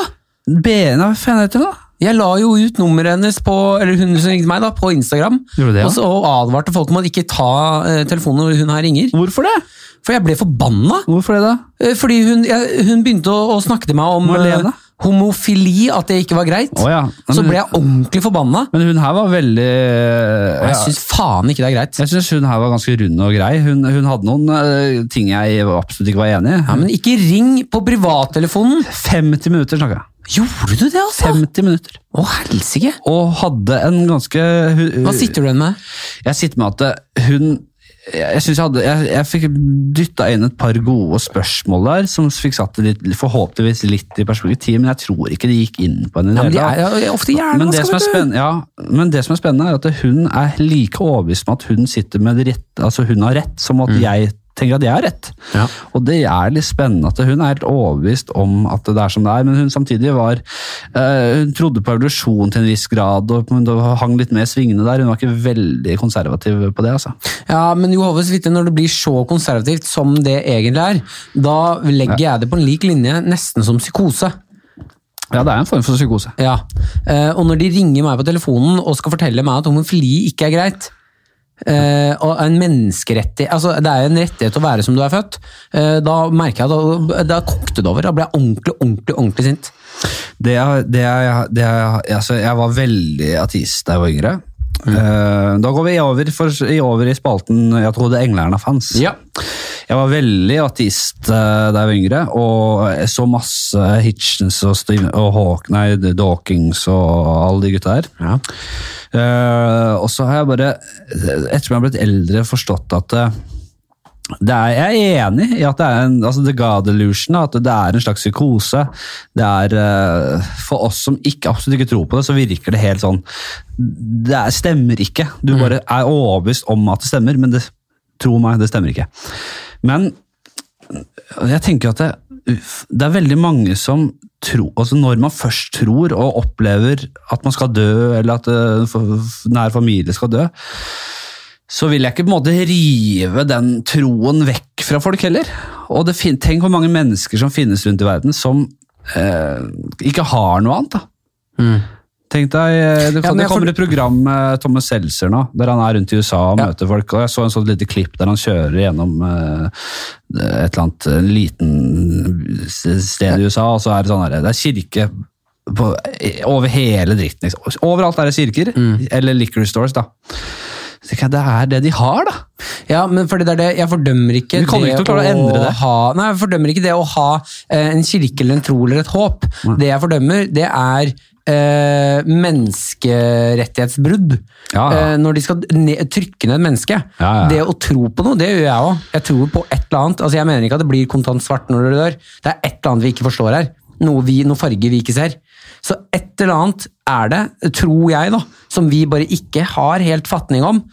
A: BN, hva faen heter hun da?
B: Jeg la jo ut nummeret hennes på eller hun som ringte meg da, på Instagram.
A: Gjorde du det, ja?
B: Og så advarte folk om å ikke ta eh, telefonen når hun her ringer.
A: Hvorfor det?
B: For jeg ble forbanna!
A: Hvorfor det da?
B: Eh, Fordi hun, jeg, hun begynte å, å snakke til meg om
A: Marlene?
B: eh, homofili, at det ikke var greit.
A: Å ja, men-
B: Så ble jeg ordentlig forbanna.
A: Men hun her var veldig
B: Og
A: ja,
B: jeg syns faen ikke det er greit.
A: Jeg syns hun her var ganske rund og grei. Hun, hun hadde noen eh, ting jeg absolutt ikke var enig i.
B: Ja, men ikke ring på privattelefonen!
A: 50 minutter snakka jeg.
B: Gjorde du det, altså?
A: 50 minutter.
B: Å, helsike!
A: Og hadde en ganske hun-
B: Hva sitter du igjen med?
A: Jeg sitter med at det- hun jeg, jeg, synes jeg, hadde, jeg, jeg fikk dytta inn et par gode spørsmål der, som fikk satt det litt, forhåpentligvis litt i perspektiv, men jeg tror ikke det gikk inn på henne. i
B: Ja, men
A: det
B: de
A: hele
B: er,
A: tatt.
B: ja, ofte gjerne,
A: Men
B: hva
A: det, som
B: skal
A: er
B: du-
A: spennende, ja, men det som er spennende, er at hun er like overbevist om at hun sitter med det rette, altså hun har rett, som at jeg tenker at jeg har rett.
B: Ja.
A: Og det er litt spennende at hun er helt overbevist om at det er som det er, men hun samtidig var eh, Hun trodde på evolusjon til en viss grad, og, men det hang litt mer svingende der. Hun var ikke veldig konservativ på det, altså.
B: Ja, men Jehovas vitner, når det blir så konservativt som det egentlig er, da legger jeg det på en lik linje, nesten som psykose.
A: Ja, det er en form for psykose.
B: Ja. Eh, og når de ringer meg på telefonen og skal fortelle meg at homofili ikke er greit eh, og en menneskerettighet altså Det er jo en rettighet å være som du er født. eh, da merker jeg at da, da kokte det over. Da ble jeg ordentlig, ordentlig ordentlig sint.
A: Det jeg, det jeg, det jeg, altså jeg var veldig ateist da jeg var yngre. Eh, da går vi over, for, i over i spalten 'Jeg trodde englerne fanns'. Jeg var veldig ateist eh, da jeg var yngre, og jeg så masse Hitchens og, Steve, og Hawk, nei, Dawkins og alle de gutta her.
B: Ja.
A: Eh, og så har jeg bare, etter at jeg har blitt eldre, forstått at eh, det er, jeg er enig i at det er en altså the god delusion, at det er en slags psykose. Det er, eh, For oss som ikke, absolutt ikke tror på det, så virker det helt sånn Det er, stemmer ikke. Du bare er overbevist om at det stemmer, men det, tro meg, det stemmer ikke. Men jeg tenker at det, uff, det er veldig mange som tror, altså når man først tror og opplever at man skal dø, eller at eh, f- nær familie skal dø, så vil jeg ikke på en måte rive den troen vekk fra folk heller. Og det fin tenk hvor mange mennesker som finnes rundt i verden som eh, ikke har noe annet. da. Tenk deg, eh, Det,
B: Mm.
A: det
B: Ja, men jeg får-
A: kommer et program med Thomas Seltzer nå, der han er rundt i USA og møter folk. og Jeg så en sånn lite klipp der han kjører gjennom eh, et eller annet en liten sted i USA, og så er det sånn her, det er kirke på, over hele dritten. Liksom. Overalt er det kirker,
B: Mm.
A: eller liquor stores, da. Så tenker jeg, Det er det de har, da!
B: Ja, men fordi det er det, jeg fordømmer ikke
A: Vi kommer ikke til å klare å endre det.
B: ha, nei, jeg fordømmer ikke det å ha eh, en kirke eller en tro eller et håp. Det jeg fordømmer, det er eh, menneskerettighetsbrudd.
A: Ja, ja.
B: Eh, når de skal ne trykke ned et menneske.
A: Ja, ja.
B: Det å tro på noe, det gjør jeg òg. Jeg tror på et eller annet. Altså, jeg mener ikke at det blir kontant svart når du dør. Det er et eller annet vi ikke forstår her. Noe, vi, noe farge vi ikke ser. Så et eller annet er det, tror jeg, da, som vi bare ikke har helt fatning om.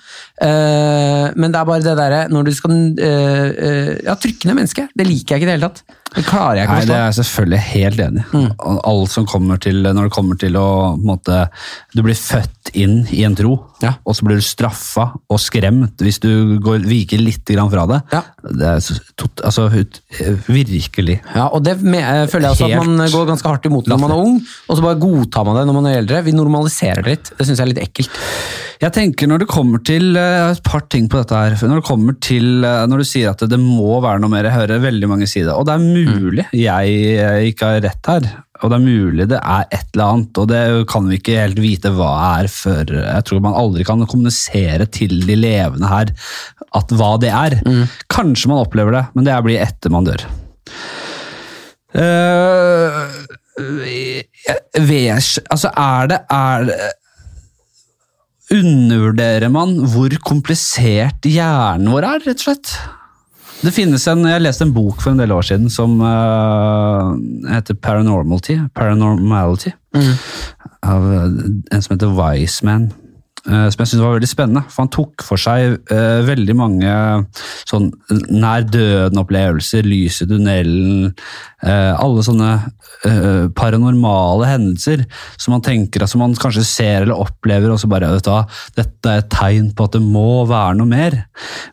B: Eh, men det er bare det derre når du skal eh, eh, Ja, trykke ned mennesket. Det liker jeg ikke i det hele tatt. Det klarer jeg ikke å
A: Nei, det
B: forstå.
A: er Mm. jeg selvfølgelig helt enig i. Og Alt som kommer til Når det kommer til å på en måte, Du blir født inn i en tro,
B: Ja.
A: og så blir du straffa og skremt hvis du går, viker litt grann fra det.
B: Ja.
A: Det er så tot, altså, ut, virkelig.
B: Ja, og det me- eh, føler jeg også at man
A: Helt
B: går ganske hardt imot når man er ung, og så bare godtar man det når man er eldre. Vi normaliserer det litt. Det syns jeg er litt ekkelt.
A: Jeg tenker når det kommer til eh, et par ting på dette her, for når det kommer til eh, når du sier at det må være noe mer, jeg hører veldig mange si det, og det er mulig jeg eh, ikke har rett her, og det er mulig det er et eller annet, og det kan vi ikke helt vite hva er før, jeg tror man aldri kan kommunisere til de levende her at hva det er. Kanskje man opplever det, men det blir etter man dør. Eh, jeg vet- altså er det, er det undervurderer man hvor komplisert hjernen vår er, rett og slett. Det finnes en, Jeg leste en bok for en del år siden som eh, heter Paranormality. Paranormality Av eh, en som heter Wiseman. eh, som jeg syntes var veldig spennende. For han tok for seg eh, veldig mange sånn nær døden-opplevelser, lys i tunnelen eh, Alle sånne eh, paranormale hendelser som man tenker at som man kanskje ser eller opplever, og så bare vet du hva, dette er et tegn på at det må være noe mer.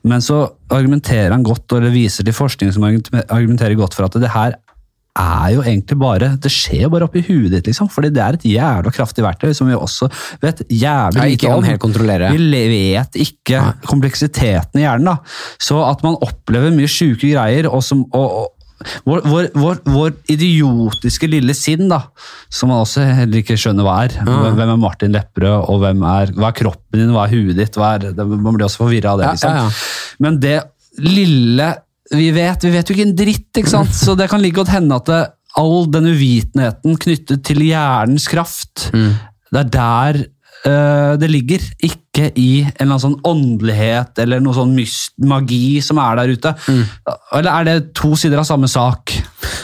A: Men så argumenterer han godt, og det viser til forskning som argument- argumenterer godt for at det her er jo egentlig bare, det skjer jo bare oppi huet ditt, liksom. Fordi det er et jævla kraftig verktøy som vi også vet
B: Ja,
A: jævlig
B: ikke
A: lite
B: kan
A: om.
B: helt kontrollere.
A: Vi le- vet ikke kompleksiteten i hjernen. da. Så at man opplever mye sjuke greier, og som og, og, vår, vår, vår, vår idiotiske lille sinn, da, som man også heller ikke skjønner hva er. Hvem er Martin Lepperød, og hvem er, hva er kroppen din, hva er huet ditt? Hva er, det- man blir også forvirra av det.
B: Ja,
A: liksom.
B: ja, ja.
A: Men det lille vi vet, vi vet jo ikke en dritt, ikke sant? Så det kan ligge godt hende at det, all den uvitenheten knyttet til hjernens kraft, det er der eh, det ligger. Ikke i en eller annen sånn åndelighet eller noe sånn myst, magi som er der ute. Eller er det to sider av samme sak?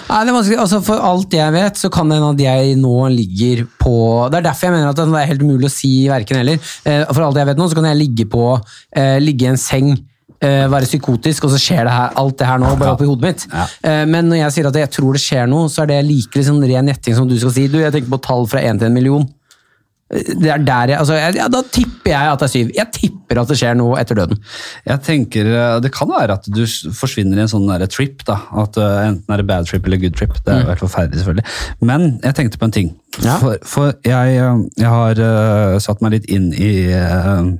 B: Nei, det er vanskelig. Altså, for alt jeg vet, så kan det hende at jeg nå ligger på Det er derfor jeg mener at det er helt umulig å si verken eller. Eh, For alt jeg vet nå, så kan jeg ligge på eh, ligge i en seng, eh, være psykotisk, og så skjer det her, alt det her nå bare oppi hodet mitt. Eh, Men når jeg sier at jeg tror det skjer noe, så er det like liksom ren gjetting som du skal si. Du, jeg tenker på tall fra én til en million. Eh, Det er der jeg, altså, jeg, ja, da tipper jeg at det er syv. Jeg tipper at det skjer noe etter døden.
A: Jeg tenker, eh, Det kan være at du s- forsvinner i en sånn derre trip. da, at eh, Enten er det bad trip eller good trip. Det er jo helt forferdelig, selvfølgelig. Men jeg tenkte på en ting.
B: Mm. Ja.
A: For, for jeg, eh, jeg har eh, satt meg litt inn i eh,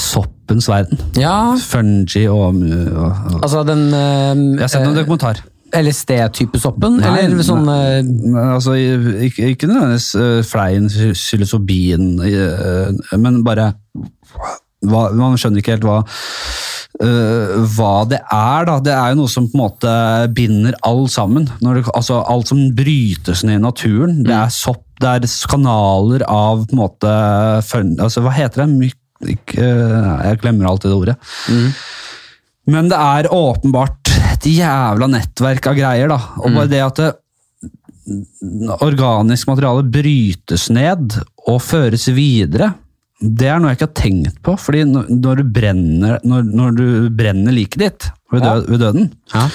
A: soppens verden.
B: Ja,
A: Fungi og, og, og
B: altså den
A: Jeg har sett noen
B: Eh,
A: dokumentar.
B: LSD-type-soppen,
A: Nei,
B: eller sånn eh,
A: Nei, Altså, ikke, ikke nødvendigvis eh, fleien, psilocybin, eh, men bare hva, Man skjønner ikke helt hva eh, hva det er, da. Det er jo noe som på en måte binder all sammen. Når det, altså, alt som brytes ned i naturen. Det er sopp, det er kanaler av på en måte fun, altså, Hva heter det? Myk, ikke, eh, jeg glemmer alltid det ordet. Men det er åpenbart et jævla nettverk av greier, da. Og
B: Mm.
A: bare det at det, organisk materiale brytes ned og føres videre, det er noe jeg ikke har tenkt på. fordi når- når du brenner, når, når du brenner liket ditt ved, dø, ved døden,
B: Ja.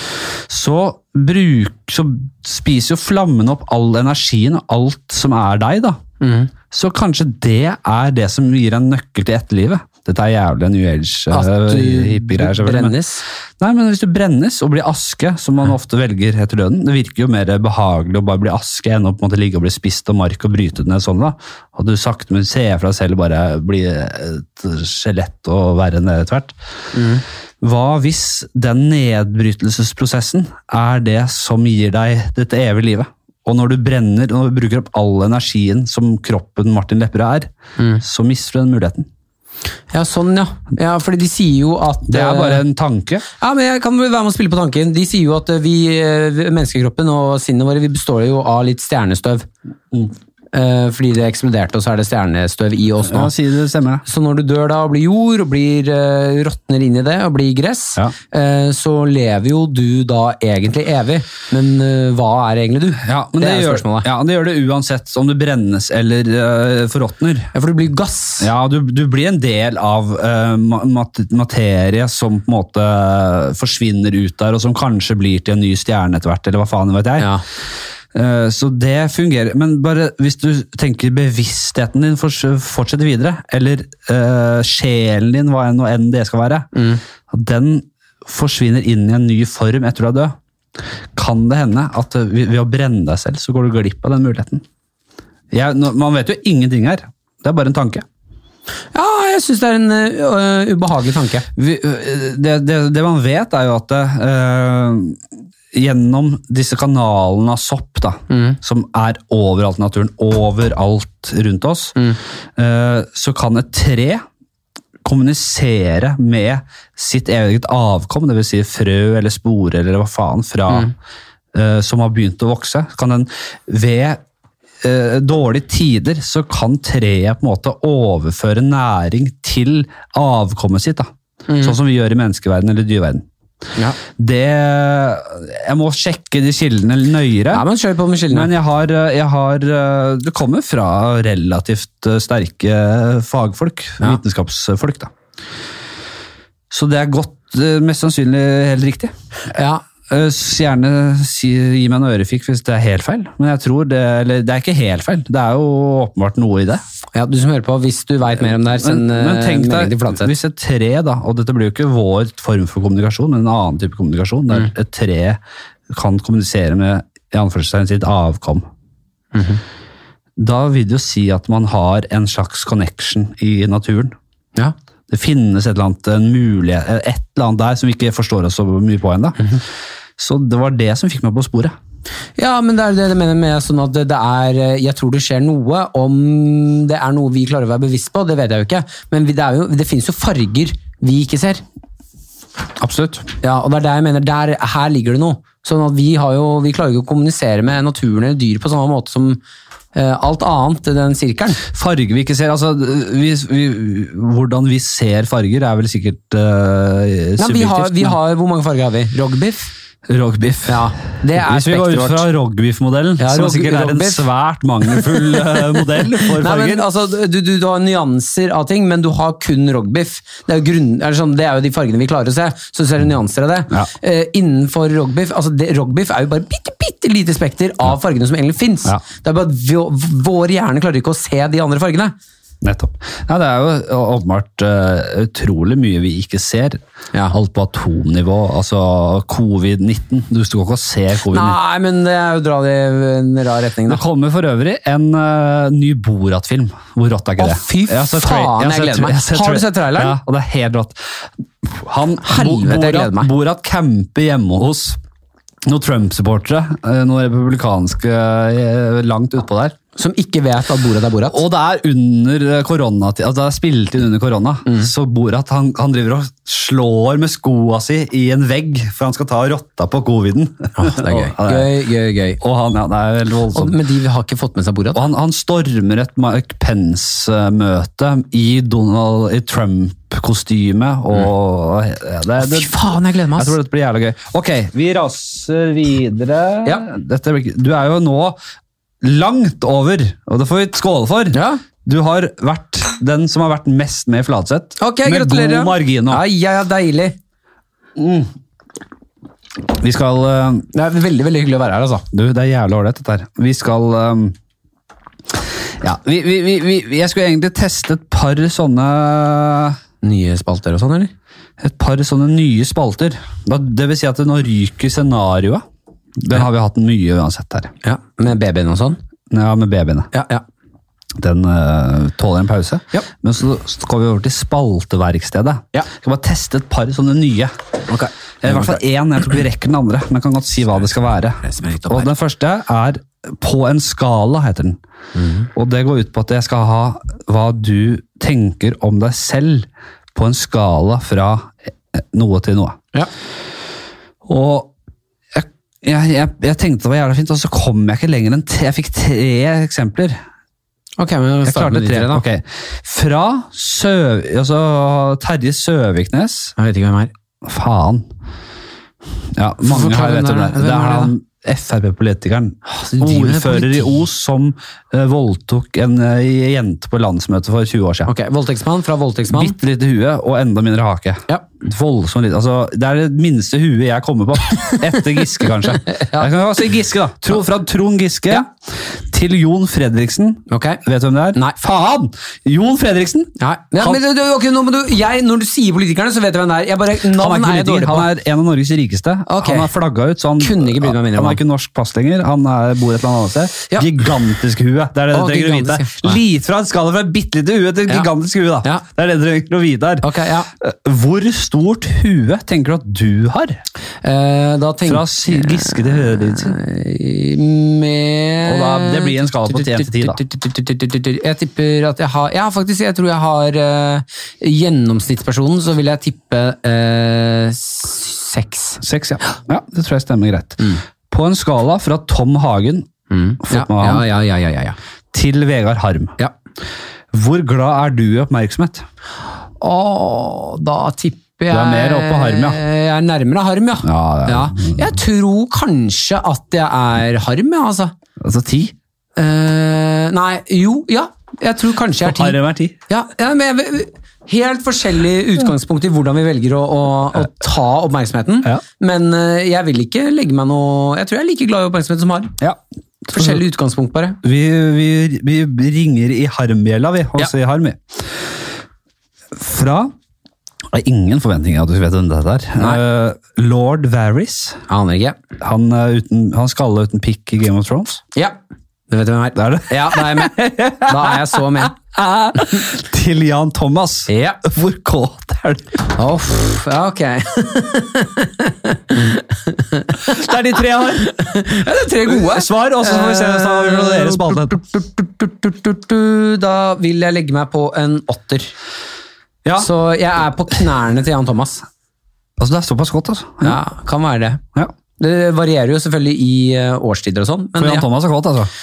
A: så, bruk, så spiser jo flammene opp all energien og alt som er deg. da.
B: Mm.
A: Så kanskje det er det som gir en nøkkel til etterlivet. Dette er jævlig New eh,
B: At du
A: Age-hippiegreier.
B: brennes.
A: Nei, men hvis du brennes og blir aske, som man ofte velger etter døden, det virker jo mer behagelig å bare bli aske enn å på en måte ligge og bli spist av mark og bryte ned sånn da. At du sakte men ser for deg selv bare bli et skjelett og verre ned etter hvert. Mm. Hva hvis den nedbrytelsesprosessen er det som gir deg dette evige livet? Og når du brenner og bruker opp all energien som kroppen Martin Lepperød er, så mister du den muligheten.
B: Ja, sånn, ja. ja. Fordi de sier jo at
A: Det er
B: eh,
A: bare en tanke.
B: Ja, men jeg kan vel være med å spille på tanken. De sier jo at eh, vi, eh, menneskekroppen og sinnet våre, vi består jo av litt stjernestøv.
A: Mm.
B: Eh, fordi det eksploderte, og så er det stjernestøv i oss nå.
A: Ja, si det stemmer det.
B: Så når du dør da og blir jord, og blir, eh, råtner inn i det og blir gress,
A: Ja.
B: eh, så lever jo du da egentlig evig. Men eh, hva er egentlig du?
A: Ja, men det,
B: det er
A: gjør,
B: spørsmålet.
A: ja, det gjør det uansett om du brennes eller uh, forråtner.
B: Ja, for du blir gass.
A: Ja, du, du blir en del av eh, ma- mat materie som på en måte forsvinner ut der, og som kanskje blir til en ny stjerne etter hvert, eller hva faen vet jeg.
B: Ja.
A: Eh, så det fungerer. Men bare hvis du tenker bevisstheten din fors fortsetter videre, eller eh, sjelen din, hva enn og enn det skal være, at den forsvinner inn i en ny form etter du er død. Kan det hende at eh, ved ved å brenne deg selv, så går du glipp av den muligheten? Jeg, nå, man vet jo ingenting her. Det er bare en tanke.
B: Ja, jeg syns det er en eh, ø- ubehagelig tanke.
A: Vi, øh, det, det, det man vet er jo at øh, gjennom disse kanalene av sopp da, som er overalt i naturen, overalt rundt oss, øh, så kan et tre kommunisere med sitt eget avkom, det vil si frø eller spore eller hva faen, fra, øh, som har begynt å vokse. Kan den ved eh, dårlige tider så kan treet på en måte overføre næring til avkommet sitt. Da. Sånn som vi gjør i menneskeverden eller dyreverden.
B: Ja.
A: Det, jeg må sjekke de kildene nøyere.
B: men kjør på med kildene.
A: Men jeg har, eh, jeg har eh, Det kommer fra relativt eh, sterke fagfolk.
B: Ja.
A: Vitenskapsfolk, da. Så det er godt, eh, mest sannsynlig helt riktig.
B: Ja.
A: Eh, s- Gjerne si, gi meg en ørefik hvis det er helt feil. Men jeg tror det, eller det er ikke helt feil. Det er jo åpenbart noe i det.
B: ja, du som hører på, hvis du veit mer om det her,
A: Men,
B: send
A: men
B: eh,
A: tenk
B: melding
A: deg,
B: til Flatseth.
A: hvis et tre, da, og dette blir jo ikke vår form for kommunikasjon, men en annen type kommunikasjon, der et tre kan kommunisere med i anførselstegn sitt avkom. Da vil det jo si at man har en slags connection i naturen.
B: Ja.
A: Det finnes et eller annet, en mulighet, eh, et eller annet der som vi ikke forstår oss så mye på ennå. Så det var det som fikk meg på sporet.
B: ja, men det er det jeg mener med sånn at det det er eh, Jeg tror det skjer noe. Om det er noe vi klarer å være bevisst på, det vet jeg jo ikke. Men vi- det, er jo, det finnes jo farger vi ikke ser.
A: Absolutt.
B: Ja, og det er der jeg mener, der, her ligger det noe. Sånn at vi, har jo, vi klarer jo ikke å kommunisere med naturen eller dyr på samme måte som eh, alt annet i den sirkelen.
A: Farger vi ikke ser altså, vi, vi, Hvordan vi ser farger, er vel sikkert eh,
B: Nei, vi har,
A: subjektivt.
B: vi
A: men-
B: har, hvor mange farger har vi? Rogbiff?
A: Rogbiff.
B: Ja, det er
A: Hvis vi går ut
B: spekteret
A: fra
B: vårt.
A: rogbiff-modellen,
B: Ja,
A: som
B: rog-
A: sikkert er en
B: rogbiff.
A: svært mangelfull eh, modell for
B: Nei,
A: farger
B: men, altså, du, du, du har nyanser av ting, men du har kun rogbiff. Det er jo, grunn, eller sånn, det er jo de fargene vi klarer å se, så ser du nyanser av det.
A: Ja.
B: Eh, innenfor rogbiff altså det, Rogbiff er jo bare bitte, bitte lite spekter av fargene som egentlig fins.
A: Ja.
B: Det er bare at vi- Vår hjerne klarer ikke å se de andre fargene.
A: Nettopp. Ja, det er jo åpenbart eh, utrolig mye vi ikke ser.
B: Ja.
A: Alt på atomnivå, altså covid-19. Du skal ikke og se covid-19.
B: Nei, men det er jo å dra det i en rar retning, da.
A: Det kommer for øvrig en eh, ny Borat-film. Hvor rått er ikke
B: Å,
A: det?
B: fy
A: Jeg har sett tra-
B: faen,
A: har
B: jeg
A: sett-
B: gleder meg.
A: har sett
B: Har du
A: tra-
B: sett traileren?
A: Ja, og det er helt rått. Han,
B: Helvete, jeg gleder meg.
A: Borat, Borat camper hjemme hos noen Trump-supportere. eh, Noen republikanske eh, langt utpå der.
B: Som ikke vet at Borat er Borat.
A: Og det er under eh, koronatid, altså det er spilt inn under korona,
B: Mm.
A: så Borat han, han driver og slår med skoa si i en vegg, for han skal ta rotta på coviden.
B: det er gøy.
A: Og,
B: Gøy, gøy, gøy.
A: og han, ja, det er veldig
B: Og,
A: voldsomt.
B: men de har ikke fått med seg Borat.
A: Og han, han stormer et Mark Pence-møte i, Donald- i Trump-kostyme, og ja, det, det,
B: Mm. Fy faen, jeg gleder meg,
A: jeg tror
B: ass!
A: dette blir jævlig gøy. Ok, vi raser videre.
B: Ja.
A: Dette, blir ikke- du er jo nå langt over, og det får vi skåle for.
B: Ja.
A: Du har vært den som har vært mest med i Fladseth.
B: Ok,
A: med
B: gratulerer.
A: god margin nå.
B: Ja, ja, ja, deilig.
A: Vi skal eh,
B: Det er veldig, veldig hyggelig å være her, altså.
A: Du, det er jævlig ålreit, dette her. Vi skal eh, Ja, vi, vi, vi, vi Jeg skulle egentlig teste et par sånne
B: Nye spalter og sånn, eller?
A: et par sånne nye spalter. Da, det vil si at nå ryker scenarioet. Den har vi hatt mye uansett her.
B: Ja, Med babyen og sånn?
A: Ja, Med babyene.
B: Ja, ja.
A: den eh, tåler en pause.
B: Ja.
A: Men så skal vi over til spalteverkstedet.
B: Ja.
A: Skal bare teste et par sånne nye.
B: Ok.
A: Eller I hvert fall én. Jeg tror ikke vi rekker den andre. Men jeg kan godt si hva det skal være.
B: Reiser meg litt opp
A: Og
B: her.
A: Den første er På en skala, heter den.
B: Mhm.
A: Og det går ut på at jeg skal ha hva du tenker om deg selv på en skala fra eh, noe til noe.
B: Ja.
A: Og jeg, jeg, jeg, jeg tenkte det var jævla fint, og så kom jeg ikke lenger enn tre. Jeg fikk tre eksempler.
B: Ok, men
A: Jeg klarte tre, da. Fra Søv... Altså, Terje Søviknes
B: Jeg vet ikke hvem er.
A: Faen. Ja, mange
B: forklar
A: her vet
B: hvem
A: om
B: er
A: det. Det er
B: det? Hvem er det da?
A: han Frp-politikeren.
B: så de driver med
A: Ordfører i
B: politikk.
A: Os som eh, voldtok en eh, jente på landsmøtet for 20 år siden.
B: Ok, Voldtektsmann fra voldtektsmann.
A: Bitte lite hue og enda mindre hake.
B: Ja.
A: Voldsomt lite. Altså, det er det minste huet jeg kommer på. Etter Giske, kanskje. Jeg kan si Giske, da. Tro, fra Trond Giske
B: Ja.
A: til Jon Fredriksen.
B: Ok.
A: Vet du hvem det er?
B: Nei.
A: Faen! Jon Fredriksen!
B: Nei, ja,
A: Han-
B: men du, du- ok, nå må du, jeg, Når du sier politikerne, så vet jeg hvem det er. Jeg bare,
A: Han er, ikke
B: Navn er jeg
A: politiker,
B: dårlig på.
A: han er en av Norges rikeste.
B: Ok.
A: Han er flagga ut, så han,
B: Kunne ikke brydd meg mindre om
A: han
B: han.
A: har ikke norsk pass lenger. Han er, bor et eller annet annet sted.
B: Ja.
A: Gigantisk hue. Det er det
B: Å,
A: du trenger å vite.
B: gigantisk, ja.
A: Lite fra en skala fra bitte lite hue til
B: Ja.
A: gigantisk hue. da.
B: Ja.
A: Det er det du trenger å vite her. Eh,
B: Ok, ja.
A: Hvor stort hue tenker du at du har?
B: Eh, da tenker
A: Fra Si- Giske til Høyredidsen.
B: med
A: Og da- det blir en skala på 1 til 10 da.
B: Jeg tipper at jeg har Ja, faktisk, jeg tror jeg har eh, Gjennomsnittspersonen, så vil jeg tippe eh, seks.
A: Seks, ja. ja. Det tror jeg stemmer greit. På en skala fra Tom Hagen
B: Ja,
A: med
B: ja,
A: han.
B: ja, ja, ja, ja, ja.
A: til Vegard Harm,
B: ja.
A: hvor glad er du i oppmerksomhet?
B: Å, da tipper jeg
A: Du er mer opp på harm, ja.
B: Jeg er nærmere harm, ja.
A: Ja, det er-
B: Jeg tror kanskje at jeg er harm, ja, altså.
A: Altså ti?
B: Eh, nei, jo, ja. Jeg tror kanskje jeg er ti.
A: Harm er ti.
B: Ja, ja, men jeg, vil- Helt forskjellig utgangspunkt i hvordan vi velger å, å, å ta oppmerksomheten.
A: Ja.
B: Men eh, jeg vil ikke legge meg noe Jeg tror jeg er like glad i oppmerksomhet som har.
A: Ja.
B: Forskjellig utgangspunkt, bare.
A: Vi, vi, vi ringer i harmbjella, vi. Og
B: Ja.
A: sier harm, vi. Fra Jeg har ingen forventninger at du vet hvem dette er. Eh, Lord Varys.
B: Aner ikke.
A: Han, eh, uten, han skalla uten pikk i Game of Thrones.
B: Ja, du vet hvem jeg er.
A: Det er det.
B: Ja, da er jeg med. Da er jeg så med.
A: Til Jan Thomas.
B: Ja.
A: Hvor kåt er du?
B: Å, pff, ja, ok.
A: Det er de tre jeg har.
B: Ja, det er tre gode. Eh,
A: Svar, og så får vi se hvis han vil vurdere spalten.
B: Da vil jeg legge meg på en åtter.
A: Ja.
B: Så jeg er på knærne til Jan Thomas.
A: Altså, det er såpass godt, altså. Ja.
B: Ja, kan være det.
A: ja.
B: Det varierer jo selvfølgelig i eh, årstider og sånn.
A: For
B: Men,
A: Jan
B: ja.
A: Thomas er kåt, altså.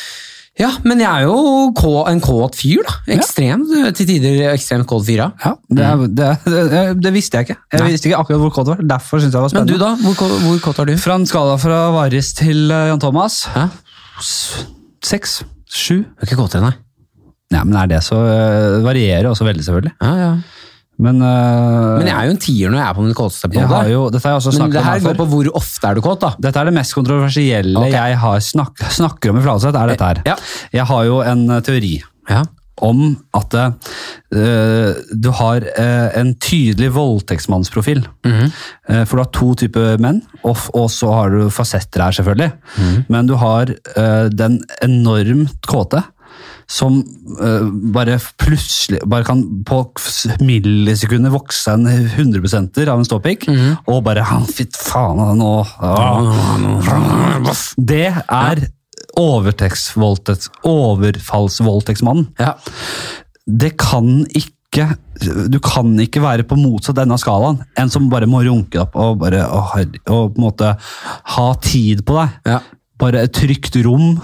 B: ja, men jeg er jo kå, en kåt fyr, da. Ekstremt, eh, Til tider ekstremt kåt fyr, ja.
A: Ja, det, er, det, er, det visste jeg ikke. Jeg visste ikke akkurat hvor kåt det var. Derfor syntes jeg det var
B: Men du
A: spennende.
B: da, hvor, kå- hvor kåt er du?
A: Fra en skala fra Varis til eh, Jan Thomas.
B: Hæ?
A: S- Seks? Sju?
B: Du er ikke kåt ennå?
A: Nei, men er det så eh, varierer også veldig, selvfølgelig.
B: Ja, ja.
A: Men, eh,
B: Men jeg er jo en tier når jeg er på min kåteste på
A: jeg har
B: det.
A: jo, dette har jeg også
B: Men
A: snakket
B: det
A: om
B: her
A: her
B: går
A: før.
B: på hvor ofte er du kåt, da.
A: Dette er det mest kontroversielle
B: Ok.
A: jeg har snak snakker om i Fladseth, er dette her.
B: Ja.
A: Jeg har jo en eh, teori
B: Ja.
A: om at eh, du har eh, en tydelig voldtektsmannsprofil. Eh, for du har to typer menn, og, f- og så har du fasetter her, selvfølgelig. Men du har eh, den enormt kåte. Som eh, bare plutselig bare kan på s- millisekunder vokse en 100 av en ståpikk, og bare «Han, Fitt faen, han Mhm. nå ah». Det er overtektsvoldtekt- overfallsvoldtektsmannen.
B: Ja.
A: Det kan ikke du kan ikke være på motsatt denne skalaen. En som bare må runke opp og, bare, å, herre- og på en måte ha tid på deg.
B: Ja.
A: Bare et trygt rom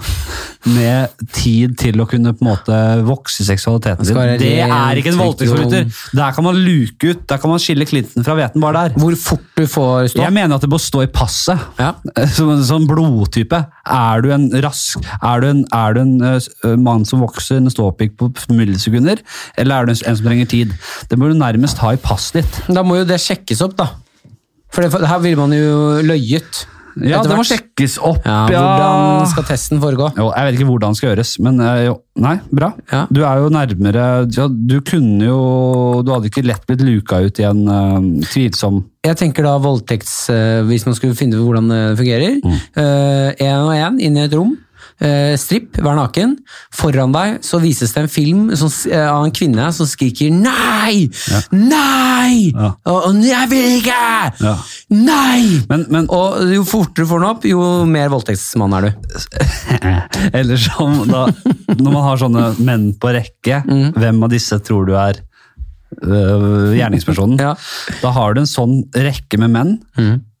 A: med tid til å kunne på en måte vokse i seksualiteten
B: skal
A: sin.
B: være
A: Det er
B: rent
A: ikke en
B: trygt
A: voldtektsforbryter! Der kan man luke ut, der kan man skille klinten fra hveten bare der.
B: Hvor fort du får stå.
A: Jeg mener at det bør stå i passet.
B: Ja.
A: Som en sånn blodtype. Er du en rask Er du en, er du en eh, s- eh, mann som vokser en ståpikk på millisekunder, eller er du en, s- en som trenger tid? Det må du nærmest ha i passet ditt.
B: Da må jo det sjekkes opp, da. For det, for det her ville man jo løyet.
A: Ja,
B: Etter
A: det må
B: hvert.
A: sjekkes opp,
B: Ja,
A: ja.
B: Hvordan skal testen foregå?
A: Jo, jeg vet ikke hvordan det skal gjøres, men eh, jo. Nei, bra.
B: Ja.
A: Du er jo nærmere ja, Du kunne jo Du hadde ikke lett blitt luka ut i en eh, tvilsom
B: Jeg tenker da voldtekts, eh, hvis man skulle finne ut hvordan det fungerer.
A: Mm.
B: Én og én inn i et rom. Eh, stripp, vær naken. Foran deg så vises det en film som, s- eh, av en kvinne som skriker 'nei! Nei!
A: Ja.
B: Og, og 'jeg vil ikke!'
A: Ja.
B: Nei!
A: Men, men
B: Og jo fortere du får den opp, jo mer voldtektsmann er du.
A: Eller som da, når man har sånne menn på rekke,
B: Mm.
A: hvem av disse tror du er øh, gjerningspersonen?
B: Ja. Mm.
A: Da har du en sånn rekke med menn,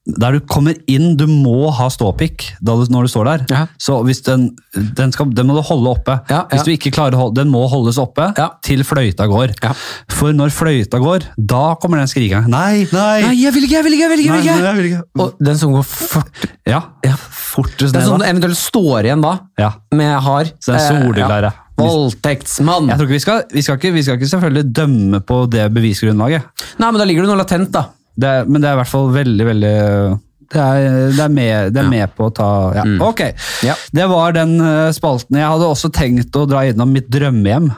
A: der du kommer inn, du må ha ståpikk da du, når du står der.
B: Ja.
A: Så hvis den, den, skal, den må du holde oppe.
B: Ja, ja.
A: Hvis du ikke klarer å holde, den må holdes oppe
B: Ja.
A: til fløyta går.
B: Ja.
A: For når fløyta går, da kommer den skrikinga. Nei, nei,
B: Nei, jeg vil ikke, jeg vil ikke, jeg vil
A: Eh.
B: ikke!
A: nei,
B: Jeg vil ikke.
A: jeg vil ikke.
B: Og den som går fort
A: Ja,
B: Ja.
A: fortest
B: Den
A: ned
B: som
A: da.
B: eventuelt står igjen da,
A: Ja.
B: med hard
A: Så den
B: eh,
A: soleklare.
B: ja. Voldtektsmann!
A: Jeg tror ikke vi, skal, vi, skal ikke, vi skal ikke selvfølgelig dømme på det bevisgrunnlaget,
B: Nei, men da ligger det noe latent, da.
A: det er, men det er i hvert fall veldig, veldig det er, det er, med, det er med på å ta ja. Ok,
B: Mm. Ja.
A: det var den eh, spalten. Jeg hadde også tenkt å dra innom mitt drømmehjem.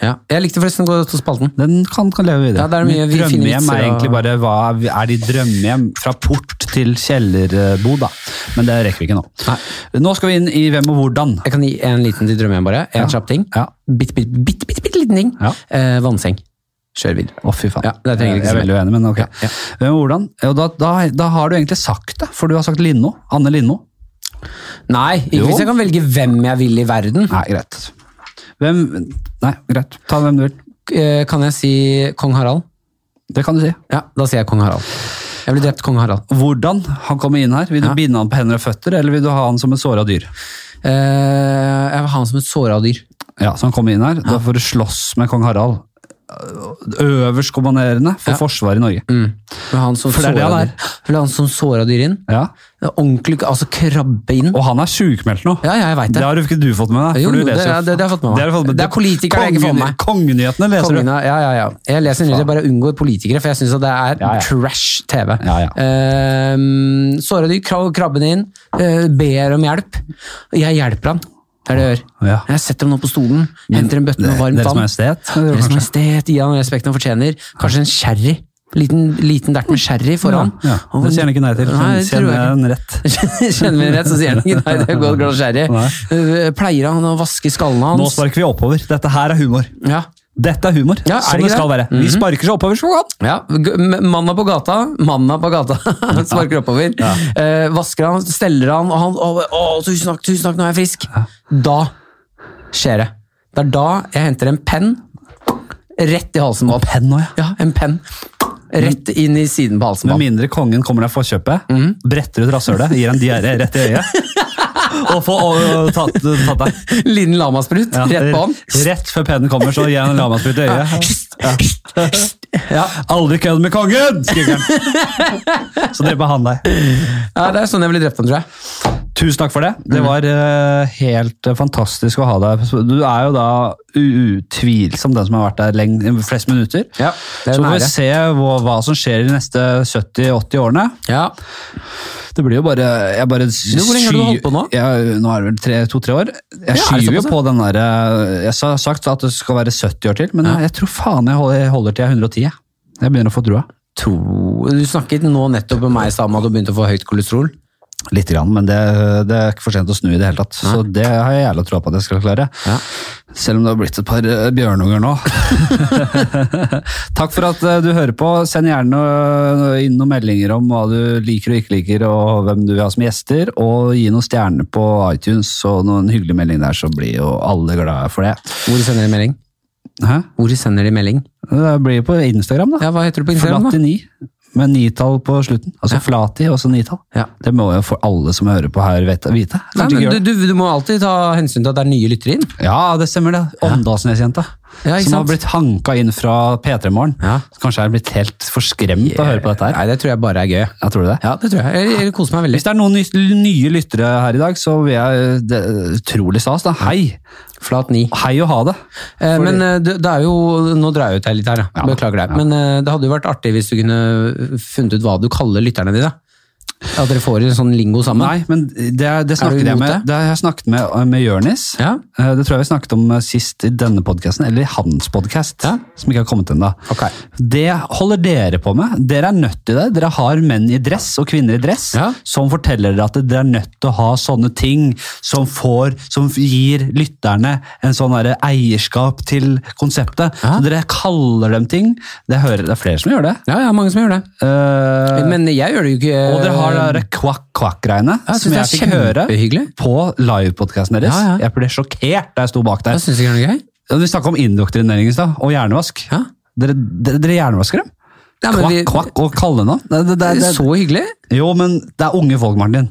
B: Ja. Jeg likte forresten godt spalten.
A: Den kan, kan leve videre.
B: Ja, det er mye
A: mitt
B: vi finner
A: drømmehjem
B: vitser
A: er egentlig
B: og-
A: bare hva er de drømmehjem fra port til kjellerbod, da. Men det rekker vi ikke nå.
B: Nei.
A: Nå skal vi inn i hvem og hvordan.
B: Jeg kan gi en liten til drømmehjem, bare. En
A: Ja.
B: kjapp ting.
A: Ja.
B: Bitte, bitte, bitte, bitte, bitte liten ting.
A: Ja.
B: Eh, vannseng. Kjør videre.
A: Å, fy faen.
B: Ja, det trenger
A: jeg
B: ikke
A: er
B: så
A: veldig uenig, men ok.
B: Ja, ja.
A: Hvem og hvordan? Jo, da, da, da har du egentlig sagt det, for du har sagt Lindmo. Anne Lindmo.
B: Nei,
A: Jo.
B: ikke hvis jeg kan velge hvem jeg vil i verden.
A: Nei, greit. Hvem Nei, greit. Ta hvem du vil.
B: Eh, kan jeg si kong Harald?
A: Det kan du si.
B: Ja, da sier jeg kong Harald. Jeg ble drept kong Harald.
A: Hvordan han kommer inn her? Vil du
B: Ja.
A: binde han på hender og føtter, eller vil du ha han som et såra dyr?
B: Eh, jeg vil ha han som et såra dyr.
A: Ja, så han kommer inn her. Da får du slåss med kong Harald. Øverstkommanderende for
B: Ja. Mm.
A: forsvaret i Norge.
B: Vil ha han som
A: For det er det
B: såra
A: han er.
B: dyr. Vil ha han som såra dyr inn.
A: Ja.
B: Ordentlig, altså krabbe inn.
A: Og han er sjukmeldt nå.
B: Ja, ja, jeg veit
A: Det
B: det.
A: har du ikke du fått med deg.
B: Jo,
A: for du
B: det-
A: leser jo-
B: det- det har jeg fått med meg.
A: Det, har du fått med.
B: Det er politikere jeg ikke får med meg.
A: Kongenyhetene leser
B: Kongene, ja, ja, ja. Jeg leser nyheter, jeg bare unngår politikere, for jeg syns det er
A: Ja, ja.
B: trash TV.
A: Ja, ja.
B: Ehm, såra dyr, krav- krabben inn, eh, ber om hjelp. Jeg hjelper han. Det er det jeg gjør.
A: Ja.
B: Jeg setter ham opp på stolen, henter en bøtte
A: du.
B: med varmt
A: Deres
B: vann.
A: Majestet.
B: Deres Majestet, gi han respekten han fortjener. Kanskje en sherry. Liten, liten dert med sherry foran.
A: Ja, ja. Det sier han ikke nei til.
B: Nei, det tror
A: Kjenner
B: jeg ikke.
A: en rett.
B: Kjenner vi det rett, så sier han ikke nei, det er godt glass sherry.
A: Nei.
B: Eh, Pleier han å vaske skallen
A: Nå
B: hans?
A: sparker vi oppover. Dette her er humor.
B: Ja.
A: Dette er humor,
B: Ja, er
A: som
B: det
A: det
B: ikke
A: skal være.
B: det? Mhm.
A: Vi sparker seg oppover så godt.
B: Ja, g- m- Manna på gata, manna på gata, sparker oppover. Eh, vasker han, steller han, og han å, å, 'Tusen takk, tusen takk, nå er jeg frisk'. Da skjer det. Det er da jeg henter en penn rett i halsen på ham.
A: Penn nå, ja.
B: Ja, en penn. Rett inn i siden på halsen på
A: Med
B: han.
A: mindre kongen kommer deg for kjøpet,
B: Mhm.
A: bretter ut rasshølet, gir en diaré rett i øyet. Og får og, tatt, tatt deg.
B: Liten lamasprut
A: Ja,
B: rett på han.
A: Rett før pennen kommer, så gir han en lamasprut i øyet.
B: Ja.
A: Aldri kødd med kongen! skriker han. Så dreper han deg.
B: ja, Det er sånn jeg ville drept ham, tror jeg.
A: Tusen takk for det.
B: Mm.
A: Det var eh, helt eh, fantastisk å ha deg. Du er jo da utvilsomt den som har vært der leng flest minutter.
B: Ja, det
A: Så
B: er en
A: får vi
B: ære.
A: se hva, hva som skjer de neste 70-80 årene.
B: Ja.
A: Det blir jo bare Jeg bare sky...
B: hvor lenge har du holdt på nå?
A: Jeg, nå er det vel tre- to-tre år. Jeg
B: Ja, er det
A: skyver jo
B: såpass,
A: på den derre Jeg har sagt at det skal være 70 år til, men jeg tror faen jeg holder, jeg holder til jeg er 110. jeg. Jeg begynner å få trua.
B: To. Du snakket nå nettopp med meg i stad om at du begynte å få høyt kolesterol.
A: Litt, grann, men det, det er ikke for sent å snu i det hele tatt. Så det har jeg jævla troa på at jeg skal klare.
B: Ja.
A: Selv om det har blitt et par eh, bjørnunger nå. Takk for at eh, du hører på. Send gjerne eh, inn noen meldinger om hva du liker og ikke liker, og hvem du vil ha som gjester. Og gi noen stjerner på iTunes og noen hyggelige meldinger der, så blir jo alle glade for det.
B: Hvor sender de melding?
A: Hæ?
B: Hvor sender de melding?
A: Det blir på Instagram, da.
B: Ja, Hva heter du på Instagram, da?
A: Flati9, med nitall på slutten. Altså Flati og så nitall.
B: Ja.
A: Det må jo for alle som hører på her vite. vite.
B: Nei,
A: Kanskje ikke gjør
B: men
A: det.
B: du, du, du må alltid ta hensyn til at det er nye lyttere inn.
A: Ja, det stemmer det. Åndalsnesjenta.
B: Ja, ikke
A: som har
B: sant?
A: blitt hanka inn fra P3 Morgen.
B: Ja.
A: Kanskje er blitt helt forskremt av å høre på dette her.
B: Nei, Det tror jeg bare er gøy.
A: Ja, tror du det?
B: Ja, det tror jeg. Jeg, jeg koser meg veldig.
A: Hvis det er noen ny- nye lyttere her i dag, så vil jeg det, er Utrolig stas, da. Hei!
B: Flat ni.
A: Hei og ha det!
B: Eh, men eh, det, det er jo Nå drar jeg ut her litt her, da.
A: Ja.
B: Beklager deg. Men eh, det hadde jo vært artig hvis du kunne eh, funnet ut hva du kaller lytterne dine. At dere får en sånn lingo sammen.
A: Nei, men det, det
B: Er du
A: snakket
B: imot
A: jeg med,
B: det?
A: det har jeg snakket med, med Jørnis.
B: Ja.
A: Eh, Det tror jeg vi snakket om eh, sist i denne podkasten, eller i hans podkast,
B: Ja.
A: som ikke har kommet ennå.
B: Ok.
A: Det holder dere på med. Dere er nødt til det. Dere har menn i dress og kvinner i dress
B: Ja.
A: som forteller dere at dere er nødt til å ha sånne ting som, får, som gir lytterne en sånn derre eierskap til konseptet.
B: Ja.
A: Så dere kaller dem ting. Det, hører, det er flere som gjør det.
B: Ja, ja, mange som gjør det.
A: Eh,
B: Men jeg gjør det jo ikke.
A: og dere har det der kvakk-kvakk-greiene
B: Ja, jeg
A: som jeg
B: synes
A: fikk
B: det er
A: høre
B: kjempehyggelig.
A: på livepodkasten deres.
B: Ja, ja.
A: Jeg ble sjokkert da jeg sto bak
B: Jeg
A: der.
B: syns ikke det er noe gøy.
A: Vi snakka om indoktrinering i stad, og hjernevask.
B: Ja.
A: Dere, dere, dere hjernevasker dem?
B: Ja, men
A: kvakk,
B: vi-
A: kvakk og kallenavn? Det, det, det,
B: Det er
A: det,
B: så hyggelig.
A: jo, men det er unge folk, Martin.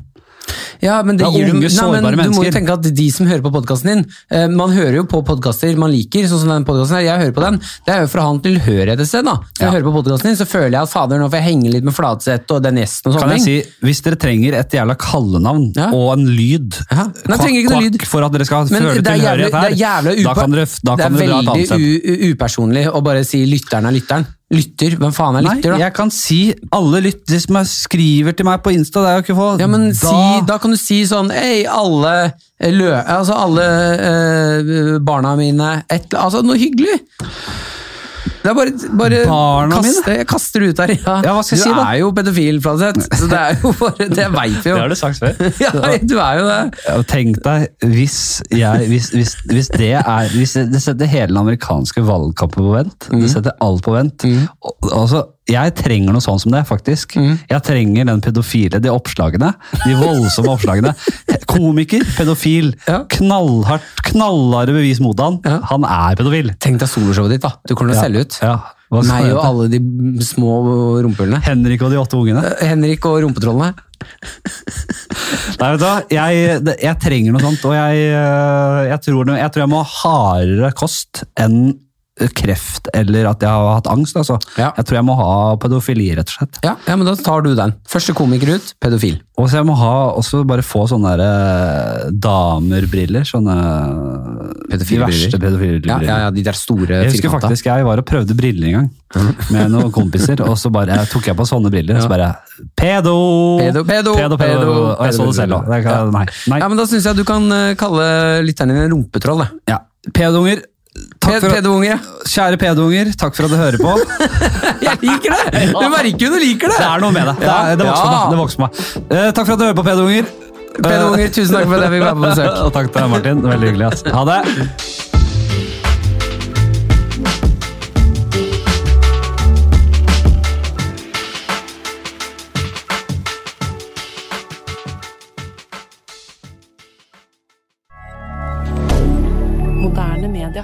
B: Ja, men det,
A: Det er
B: gir
A: unge,
B: dem-
A: sårbare
B: nei, men Du må jo
A: mennesker.
B: tenke at de som hører på podkasten din eh, Man hører jo på podkaster man liker, sånn som den podkasten her. Jeg hører på den. Det er jo for å ha en tilhørighet et sted, da. Når jeg
A: Ja.
B: hører på podkasten din, så føler jeg at fader, nå får jeg henge litt med Flatseth og den gjesten og
A: Kan
B: sånne
A: jeg
B: ting.
A: si, Hvis dere trenger et jævla kallenavn
B: Ja.
A: og en lyd
B: Ja. Nei, trenger ikke noe lyd.
A: for at dere skal
B: Men
A: føle
B: det er jævlig,
A: tilhørighet
B: det
A: her,
B: er jævlig
A: da
B: upa-
A: kan dere, da
B: det er
A: kan dere dra et annet sted.
B: veldig u, u, upersonlig å bare si 'lytteren er lytteren'. Lytter? Hvem faen er lytter,
A: Nei,
B: da?
A: jeg kan si alle lyttere som er- skriver til meg på Insta, det er jo ikke få
B: Ja, men da, si, da kan du si sånn Ei, alle lø... Altså, alle eh, barna mine et, Altså, noe hyggelig! Det er bare, bare
A: Barna
B: kaste, Jeg kaster det ut her. Ja.
A: Ja, hva skal jeg
B: du
A: si da?
B: er jo pedofil, Fladseth. Så det er jo bare Det veit vi jo.
A: du sagt før.
B: Ja, du er jo det.
A: Ja, Tenk deg hvis, jeg, hvis, hvis, hvis det er Hvis det, det setter hele den amerikanske valgkampen på vent.
B: Mm.
A: Det setter alt på vent. Og- Altså, jeg trenger noe sånn som det, faktisk.
B: Mm.
A: Jeg trenger den pedofile, de oppslagene. De voldsomme oppslagene. Komiker, pedofil.
B: Ja.
A: Knallhardt, knallharde bevis mot han.
B: Ja.
A: Han er pedofil.
B: Tenk deg soloshowet ditt, da. Du kommer til å selge ut.
A: Ja. Hva skal
B: Meg
A: jeg
B: og
A: hete?
B: alle de små rumpehullene.
A: Henrik og de åtte ungene.
B: Henrik og rumpetrollene.
A: Nei, vet du hva? Jeg, det- jeg trenger noe sånt, og jeg, øh, jeg, tror, det- jeg tror jeg må ha hardere kost enn kreft, eller at jeg har hatt angst, altså.
B: Ja.
A: Jeg tror jeg må ha pedofili, rett og slett.
B: Ja, ja, men da tar du den. Første komiker ut, pedofil.
A: Og så jeg må ha, også bare få sånne der, øh, damerbriller, sånne
B: Pedofile
A: eh, de verste pedofile
B: Ja,
A: briller.
B: ja, ja, de der store
A: Jeg husker
B: firkanta.
A: faktisk jeg var og prøvde briller en gang, med noen kompiser, og så bare tok jeg på sånne briller, og så bare, pedo!
B: Pedo, pedo,
A: pedo,
B: pedo,
A: og jeg så det selv
B: pedo,
A: også. Det
B: ja.
A: kan- Nei, nei.
B: Ja, men Da syns jeg du kan eh, kalle lytterne dine rumpetroll. da.
A: Ja. Pedunger, takk
B: Pe-
A: for at
B: Pedo-unge.
A: Kjære pedunger, takk for at du hører på. Det
B: Jeg liker det! Du merker jo du liker det!
A: er noe med det. Det, er, det vokser på meg. Det vokser på meg. Eh, takk for at du hører på, pedunger.
B: Eh, Pedo-unger, tusen takk for at jeg fikk være på besøk.
A: Og takk til deg, Martin. Veldig hyggelig. ass. Ha det.
C: Moderne media.